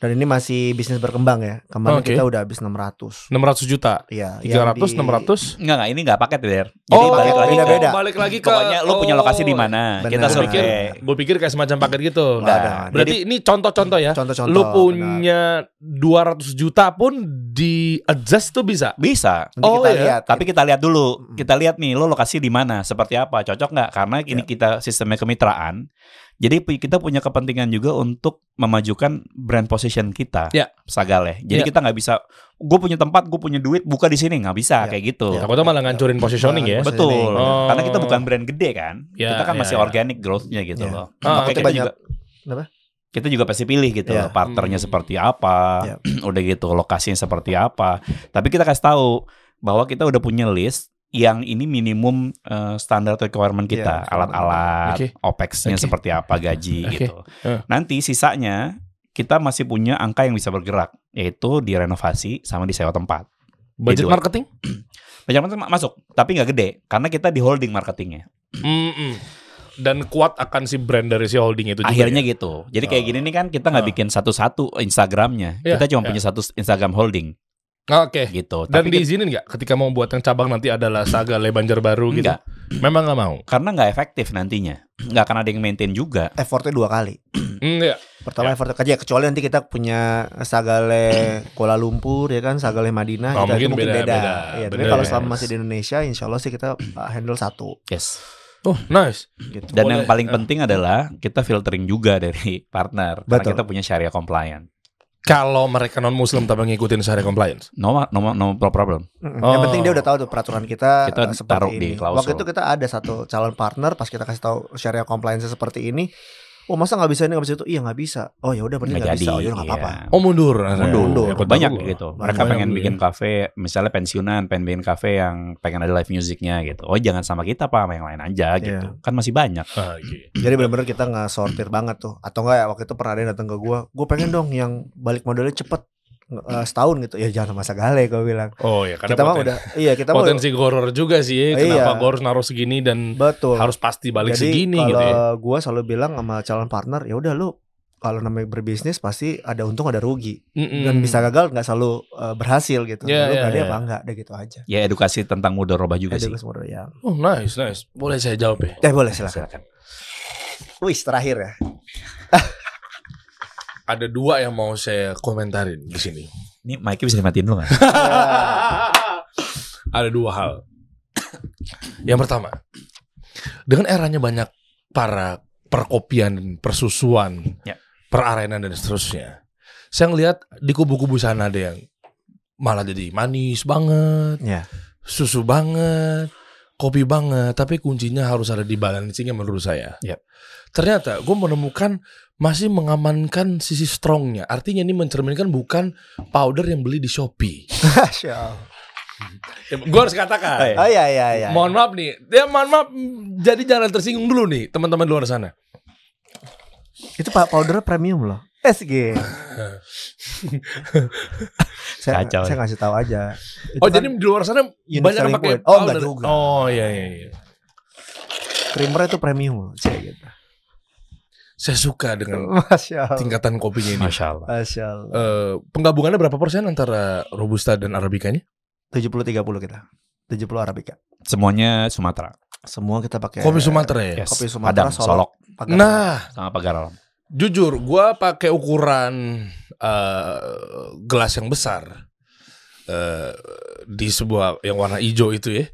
Speaker 1: Dan ini masih bisnis berkembang ya. Kemarin
Speaker 3: Oh, Oke.
Speaker 1: kita udah habis 600.
Speaker 3: 600 juta.
Speaker 1: Iya,
Speaker 3: 300
Speaker 1: yang di-
Speaker 3: 600.
Speaker 2: Enggak, enggak. Ini enggak paket, Der. Jadi balik lagi ke-
Speaker 1: Oh, beda-beda.
Speaker 3: Oh, Balik lagi ke oh.
Speaker 2: Pokoknya lu punya lokasi di mana.
Speaker 1: Benar.
Speaker 2: Kita
Speaker 1: Gua
Speaker 3: Gue pikir,
Speaker 2: survei.
Speaker 3: gua pikir kayak semacam paket gitu.
Speaker 1: Nggak ada.
Speaker 3: Berarti ini contoh-contoh ya.
Speaker 1: Contoh-contoh.
Speaker 3: lu punya 200 juta pun di adjust tuh bisa.
Speaker 2: Bisa.
Speaker 1: benar. Nanti
Speaker 3: Oh,
Speaker 1: kita
Speaker 3: iya.
Speaker 1: lihat.
Speaker 2: Tapi kita lihat dulu,
Speaker 1: Mm.
Speaker 2: kita lihat nih lo lokasi di mana, seperti apa, cocok nggak? Karena ini kita sistemnya kemitraan. Jadi pu- kita punya kepentingan juga untuk memajukan brand position kita,
Speaker 3: Ya.
Speaker 2: Sagale. Jadi
Speaker 3: Ya.
Speaker 2: kita nggak bisa, gue punya tempat, gue punya duit, buka di sini nggak
Speaker 1: Ya.
Speaker 2: bisa kayak gitu.
Speaker 1: Ya.
Speaker 3: Takutnya malah ngancurin positioning ya.
Speaker 1: Betul.
Speaker 2: Betul.
Speaker 3: Oh.
Speaker 2: Karena kita bukan brand gede kan,
Speaker 3: Ya,
Speaker 2: kita kan
Speaker 3: ya,
Speaker 2: masih
Speaker 3: ya.
Speaker 2: organic growth-nya gitu
Speaker 1: Ya.
Speaker 2: loh.
Speaker 3: Ah,
Speaker 2: Makanya
Speaker 3: oke.
Speaker 2: kita juga,
Speaker 1: Kenapa?
Speaker 2: kita juga pasti pilih gitu
Speaker 1: Ya.
Speaker 2: loh, partnernya
Speaker 3: Hmm.
Speaker 2: seperti apa,
Speaker 1: Ya.
Speaker 2: udah gitu lokasinya seperti apa. Tapi kita kasih tahu bahwa kita udah punya list yang ini minimum eh, standar requirement
Speaker 1: Ya,
Speaker 2: kita, alat-alat,
Speaker 3: Oke.
Speaker 2: OPEX-nya
Speaker 3: Oke.
Speaker 2: seperti apa, gaji
Speaker 3: Oke.
Speaker 2: gitu.
Speaker 3: Eh.
Speaker 2: Nanti sisanya kita masih punya angka yang bisa bergerak, yaitu di renovasi sama di sewa tempat.
Speaker 3: Budget
Speaker 2: Jadi-
Speaker 3: marketing?
Speaker 2: Banyak banget ma- masuk, tapi nggak gede karena kita di holding marketingnya.
Speaker 3: Mm-mm. Dan kuat akan si brand dari si holding itu juga.
Speaker 2: Akhirnya
Speaker 3: ya?
Speaker 2: gitu. Jadi kayak
Speaker 3: Oh.
Speaker 2: gini nih kan kita nggak
Speaker 3: Oh.
Speaker 2: bikin satu-satu Instagramnya,
Speaker 3: Iya,
Speaker 2: kita cuma
Speaker 3: iya.
Speaker 2: punya satu Instagram holding
Speaker 3: Oke.
Speaker 2: gitu.
Speaker 3: Dan
Speaker 2: Tapi
Speaker 3: diizinin nggak ketika mau buat yang cabang nanti adalah Saga Le Banjarbaru gitu?
Speaker 2: Nggak.
Speaker 3: Memang nggak mau.
Speaker 2: karena nggak efektif nantinya, nggak akan ada yang maintain juga.
Speaker 1: Effortnya dua kali.
Speaker 3: Enggak. Ya.
Speaker 1: Pertama effort kerja kecuali nanti kita punya Sagale Kuala Lumpur ya kan, Sagale Madinah
Speaker 3: Oh,
Speaker 1: kita itu
Speaker 3: mungkin
Speaker 1: mungkin
Speaker 3: beda-
Speaker 1: beda.
Speaker 3: beda.
Speaker 1: Iya, tapi
Speaker 3: Bener. ya.
Speaker 1: kalau selama masih di Indonesia insya Allah sih kita uh, handle satu
Speaker 2: Yes.
Speaker 3: Oh nice.
Speaker 1: gitu.
Speaker 2: Dan
Speaker 3: Boleh.
Speaker 2: yang paling
Speaker 3: Eh.
Speaker 2: penting adalah kita filtering juga dari partner karena
Speaker 1: Betul.
Speaker 2: kita punya syariah compliant.
Speaker 3: Kalau mereka non Muslim tapi ngikutin syariah compliance.
Speaker 2: No ma- no ma- no problem.
Speaker 1: Mm-mm.
Speaker 3: Oh.
Speaker 1: Yang penting dia udah tahu tuh peraturan kita,
Speaker 2: Kita
Speaker 1: uh, seperti
Speaker 2: taruh di
Speaker 1: ini.
Speaker 2: klausul.
Speaker 1: Waktu itu kita ada satu calon partner pas kita kasih tahu syariah compliance seperti ini. Oh masa nggak bisa ini nggak bisa itu? Iya nggak bisa. Oh ya udah berarti
Speaker 2: Nggak
Speaker 1: nggak
Speaker 2: jadi.
Speaker 1: bisa. Oh ya nggak apa-apa.
Speaker 2: Iya.
Speaker 3: Oh mundur.
Speaker 2: Mundur.
Speaker 1: mundur.
Speaker 3: Ikut
Speaker 2: banyak
Speaker 3: dulu.
Speaker 2: gitu. Mereka
Speaker 3: Banyak
Speaker 2: pengen
Speaker 3: dulu
Speaker 2: bikin
Speaker 3: ya.
Speaker 2: kafe, misalnya pensiunan, pengen bikin kafe yang pengen ada live musicnya gitu. Oh jangan sama kita pak, sama yang lain aja gitu. Kan masih banyak.
Speaker 3: Ah, iya.
Speaker 1: Jadi benar-benar kita nggak sortir banget tuh. Atau nggak ya waktu itu pernah ada yang datang ke gua, gua pengen dong yang balik modalnya cepet uh, setahun gitu. Ya jangan masa gale gua bilang.
Speaker 3: Oh ya karena
Speaker 1: kita mah
Speaker 3: poten-
Speaker 1: udah iya kita mah
Speaker 3: potensi goror juga
Speaker 1: Iya.
Speaker 3: sih. Kenapa gua harus naruh segini dan
Speaker 1: betul.
Speaker 3: harus pasti balik
Speaker 1: Jadi
Speaker 3: segini
Speaker 1: kalau
Speaker 3: gitu ya.
Speaker 1: gua selalu bilang sama calon partner, ya udah lu kalau namanya berbisnis pasti ada untung ada rugi
Speaker 3: Mm-mm.
Speaker 1: dan bisa gagal nggak selalu uh, berhasil gitu.
Speaker 3: Iya,
Speaker 1: lu
Speaker 3: iya,
Speaker 1: berani
Speaker 3: iya.
Speaker 1: apa enggak udah gitu aja.
Speaker 2: Ya edukasi tentang mudorobah juga
Speaker 1: Ada
Speaker 2: sih.
Speaker 1: Gus Moro, ya.
Speaker 3: Oh nice nice. Boleh saya jawab ya.
Speaker 1: Eh boleh silakan.
Speaker 2: Silakan.
Speaker 1: Wis terakhir ya.
Speaker 3: Ada dua yang mau saya komentarin di sini.
Speaker 2: Ini mic bisa dimatiin dulu nggak?
Speaker 3: ada dua hal. Yang pertama, dengan eranya banyak para perkopian, persusuan,
Speaker 2: Ya.
Speaker 3: perarenan dan seterusnya, saya ngelihat di kubu-kubu sana ada yang malah jadi manis banget,
Speaker 1: Ya.
Speaker 3: susu banget, kopi banget, tapi kuncinya harus ada di balancingnya menurut saya.
Speaker 2: Ya.
Speaker 3: Ternyata gue menemukan masih mengamankan sisi strongnya. Artinya ini mencerminkan bukan powder yang beli di Shopee.
Speaker 1: Masya Allah.
Speaker 3: gue harus katakan.
Speaker 2: Oh, iya.
Speaker 1: Oh iya iya iya.
Speaker 3: Mohon maaf nih, ya mohon maaf. Jadi jangan tersinggung dulu nih teman-teman luar sana.
Speaker 1: Itu pak powder premium loh. SG. saya,
Speaker 2: Kacau.
Speaker 1: saya ngasih tahu aja. Itu
Speaker 3: Oh
Speaker 1: kan
Speaker 3: jadi di luar sana
Speaker 1: Unique
Speaker 3: banyak yang
Speaker 1: selling
Speaker 3: pakai
Speaker 1: point. Oh, enggak
Speaker 3: powder.
Speaker 1: juga.
Speaker 3: Oh iya iya. iya.
Speaker 1: creamer itu premium loh, Cek, gitu.
Speaker 3: Saya suka dengan
Speaker 1: Masya Allah.
Speaker 3: tingkatan kopinya ini.
Speaker 2: Masya Allah.
Speaker 1: Masya Allah.
Speaker 3: Eh, penggabungannya berapa persen antara robusta dan arabikanya?
Speaker 1: 70-30 kita. 70 Arabica.
Speaker 2: Semuanya Sumatera.
Speaker 1: Semua kita pakai
Speaker 3: Kopi Sumatera ya.
Speaker 2: Yes.
Speaker 1: Kopi Sumatera,
Speaker 2: Padang,
Speaker 1: Solok.
Speaker 2: Iya, Solok,
Speaker 1: Pagar.
Speaker 3: Nah,
Speaker 2: sama Pagaralam.
Speaker 3: jujur gua pakai ukuran eh, gelas yang besar. eh, di sebuah yang warna hijau itu ya.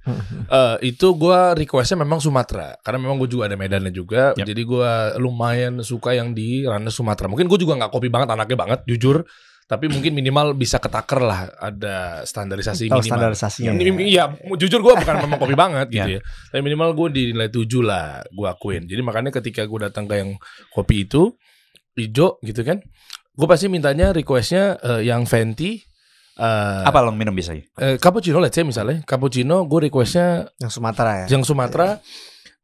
Speaker 3: Eh, itu gua requestnya memang Sumatera karena memang gue juga ada Medannya juga
Speaker 2: Yap.
Speaker 3: jadi gua lumayan suka yang di ranah Sumatera mungkin gue juga nggak kopi banget anaknya banget jujur tapi mungkin minimal bisa ketaker lah ada standarisasi
Speaker 1: Tahu
Speaker 3: minimal
Speaker 1: standarisasinya. ya.
Speaker 3: Iya,
Speaker 1: Iya.
Speaker 3: iya, jujur gue bukan memang kopi banget gitu ya. Tapi minimal gue dinilai 7 lah, gue akuin. Jadi makanya ketika gue datang ke yang kopi itu, hijau gitu kan, gue pasti mintanya requestnya eh, yang venti, eh,
Speaker 2: Apa lo minum biasanya?
Speaker 3: eh, cappuccino let's say misalnya, cappuccino gue requestnya
Speaker 1: Yang Sumatera ya.
Speaker 3: yang Sumatera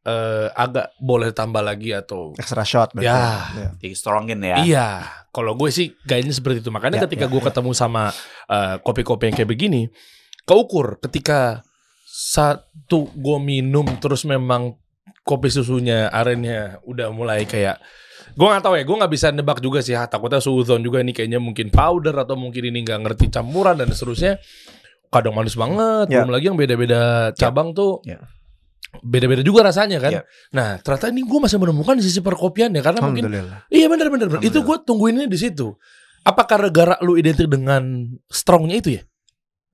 Speaker 3: eh, agak boleh tambah lagi atau
Speaker 1: Extra shot berarti.
Speaker 3: Ya.
Speaker 1: Ya.
Speaker 2: Di strongin ya.
Speaker 3: Iya, kalau gue sih gayanya seperti itu. Makanya
Speaker 1: Ya,
Speaker 3: ketika
Speaker 1: ya,
Speaker 3: gue ketemu sama eh, kopi-kopi yang kayak begini, keukur ketika satu gue minum terus memang kopi susunya arennya udah mulai kayak gue nggak tahu ya, gue nggak bisa nebak juga sih. Ah, Takutnya suudon juga ini kayaknya mungkin powder atau mungkin ini nggak ngerti campuran dan seterusnya. Kadang manis banget,
Speaker 1: Ya.
Speaker 3: belum lagi yang beda-beda cabang tuh.
Speaker 2: Ya.
Speaker 3: Beda-beda juga rasanya kan.
Speaker 2: Ya.
Speaker 3: Nah, ternyata ini gue masih menemukan di sisi perkopian ya karena mungkin
Speaker 1: Alhamdulillah.
Speaker 3: Iya benar benar benar. Itu gue
Speaker 1: Alhamdulillah.
Speaker 3: tungguinnya di situ. Apa karena gara lu identik dengan strongnya itu ya?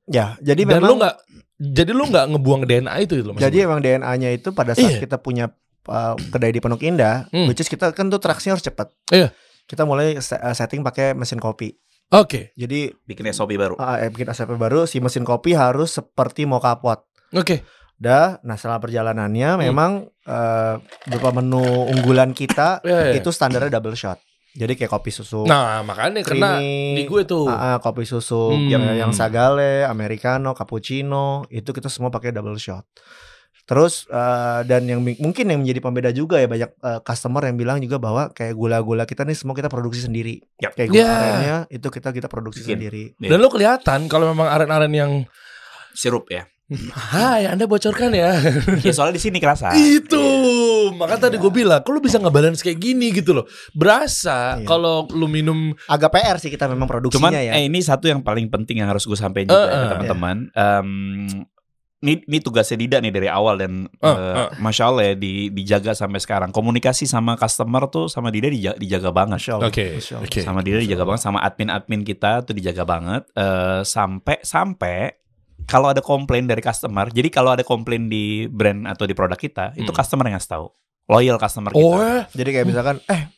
Speaker 1: Ya, jadi
Speaker 3: Dan
Speaker 1: memang
Speaker 3: lu nggak, jadi lu nggak ngebuang DNA itu gitu loh. maksud
Speaker 1: Jadi
Speaker 3: gue.
Speaker 1: emang DNA-nya itu pada saat
Speaker 3: Iya.
Speaker 1: kita punya uh, kedai di Pondok Indah,
Speaker 3: Hmm.
Speaker 1: which is kita kan tuh traksinya harus cepat.
Speaker 3: Iya.
Speaker 1: Kita mulai se- uh, setting pakai mesin kopi.
Speaker 3: oke.
Speaker 1: Jadi
Speaker 2: Bikin SOP baru.
Speaker 1: uh, eh, bikin asap baru, si mesin kopi harus seperti mau kapot.
Speaker 3: Oke.
Speaker 1: Dah, nah selama perjalanannya
Speaker 3: Hmm.
Speaker 1: memang uh, beberapa menu unggulan kita
Speaker 3: Ya, ya.
Speaker 1: itu standarnya double shot. Jadi kayak kopi susu,
Speaker 3: Nah, makanya kena
Speaker 1: creamy,
Speaker 3: di gue tuh.
Speaker 1: ah, ah, kopi susu,
Speaker 3: Hmm.
Speaker 1: yang, yang sagale, americano, cappuccino, itu kita semua pakai double shot. Terus eh, dan yang mi- mungkin yang menjadi pembeda juga ya banyak eh, customer yang bilang juga bahwa kayak gula-gula kita nih semua kita produksi sendiri.
Speaker 2: Yap.
Speaker 1: Kayak gula
Speaker 3: Ya.
Speaker 1: arennya itu kita kita produksi
Speaker 2: Bikin.
Speaker 1: sendiri.
Speaker 3: Dan lu kelihatan kalau memang aren-aren yang
Speaker 2: Sirup ya.
Speaker 3: Hai, Anda bocorkan ya.
Speaker 2: ya soalnya di sini
Speaker 1: Ah,
Speaker 2: kerasa. Iya.
Speaker 3: itu.
Speaker 1: iya.
Speaker 3: Makanya tadi gue bilang, kok lu bisa ngebalance kayak gini gitu loh. Berasa
Speaker 1: Iya.
Speaker 3: kalau lu minum
Speaker 1: Agak PR sih kita memang produksinya
Speaker 2: Cuman
Speaker 1: ya.
Speaker 2: eh, ini satu yang paling penting yang harus gue sampaikan
Speaker 3: Eh,
Speaker 2: juga ya,
Speaker 3: eh.
Speaker 2: teman-teman. Em, ini, ini tugasnya Dida nih dari awal dan
Speaker 3: Eh,
Speaker 2: eh, masya Allah ya di- dijaga sampai sekarang. Komunikasi sama customer tuh sama Dida dija- dijaga banget.
Speaker 1: Masya Allah.
Speaker 3: Oke,
Speaker 1: Masya Allah.
Speaker 3: oke.
Speaker 2: Sama Dida dijaga banget, sama admin-admin kita tuh dijaga banget. Eh, sampai sampai kalau ada komplain dari customer, jadi kalau ada komplain di brand atau di produk kita, itu
Speaker 3: Hmm.
Speaker 2: customer yang ngasih tahu. Loyal customer kita.
Speaker 3: oh, eh,
Speaker 1: Jadi kayak misalkan eh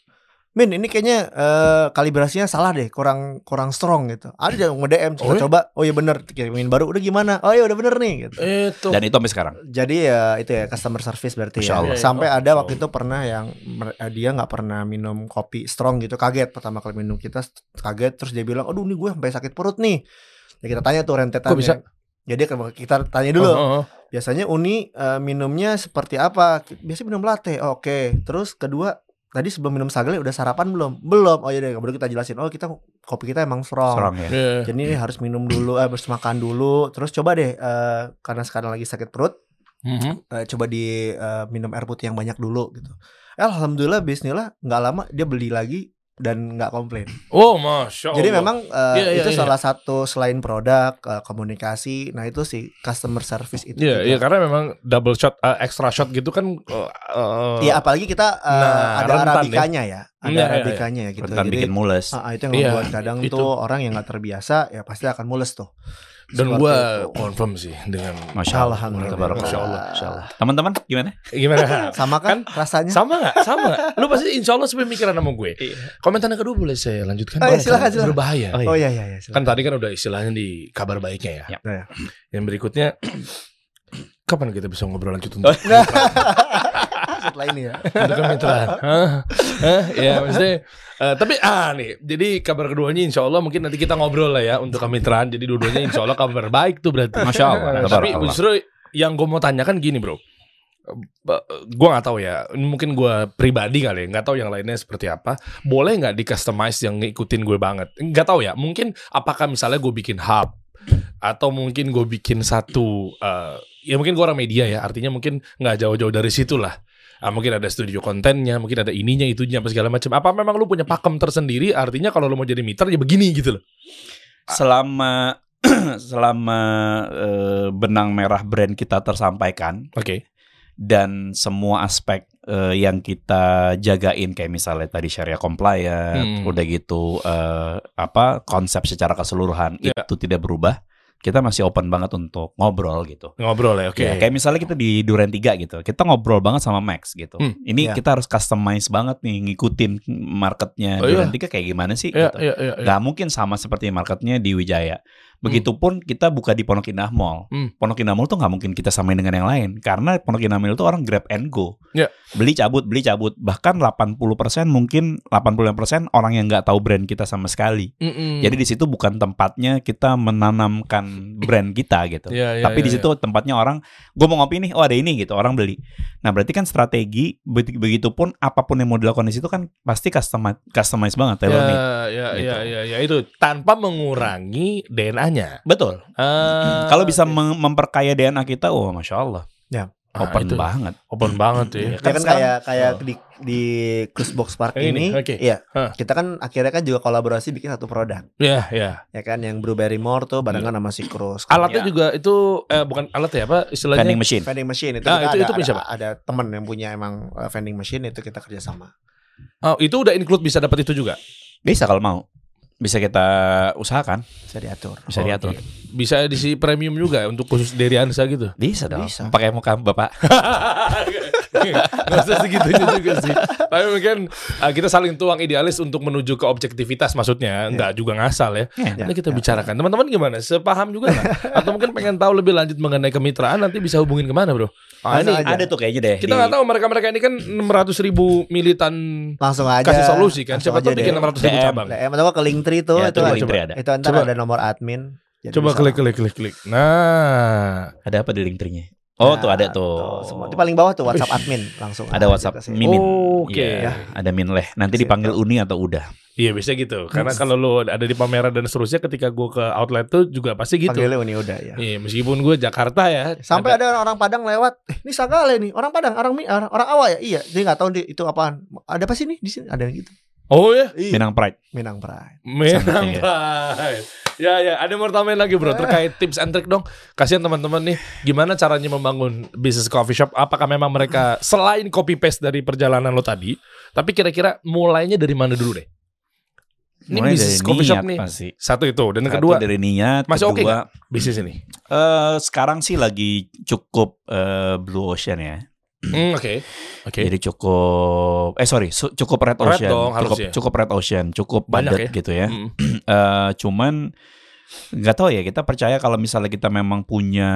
Speaker 1: Min ini kayaknya eh, kalibrasinya salah deh, kurang kurang strong gitu. Ada yang nge-DM
Speaker 3: Oh ya?
Speaker 1: coba-coba, oh iya bener, kirimin baru, udah gimana? Oh iya udah bener nih gitu.
Speaker 3: eh, itu.
Speaker 2: Dan itu sampai sekarang.
Speaker 1: Jadi ya itu ya customer service berarti
Speaker 2: Masya
Speaker 1: ya.
Speaker 2: Allah.
Speaker 1: Sampai
Speaker 3: Iya, iya.
Speaker 1: ada waktu itu pernah yang mer- eh, dia nggak pernah minum kopi strong gitu kaget pertama kali minum kita st- kaget terus dia bilang aduh ini gue sampai sakit perut nih. Ya kita tanya tuh rentetannya.
Speaker 3: Kok bisa?
Speaker 1: Jadi ke- kita tanya dulu.
Speaker 3: Oh, oh, oh.
Speaker 1: Biasanya Uni eh, minumnya seperti apa? Biasanya minum latte. Oke. Terus kedua tadi sebelum minum sagale udah sarapan belum? Belum. Oh iya deh baru kita jelasin. Oh kita kopi kita emang
Speaker 2: Serang ya.
Speaker 3: Iya.
Speaker 1: jadi ini harus minum dulu, eh, harus makan dulu. Terus coba deh, eh, karena sekarang lagi sakit perut,
Speaker 3: Mhm.
Speaker 1: eh, coba di eh, minum air putih yang banyak dulu gitu. Eh, Alhamdulillah, Bismillah, nggak lama dia beli lagi dan nggak komplain.
Speaker 3: Oh, masya
Speaker 1: Jadi
Speaker 3: Allah.
Speaker 1: memang eh,
Speaker 3: Iya, iya,
Speaker 1: itu
Speaker 3: iya.
Speaker 1: salah satu selain produk, eh, komunikasi. Nah itu sih customer service itu. juga.
Speaker 3: Iya, iya karena memang double shot, eh, extra shot gitu kan. eh, eh,
Speaker 1: Iya, apalagi kita eh,
Speaker 3: Nah,
Speaker 1: ada
Speaker 3: rentan ya.
Speaker 1: arabikanya ya, ada
Speaker 3: Iya, iya, iya.
Speaker 1: arabikanya ya gitu.
Speaker 2: Rentan
Speaker 1: Jadi
Speaker 2: bikin mules.
Speaker 1: ah, ah, itu yang
Speaker 3: Iya,
Speaker 1: membuat kadang
Speaker 3: itu.
Speaker 1: tuh orang yang nggak terbiasa ya pasti akan mules tuh.
Speaker 3: dan
Speaker 1: Seperti
Speaker 3: gue
Speaker 1: itu.
Speaker 3: confirm sih dengan
Speaker 2: Masya Allah.
Speaker 1: Alhamdulillah.
Speaker 2: Tabarakallah.
Speaker 3: Masya Allah.
Speaker 1: Masya Allah.
Speaker 2: Teman-teman gimana?
Speaker 3: gimana?
Speaker 1: Sama kan, rasanya?
Speaker 3: sama nggak? Sama. nggak? Lu pasti insya Allah sepemikiran sama gue.
Speaker 2: Iya.
Speaker 3: Komentar yang kedua boleh saya lanjutkan?
Speaker 1: Oh, iya,
Speaker 3: Boleh,
Speaker 1: silakan,
Speaker 3: karena
Speaker 1: silakan.
Speaker 3: Berbahaya.
Speaker 2: Oh,
Speaker 1: Oh iya iya iya. silakan.
Speaker 3: Kan tadi kan udah istilahnya di kabar baiknya ya.
Speaker 2: Ya.
Speaker 1: Iya.
Speaker 3: Yang berikutnya, kapan kita bisa ngobrol lanjut
Speaker 2: Oh,
Speaker 3: untuk
Speaker 1: iya. Setelah ini ya.
Speaker 3: untuk kemitraan. Hah? Hah? Ya maksudnya. eh, tapi ah nih, jadi kabar keduanya insya Allah mungkin nanti kita ngobrol lah ya untuk kemitraan. Jadi dua-duanya insya Allah kabar baik tuh berarti.
Speaker 2: Masya Allah.
Speaker 3: Tapi
Speaker 2: Tabarakallah.
Speaker 3: justru yang gue mau tanyakan gini bro. Ba- gua nggak tahu ya mungkin gua pribadi kali ya nggak tahu yang lainnya seperti apa boleh nggak di customize yang ngikutin gue banget nggak tahu ya mungkin apakah misalnya gue bikin hub atau mungkin gue bikin satu eh, ya mungkin gue orang media ya artinya mungkin nggak jauh-jauh dari situ lah Ah, mungkin ada studio kontennya mungkin ada ininya itunya apa segala macam apa memang lu punya pakem tersendiri artinya kalau lu mau jadi miter ya begini gitu loh
Speaker 2: selama selama eh, benang merah brand kita tersampaikan
Speaker 3: oke
Speaker 2: dan semua aspek eh, yang kita jagain kayak misalnya tadi syariah compliant
Speaker 3: Hmm.
Speaker 2: udah gitu eh, apa konsep secara keseluruhan
Speaker 3: Ya.
Speaker 2: itu tidak berubah kita masih open banget untuk ngobrol gitu
Speaker 3: ngobrol ya oke
Speaker 2: Ya, kayak misalnya kita di Duren 3 gitu kita ngobrol banget sama Max gitu
Speaker 3: Hmm.
Speaker 1: Ya.
Speaker 2: ini kita harus customize banget nih ngikutin marketnya
Speaker 3: Oh,
Speaker 2: Duren
Speaker 3: iya.
Speaker 2: 3 kayak gimana sih
Speaker 3: ya
Speaker 2: gitu
Speaker 3: ya ya, ya.
Speaker 2: Gak mungkin sama seperti marketnya di Wijaya. Begitupun kita buka di Pondok Indah Mall.
Speaker 3: Hmm.
Speaker 2: Pondok Indah Mall tuh nggak mungkin kita samain dengan yang lain karena Pondok Indah Mall itu orang grab and go.
Speaker 3: Ya.
Speaker 2: Beli cabut, beli cabut. Bahkan 80% mungkin 85% orang yang nggak tahu brand kita sama sekali.
Speaker 3: Mm-mm.
Speaker 2: Jadi di situ bukan tempatnya kita menanamkan brand kita gitu.
Speaker 3: Ya, ya,
Speaker 2: Tapi
Speaker 3: ya,
Speaker 2: di situ tempatnya orang, gue mau ngopi nih, oh ada ini gitu, orang beli. Nah berarti kan strategi, beti- begitupun apapun yang mau dilakukan di situ kan pasti customize, customize banget, tailor made.
Speaker 3: ya, ya,
Speaker 2: Gitu.
Speaker 3: ya, ya, ya, itu tanpa mengurangi DNA-nya.
Speaker 2: Betul.
Speaker 3: Ah,
Speaker 2: Kalau bisa
Speaker 3: oke.
Speaker 2: meng- memperkaya DNA kita, wah masya Allah,
Speaker 3: Ah,
Speaker 2: open
Speaker 3: itu.
Speaker 2: banget.
Speaker 3: open banget ya.
Speaker 2: Iya.
Speaker 1: Ya
Speaker 2: Kan
Speaker 1: kan
Speaker 2: sekarang-
Speaker 1: kayak kayak di di Cruisebox Park
Speaker 3: Yang Oh. ini,
Speaker 1: ini,
Speaker 3: oke.
Speaker 1: iya.
Speaker 3: Hah.
Speaker 1: Kita kan akhirnya kan juga kolaborasi bikin satu produk,
Speaker 3: Ya, ya.
Speaker 1: ya kan yang Brew Barrymore tuh barengan sama si Cruise.
Speaker 3: Alatnya
Speaker 2: Iya.
Speaker 3: juga itu eh, bukan alat ya apa istilahnya?
Speaker 2: Vending machine.
Speaker 1: vending machine itu,
Speaker 3: Ah,
Speaker 1: kita
Speaker 3: itu-
Speaker 1: ada,
Speaker 3: itu punya
Speaker 1: ada,
Speaker 3: siapa?
Speaker 1: ada teman yang punya emang eh, vending machine itu kita kerjasama.
Speaker 3: Oh, itu udah include bisa dapat itu juga.
Speaker 2: Bisa kalau mau, bisa kita usahakan,
Speaker 1: Bisa diatur.
Speaker 2: bisa
Speaker 3: Oh,
Speaker 2: diatur.
Speaker 3: oke. Bisa diisi premium juga untuk khusus dari Ansa gitu.
Speaker 2: Bisa dong.
Speaker 1: Bisa.
Speaker 2: Pakai muka bapak.
Speaker 3: Gak usah segitunya juga sih. Tapi mungkin eh, kita saling tuang idealis untuk menuju ke objektivitas maksudnya,
Speaker 1: Iya.
Speaker 3: nggak juga ngasal ya.
Speaker 2: Iya.
Speaker 3: Nanti kita bicarakan. Teman-teman gimana? Sepaham juga nggak? Atau mungkin pengen tahu lebih lanjut mengenai kemitraan nanti bisa hubungin kemana bro? Ah,
Speaker 1: Langsung Ah,
Speaker 2: ini
Speaker 1: aja.
Speaker 2: ada tuh kayaknya deh.
Speaker 3: Kita
Speaker 2: di-
Speaker 3: nggak tahu mereka-mereka ini kan 600 ribu militan
Speaker 1: Langsung aja.
Speaker 3: kasih solusi kan.
Speaker 1: langsung
Speaker 3: Siapa tahu
Speaker 1: aja
Speaker 3: bikin
Speaker 1: deh.
Speaker 3: 600 ribu
Speaker 2: DM.
Speaker 3: cabang.
Speaker 1: DM atau ke Linktree tuh
Speaker 2: Ya,
Speaker 1: itu
Speaker 2: tuh
Speaker 1: ada,
Speaker 2: Linktree ada.
Speaker 1: itu ntar
Speaker 3: Coba.
Speaker 1: ada nomor admin. Jadi
Speaker 3: Coba
Speaker 1: bisa
Speaker 3: klik klik klik klik. Nah,
Speaker 2: Ada apa di linktree
Speaker 1: Nah,
Speaker 2: Oh tuh ada tuh.
Speaker 1: Semua di paling bawah tuh WhatsApp admin langsung.
Speaker 2: Ada
Speaker 1: aja
Speaker 2: WhatsApp
Speaker 1: ke sini.
Speaker 2: Mimin.
Speaker 3: Oke. ya.
Speaker 2: Iya, ada Minleh. Nanti
Speaker 1: Situ.
Speaker 2: dipanggil Uni atau Udah.
Speaker 3: iya biasanya gitu. Karena kalau lo ada di pameran dan seterusnya, ketika gue ke outlet tuh juga pasti gitu.
Speaker 1: Panggilnya Uni udah ya.
Speaker 3: Iya, meskipun gue Jakarta ya.
Speaker 1: Sampai ada orang Padang lewat. Eh, ini Sagale nih, orang Padang, orang Mi- orang, orang Awa ya? Iya, dia nggak tahu di- itu apaan. Ada apa sih nih di sini? Ada yang gitu.
Speaker 3: Oh ya,
Speaker 2: Minang Pride.
Speaker 1: Minang Pride.
Speaker 3: Menang
Speaker 2: Iya.
Speaker 3: Pak. Ya ya, ada yang mau tambahin lagi bro terkait tips and trick dong. Kasihan teman-teman nih, gimana caranya membangun bisnis coffee shop? Apakah memang mereka selain copy paste dari perjalanan lo tadi, tapi kira-kira mulainya dari mana dulu deh? Ini
Speaker 2: Mulai
Speaker 3: bisnis
Speaker 2: dari
Speaker 3: coffee shop
Speaker 2: niat
Speaker 3: nih.
Speaker 2: pasti.
Speaker 3: Satu itu dan
Speaker 2: Satu
Speaker 3: kedua
Speaker 2: dari niat,
Speaker 3: Masih oke
Speaker 2: kedua
Speaker 3: bisnis ini.
Speaker 2: eh, sekarang sih lagi cukup eh, blue ocean ya.
Speaker 3: Hmm, Oke. Oke.
Speaker 2: Jadi cukup eh sorry su- cukup red
Speaker 3: Red
Speaker 2: ocean,
Speaker 3: dong
Speaker 2: cukup
Speaker 3: harusnya.
Speaker 2: cukup red ocean, cukup
Speaker 3: Banyak ya.
Speaker 2: padat gitu ya.
Speaker 3: Hmm.
Speaker 2: Eh, cuman nggak tahu ya kita percaya kalau misalnya kita memang punya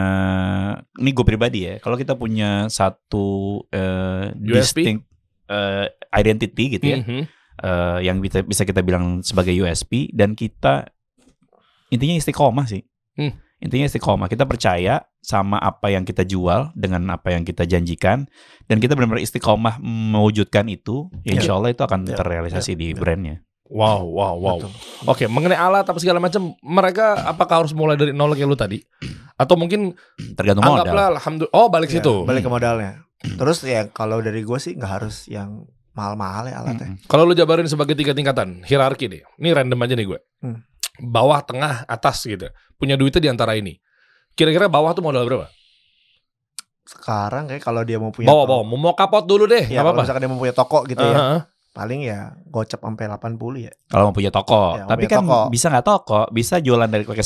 Speaker 2: ini gue pribadi ya kalau kita punya satu eh,
Speaker 3: USP?
Speaker 2: distinct eh, identity gitu ya
Speaker 3: Mhm.
Speaker 2: eh, yang bisa bisa kita bilang sebagai USP dan kita intinya istiqomah sih
Speaker 3: Hmm.
Speaker 2: intinya istiqomah kita percaya sama apa yang kita jual dengan apa yang kita janjikan dan kita benar-benar istiqomah mewujudkan itu ya insya Allah itu akan
Speaker 1: Ya.
Speaker 2: terrealisasi di brandnya
Speaker 3: Wow, wow, wow.
Speaker 1: Betul.
Speaker 3: Oke, mengenai alat apa segala macam, mereka apakah harus mulai dari nol kayak lu tadi? Atau mungkin
Speaker 2: tergantung modal Iya,
Speaker 3: anggaplah alhamdulillah oh balik
Speaker 1: Ya,
Speaker 3: situ.
Speaker 1: Balik ke modalnya. Terus ya kalau dari gue sih nggak harus yang mahal-mahal ya alatnya.
Speaker 2: Mm-mm.
Speaker 3: Kalau lu jabarin sebagai tiga tingkatan hierarki deh. Ini random aja nih gue.
Speaker 1: Hmm.
Speaker 3: Bawah, tengah, atas gitu. Punya duitnya di antara ini. Kira-kira bawah tuh modal berapa?
Speaker 1: Sekarang kayak kalau dia mau punya
Speaker 2: Iya,
Speaker 3: Bawah,
Speaker 1: toko-
Speaker 3: bawah. Mau mau kapot dulu deh,
Speaker 1: Ya, kalau
Speaker 3: nggak apa-apa. Uh-huh.
Speaker 1: misalkan dia mau punya toko gitu ya.
Speaker 3: Aha.
Speaker 1: Paling ya gocap sampai 80 ya.
Speaker 2: kalau mau punya toko
Speaker 1: Ya, mau punya
Speaker 2: tapi kan
Speaker 1: toko.
Speaker 2: bisa nggak toko bisa jualan dari pakai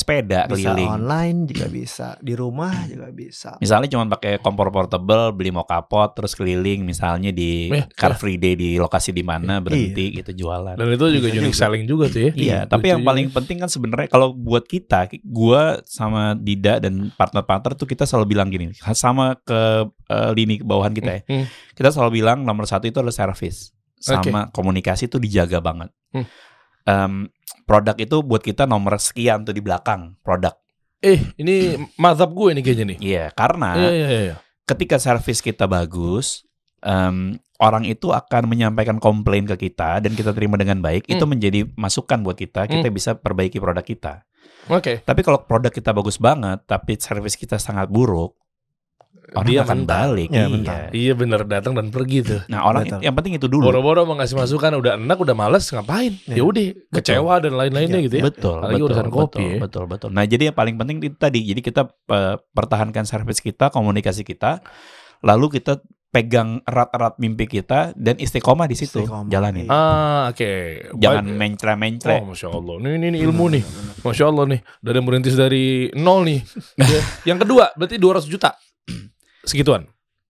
Speaker 1: Bisa
Speaker 2: sepeda keliling
Speaker 1: online juga bisa, di rumah juga bisa.
Speaker 2: Misalnya cuma pakai kompor portable, beli mau kapot, terus keliling misalnya di
Speaker 3: Eh,
Speaker 2: Car Free Day di lokasi di
Speaker 1: Iya.
Speaker 2: mana berhenti gitu jualan.
Speaker 3: Dan itu juga
Speaker 1: Bisa
Speaker 3: unique
Speaker 1: juga.
Speaker 3: selling juga tuh ya.
Speaker 2: Iya, tapi
Speaker 3: Lucu
Speaker 2: yang
Speaker 3: juga.
Speaker 2: paling penting kan sebenarnya kalau buat kita, gua sama Dida dan partner-partner tuh kita selalu bilang gini, sama ke eh, lini bawahan kita ya.
Speaker 3: Hmm.
Speaker 2: Kita selalu bilang nomor satu itu adalah service,
Speaker 3: Oke.
Speaker 2: sama komunikasi tuh dijaga banget.
Speaker 3: Hmm.
Speaker 2: Em, produk itu buat kita nomor sekian tuh di belakang produk.
Speaker 3: Eh, ini mazhab gue nih kayaknya nih.
Speaker 2: Iya, karena
Speaker 3: Iya, iya, iya.
Speaker 2: ketika service kita bagus, em, orang itu akan menyampaikan komplain ke kita dan kita terima dengan baik,
Speaker 3: Hmm.
Speaker 2: itu menjadi masukan buat kita, kita bisa perbaiki produk kita.
Speaker 3: Oke.
Speaker 2: Tapi kalau produk kita bagus banget, tapi service kita sangat buruk, orang
Speaker 3: Dia
Speaker 2: akan
Speaker 3: akan
Speaker 2: balik.
Speaker 1: Ya,
Speaker 2: iya.
Speaker 1: bentar.
Speaker 3: Iya bener datang dan pergi tuh.
Speaker 2: Nah, orang
Speaker 1: Betul.
Speaker 2: yang penting itu dulu.
Speaker 3: Boro-boro mau ngasih masukan udah enak udah males ngapain?
Speaker 1: Iya.
Speaker 3: Ya udah kecewa dan lain-lainnya
Speaker 1: Iya,
Speaker 3: gitu ya.
Speaker 2: Betul,
Speaker 3: Apalagi
Speaker 2: betul,
Speaker 3: urusan
Speaker 2: betul,
Speaker 3: kopi ya.
Speaker 2: betul, betul. Nah, jadi yang paling penting itu tadi. Jadi kita eh, pertahankan service kita, komunikasi kita, lalu kita pegang erat-erat mimpi kita dan istiqomah di situ.
Speaker 1: Istiqomah, iya.
Speaker 2: Jalanin.
Speaker 3: Ah, oke.
Speaker 2: Jangan
Speaker 3: Baik.
Speaker 2: mencre-mencre.
Speaker 3: Oh, masya Allah. Ini, ini, ini ilmu nih. Masya Allah nih. Dari merintis dari nol nih. Ya. Yang kedua, berarti 200 juta. Segituan.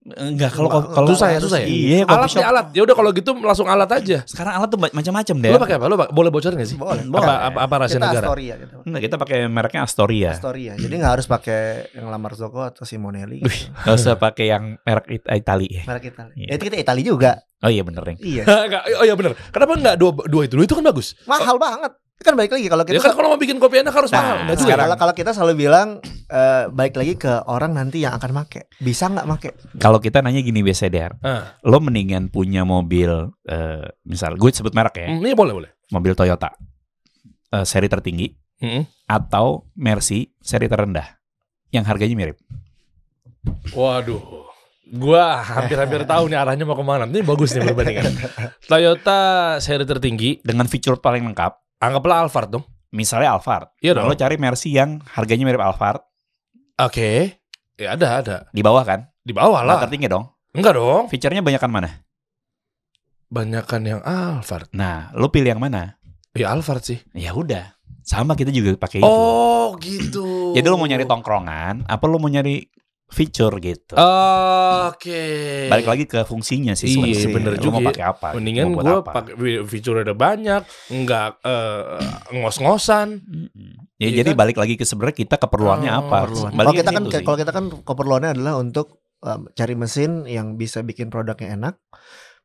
Speaker 2: Enggak, kalau
Speaker 3: Nah,
Speaker 2: kalau
Speaker 3: Susah ya, susah ya?
Speaker 2: Iya,
Speaker 3: alat
Speaker 2: coffee shop.
Speaker 3: ya alat. Ya udah kalau gitu langsung alat aja.
Speaker 2: Sekarang alat tuh ba- macam-macam deh.
Speaker 3: Lo pakai apa? Lo pakai- boleh bocorin gak sih?
Speaker 1: Ya. Boleh.
Speaker 3: Apa, apa, apa rahasia
Speaker 1: kita
Speaker 3: negara? Iya.
Speaker 1: Astoria gitu.
Speaker 2: Enggak, kita pakai mereknya Astoria.
Speaker 1: Astoria. Jadi nggak harus pakai yang lamar Zoko atau Simonelli.
Speaker 2: Wih. Gak usah pakai yang merek It- Itali ya.
Speaker 1: Merek Itali.
Speaker 2: Iya.
Speaker 1: Ya itu kita Itali juga.
Speaker 2: Oh iya bener Reng.
Speaker 1: Iya.
Speaker 3: Nggak, oh iya bener. Kenapa nggak dua, dua itu? Dua itu kan bagus.
Speaker 1: Mahal banget. Kan balik lagi kalau
Speaker 3: Ya
Speaker 1: kita
Speaker 3: kan kalau mau bikin kopi enak harus
Speaker 2: Nah,
Speaker 3: mahal. Nggak
Speaker 1: Nah,
Speaker 3: juga. Ah.
Speaker 1: kalau kalau kita selalu bilang eh, balik lagi ke orang nanti yang akan make. Bisa nggak make?
Speaker 2: Kalau kita nanya gini biasa Der,
Speaker 3: Ah.
Speaker 2: lo mendingan punya mobil eh, misal gue sebut merek ya,
Speaker 3: Hmm, iya boleh boleh.
Speaker 2: mobil Toyota eh, seri tertinggi
Speaker 3: Mm-mm.
Speaker 2: atau Mercy seri terendah yang harganya mirip.
Speaker 3: Waduh. Gua hampir-hampir tahu nih arahnya mau kemana. Ini bagus nih perbandingan. Toyota seri tertinggi,
Speaker 2: Dengan fitur paling lengkap,
Speaker 3: anggaplah Alphard dong.
Speaker 2: misalnya Alphard.
Speaker 3: Iya
Speaker 2: Nah,
Speaker 3: dong.
Speaker 2: lo cari Mercy yang harganya mirip Alphard
Speaker 3: Oke. Ya ada ada.
Speaker 2: di bawah kan?
Speaker 3: Di bawah
Speaker 2: Nggak
Speaker 3: lah.
Speaker 2: tertinggi dong.
Speaker 3: Enggak dong.
Speaker 2: Fiturnya banyakan mana?
Speaker 3: Banyakan yang Alphard.
Speaker 2: Nah, lo pilih yang mana?
Speaker 3: Ya Alphard sih.
Speaker 2: Ya udah, sama kita juga pakai itu.
Speaker 3: Oh gitu.
Speaker 2: Jadi lo Ya, mau nyari tongkrongan, apa lo mau nyari fitur gitu?
Speaker 3: Oh. Oke.
Speaker 2: Balik lagi ke fungsinya sih.
Speaker 3: Iya, bener
Speaker 2: sebenarnya. Lo mau
Speaker 3: juga ya.
Speaker 2: pakai apa?
Speaker 3: Mendingan
Speaker 2: Mau buat
Speaker 3: gue
Speaker 2: apa?
Speaker 3: pakai fitur ada banyak, nggak eh, ngos-ngosan.
Speaker 2: Mm-mm. Ya,
Speaker 3: Iya
Speaker 2: jadi
Speaker 3: kan?
Speaker 2: balik lagi ke sebenarnya kita keperluannya
Speaker 3: Oh,
Speaker 2: apa?
Speaker 3: keperluan.
Speaker 2: Balik
Speaker 1: Kalau kita kan
Speaker 2: itu sih.
Speaker 1: kalau kita kan keperluannya adalah untuk um, cari mesin yang bisa bikin produknya enak,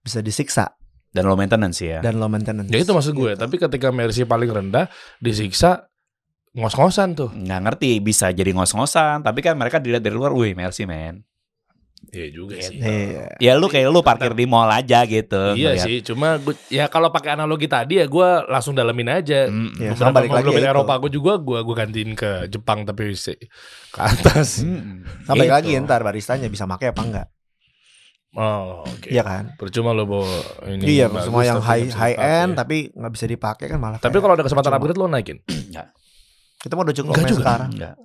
Speaker 1: bisa disiksa
Speaker 2: dan low maintenance ya.
Speaker 1: dan low maintenance.
Speaker 3: Ya itu maksud gue.
Speaker 1: Gitu.
Speaker 3: Tapi ketika Mercy paling rendah disiksa ngos-ngosan tuh.
Speaker 2: nggak ngerti bisa jadi ngos-ngosan tapi kan mereka dilihat dari luar wih merci men
Speaker 3: Iya juga
Speaker 2: Iya.
Speaker 3: sih.
Speaker 1: Iya.
Speaker 2: ya lu kayak lu parkir di mall aja gitu
Speaker 3: Iya
Speaker 2: ngeliat.
Speaker 3: sih, cuma gue, ya kalau pakai analogi tadi ya gue langsung dalemin aja.
Speaker 2: Mm,
Speaker 1: Iya.
Speaker 2: mm,
Speaker 1: sama balik
Speaker 3: Beberapa mobil
Speaker 1: lagi ya itu.
Speaker 3: Eropa gue juga gue gue gantiin ke Jepang tapi se- ke atas.
Speaker 2: mm.
Speaker 1: Sampai
Speaker 2: Gitu.
Speaker 1: lagi ya. ntar baristanya bisa make apa enggak?
Speaker 3: Oh, oke.
Speaker 1: Iya kan?
Speaker 3: Percuma lo bawa ini.
Speaker 1: iya,
Speaker 3: bagus,
Speaker 1: semua yang
Speaker 3: tapi
Speaker 1: high
Speaker 3: nggak bisa
Speaker 1: high
Speaker 3: dipakai. Iya.
Speaker 1: end tapi nggak bisa dipakai kan malah.
Speaker 3: Tapi
Speaker 1: kayak-
Speaker 3: kalau ada kesempatan
Speaker 1: percuma.
Speaker 3: upgrade lo naikin.
Speaker 1: kita mau udah cukup
Speaker 3: Nggak
Speaker 1: main
Speaker 3: juga.
Speaker 1: sekarang.
Speaker 2: Enggak.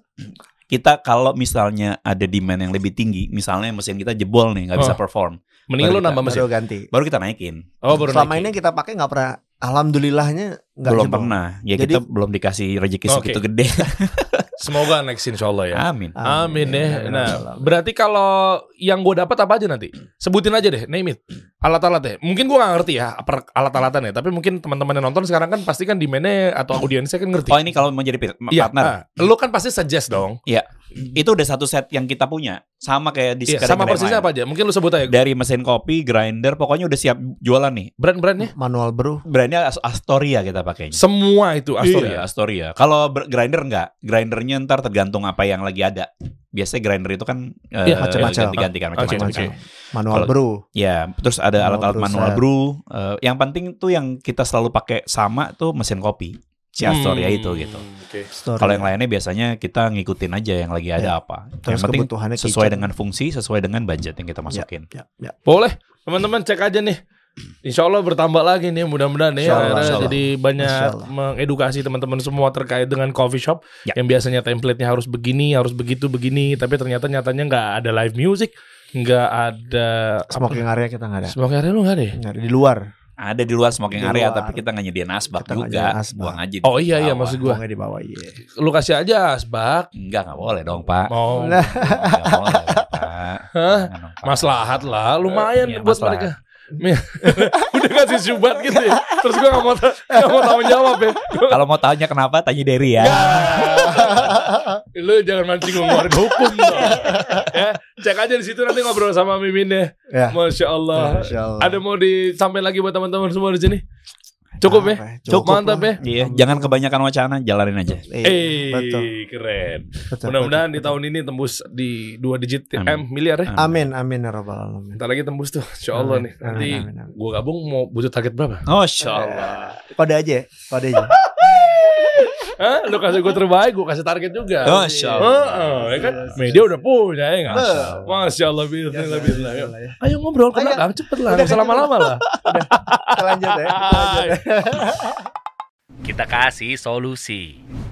Speaker 2: kita kalau misalnya ada demand yang lebih tinggi misalnya mesin kita jebol nih nggak bisa
Speaker 3: Oh.
Speaker 2: perform
Speaker 3: Mendingan
Speaker 2: Baru
Speaker 3: lo nambah mesin.
Speaker 1: Baru ganti.
Speaker 2: baru kita naikin
Speaker 3: Oh, baru
Speaker 1: Selama ini
Speaker 3: naikin.
Speaker 1: kita pakai nggak pernah. Alhamdulillahnya nggak
Speaker 2: belum
Speaker 1: jebol.
Speaker 2: pernah ya
Speaker 1: Jadi-
Speaker 2: kita belum dikasih rezeki
Speaker 3: Oke.
Speaker 2: segitu gede
Speaker 3: Semoga next insya Allah ya.
Speaker 2: amin
Speaker 1: Ah,
Speaker 3: Amin deh.
Speaker 1: Amin. ya
Speaker 3: Nah, berarti kalau yang gue dapat apa aja nanti? Sebutin aja deh, name it. Alat-alat deh. Mungkin gue gak ngerti ya per- alat-alatannya, tapi mungkin teman-teman yang nonton sekarang kan pasti kan demand-nya atau audiensnya kan ngerti.
Speaker 2: oh ini kalau mau jadi pir-
Speaker 3: Iya,
Speaker 2: partner
Speaker 3: ah. Lo kan pasti suggest dong.
Speaker 2: itu udah satu set yang kita punya sama kayak di
Speaker 3: Mm-hmm. Iya,
Speaker 2: sekarang
Speaker 3: sama
Speaker 2: yang
Speaker 3: persisnya
Speaker 2: lain.
Speaker 3: apa aja? Mungkin lo sebut aja
Speaker 2: dari mesin kopi grinder pokoknya udah siap jualan nih
Speaker 3: brand-brandnya.
Speaker 1: Manual bro.
Speaker 2: brandnya As- Astoria kita pakainya
Speaker 3: Semua itu Astoria.
Speaker 2: Astoria, Astoria. Kalau ber- grinder enggak, grindernya ntar tergantung apa yang lagi ada. Biasanya grinder itu kan eh,
Speaker 3: Iya,
Speaker 1: macam-macam.
Speaker 2: ganti-ganti kan
Speaker 3: Oke,
Speaker 2: macam-macam.
Speaker 3: oke.
Speaker 1: Manual
Speaker 2: Kalau-
Speaker 1: bro.
Speaker 2: Ya, terus
Speaker 3: Oh,
Speaker 2: ada
Speaker 1: Manual
Speaker 2: alat-alat
Speaker 1: brew
Speaker 2: manual
Speaker 1: set.
Speaker 2: brew. Eh, yang penting tuh yang kita selalu pakai sama tuh mesin kopi. Si Astoria
Speaker 3: Hmm,
Speaker 2: itu gitu.
Speaker 3: oke.
Speaker 1: Story.
Speaker 2: Kalau yang lainnya biasanya kita ngikutin aja yang lagi ada apa.
Speaker 1: Iya. Terus
Speaker 2: yang penting
Speaker 1: kebutuhannya gitu.
Speaker 2: sesuai
Speaker 1: kitchen.
Speaker 2: dengan fungsi, sesuai dengan budget yang kita masukin.
Speaker 1: Ya, ya.
Speaker 3: Boleh, teman-teman cek aja nih. Insya Allah bertambah lagi nih mudah-mudahan nih
Speaker 1: Insya Allah,
Speaker 3: akhirnya
Speaker 1: insya Allah.
Speaker 3: jadi banyak
Speaker 1: Insya Allah.
Speaker 3: mengedukasi teman-teman semua terkait dengan coffee shop
Speaker 2: Ya.
Speaker 3: yang biasanya template-nya harus begini harus begitu begini tapi ternyata nyatanya nggak ada live music nggak ada
Speaker 1: Smoking area kita
Speaker 2: Nah.
Speaker 1: nggak ada.
Speaker 3: Smoking area lu nggak ada ya?
Speaker 1: Nggak ada di luar.
Speaker 2: Ada di luar smoking
Speaker 1: Di
Speaker 2: area
Speaker 1: luar.
Speaker 2: tapi kita nggak nyediain asbak
Speaker 1: Kita nggak
Speaker 2: juga.
Speaker 1: nyediain asbak.
Speaker 2: Buang aja. di
Speaker 3: Oh iya iya
Speaker 2: bawah.
Speaker 3: maksud gua
Speaker 1: Buangnya di bawah. Iya.
Speaker 3: lu kasih aja asbak
Speaker 2: Enggak, enggak boleh dong, Pak.
Speaker 3: mau
Speaker 1: Nah.
Speaker 2: Nggak boleh, Pak.
Speaker 3: Hah?
Speaker 2: Jangan dong, Pak.
Speaker 3: maslahat lah lumayan
Speaker 2: Iya,
Speaker 3: buat
Speaker 2: maslahat.
Speaker 3: mereka Mi- udah kasih subat gitu ya terus gua nggak mau ta- nggak mau tanggung jawab ya Gua-
Speaker 2: Kalau mau tanya kenapa tanya Derry ya.
Speaker 3: lu jangan mancing keluarga hukum dong. ya cek aja di situ nanti ngobrol sama mimin deh
Speaker 1: Ya.
Speaker 3: masya allah
Speaker 1: Masya Allah.
Speaker 3: ada mau disampaikan lagi buat teman-teman semua di sini Cukup ya?
Speaker 1: Apa
Speaker 2: Cukup
Speaker 3: mantap
Speaker 1: lah.
Speaker 3: ya.
Speaker 2: Iya, jangan kebanyakan wacana, jalanin aja.
Speaker 1: Iya,
Speaker 3: Eh,
Speaker 1: betul.
Speaker 3: keren.
Speaker 1: betul,
Speaker 3: Mudah-mudahan di
Speaker 1: betul,
Speaker 3: tahun ini tembus di dua digit M
Speaker 2: Amin.
Speaker 3: miliar ya.
Speaker 1: betul. Amin, amin ya rabbal alamin.
Speaker 3: Bentar lagi tembus tuh, insya Allah nih. Nanti
Speaker 1: Amin, amin, amin.
Speaker 3: gue gabung mau butuh target berapa?
Speaker 2: Oh, Allah.
Speaker 1: Kode aja, ya, kode aja.
Speaker 3: Hah? Lu kasih gue terbaik, gue kasih target juga.
Speaker 1: Oh,
Speaker 2: Masya Allah.
Speaker 3: Heeh, ya kan? Media udah punya ya nggak? Masya Allah, bismillah, bismillah. Ayo.
Speaker 1: Bismillah, ya.
Speaker 3: Ayo ngobrol ke
Speaker 1: Ayo.
Speaker 3: belakang, cepet lah. Nggak usah lama-lama lah.
Speaker 1: Kita lanjut ya. kita lanjut ya.
Speaker 4: Kita kasih solusi.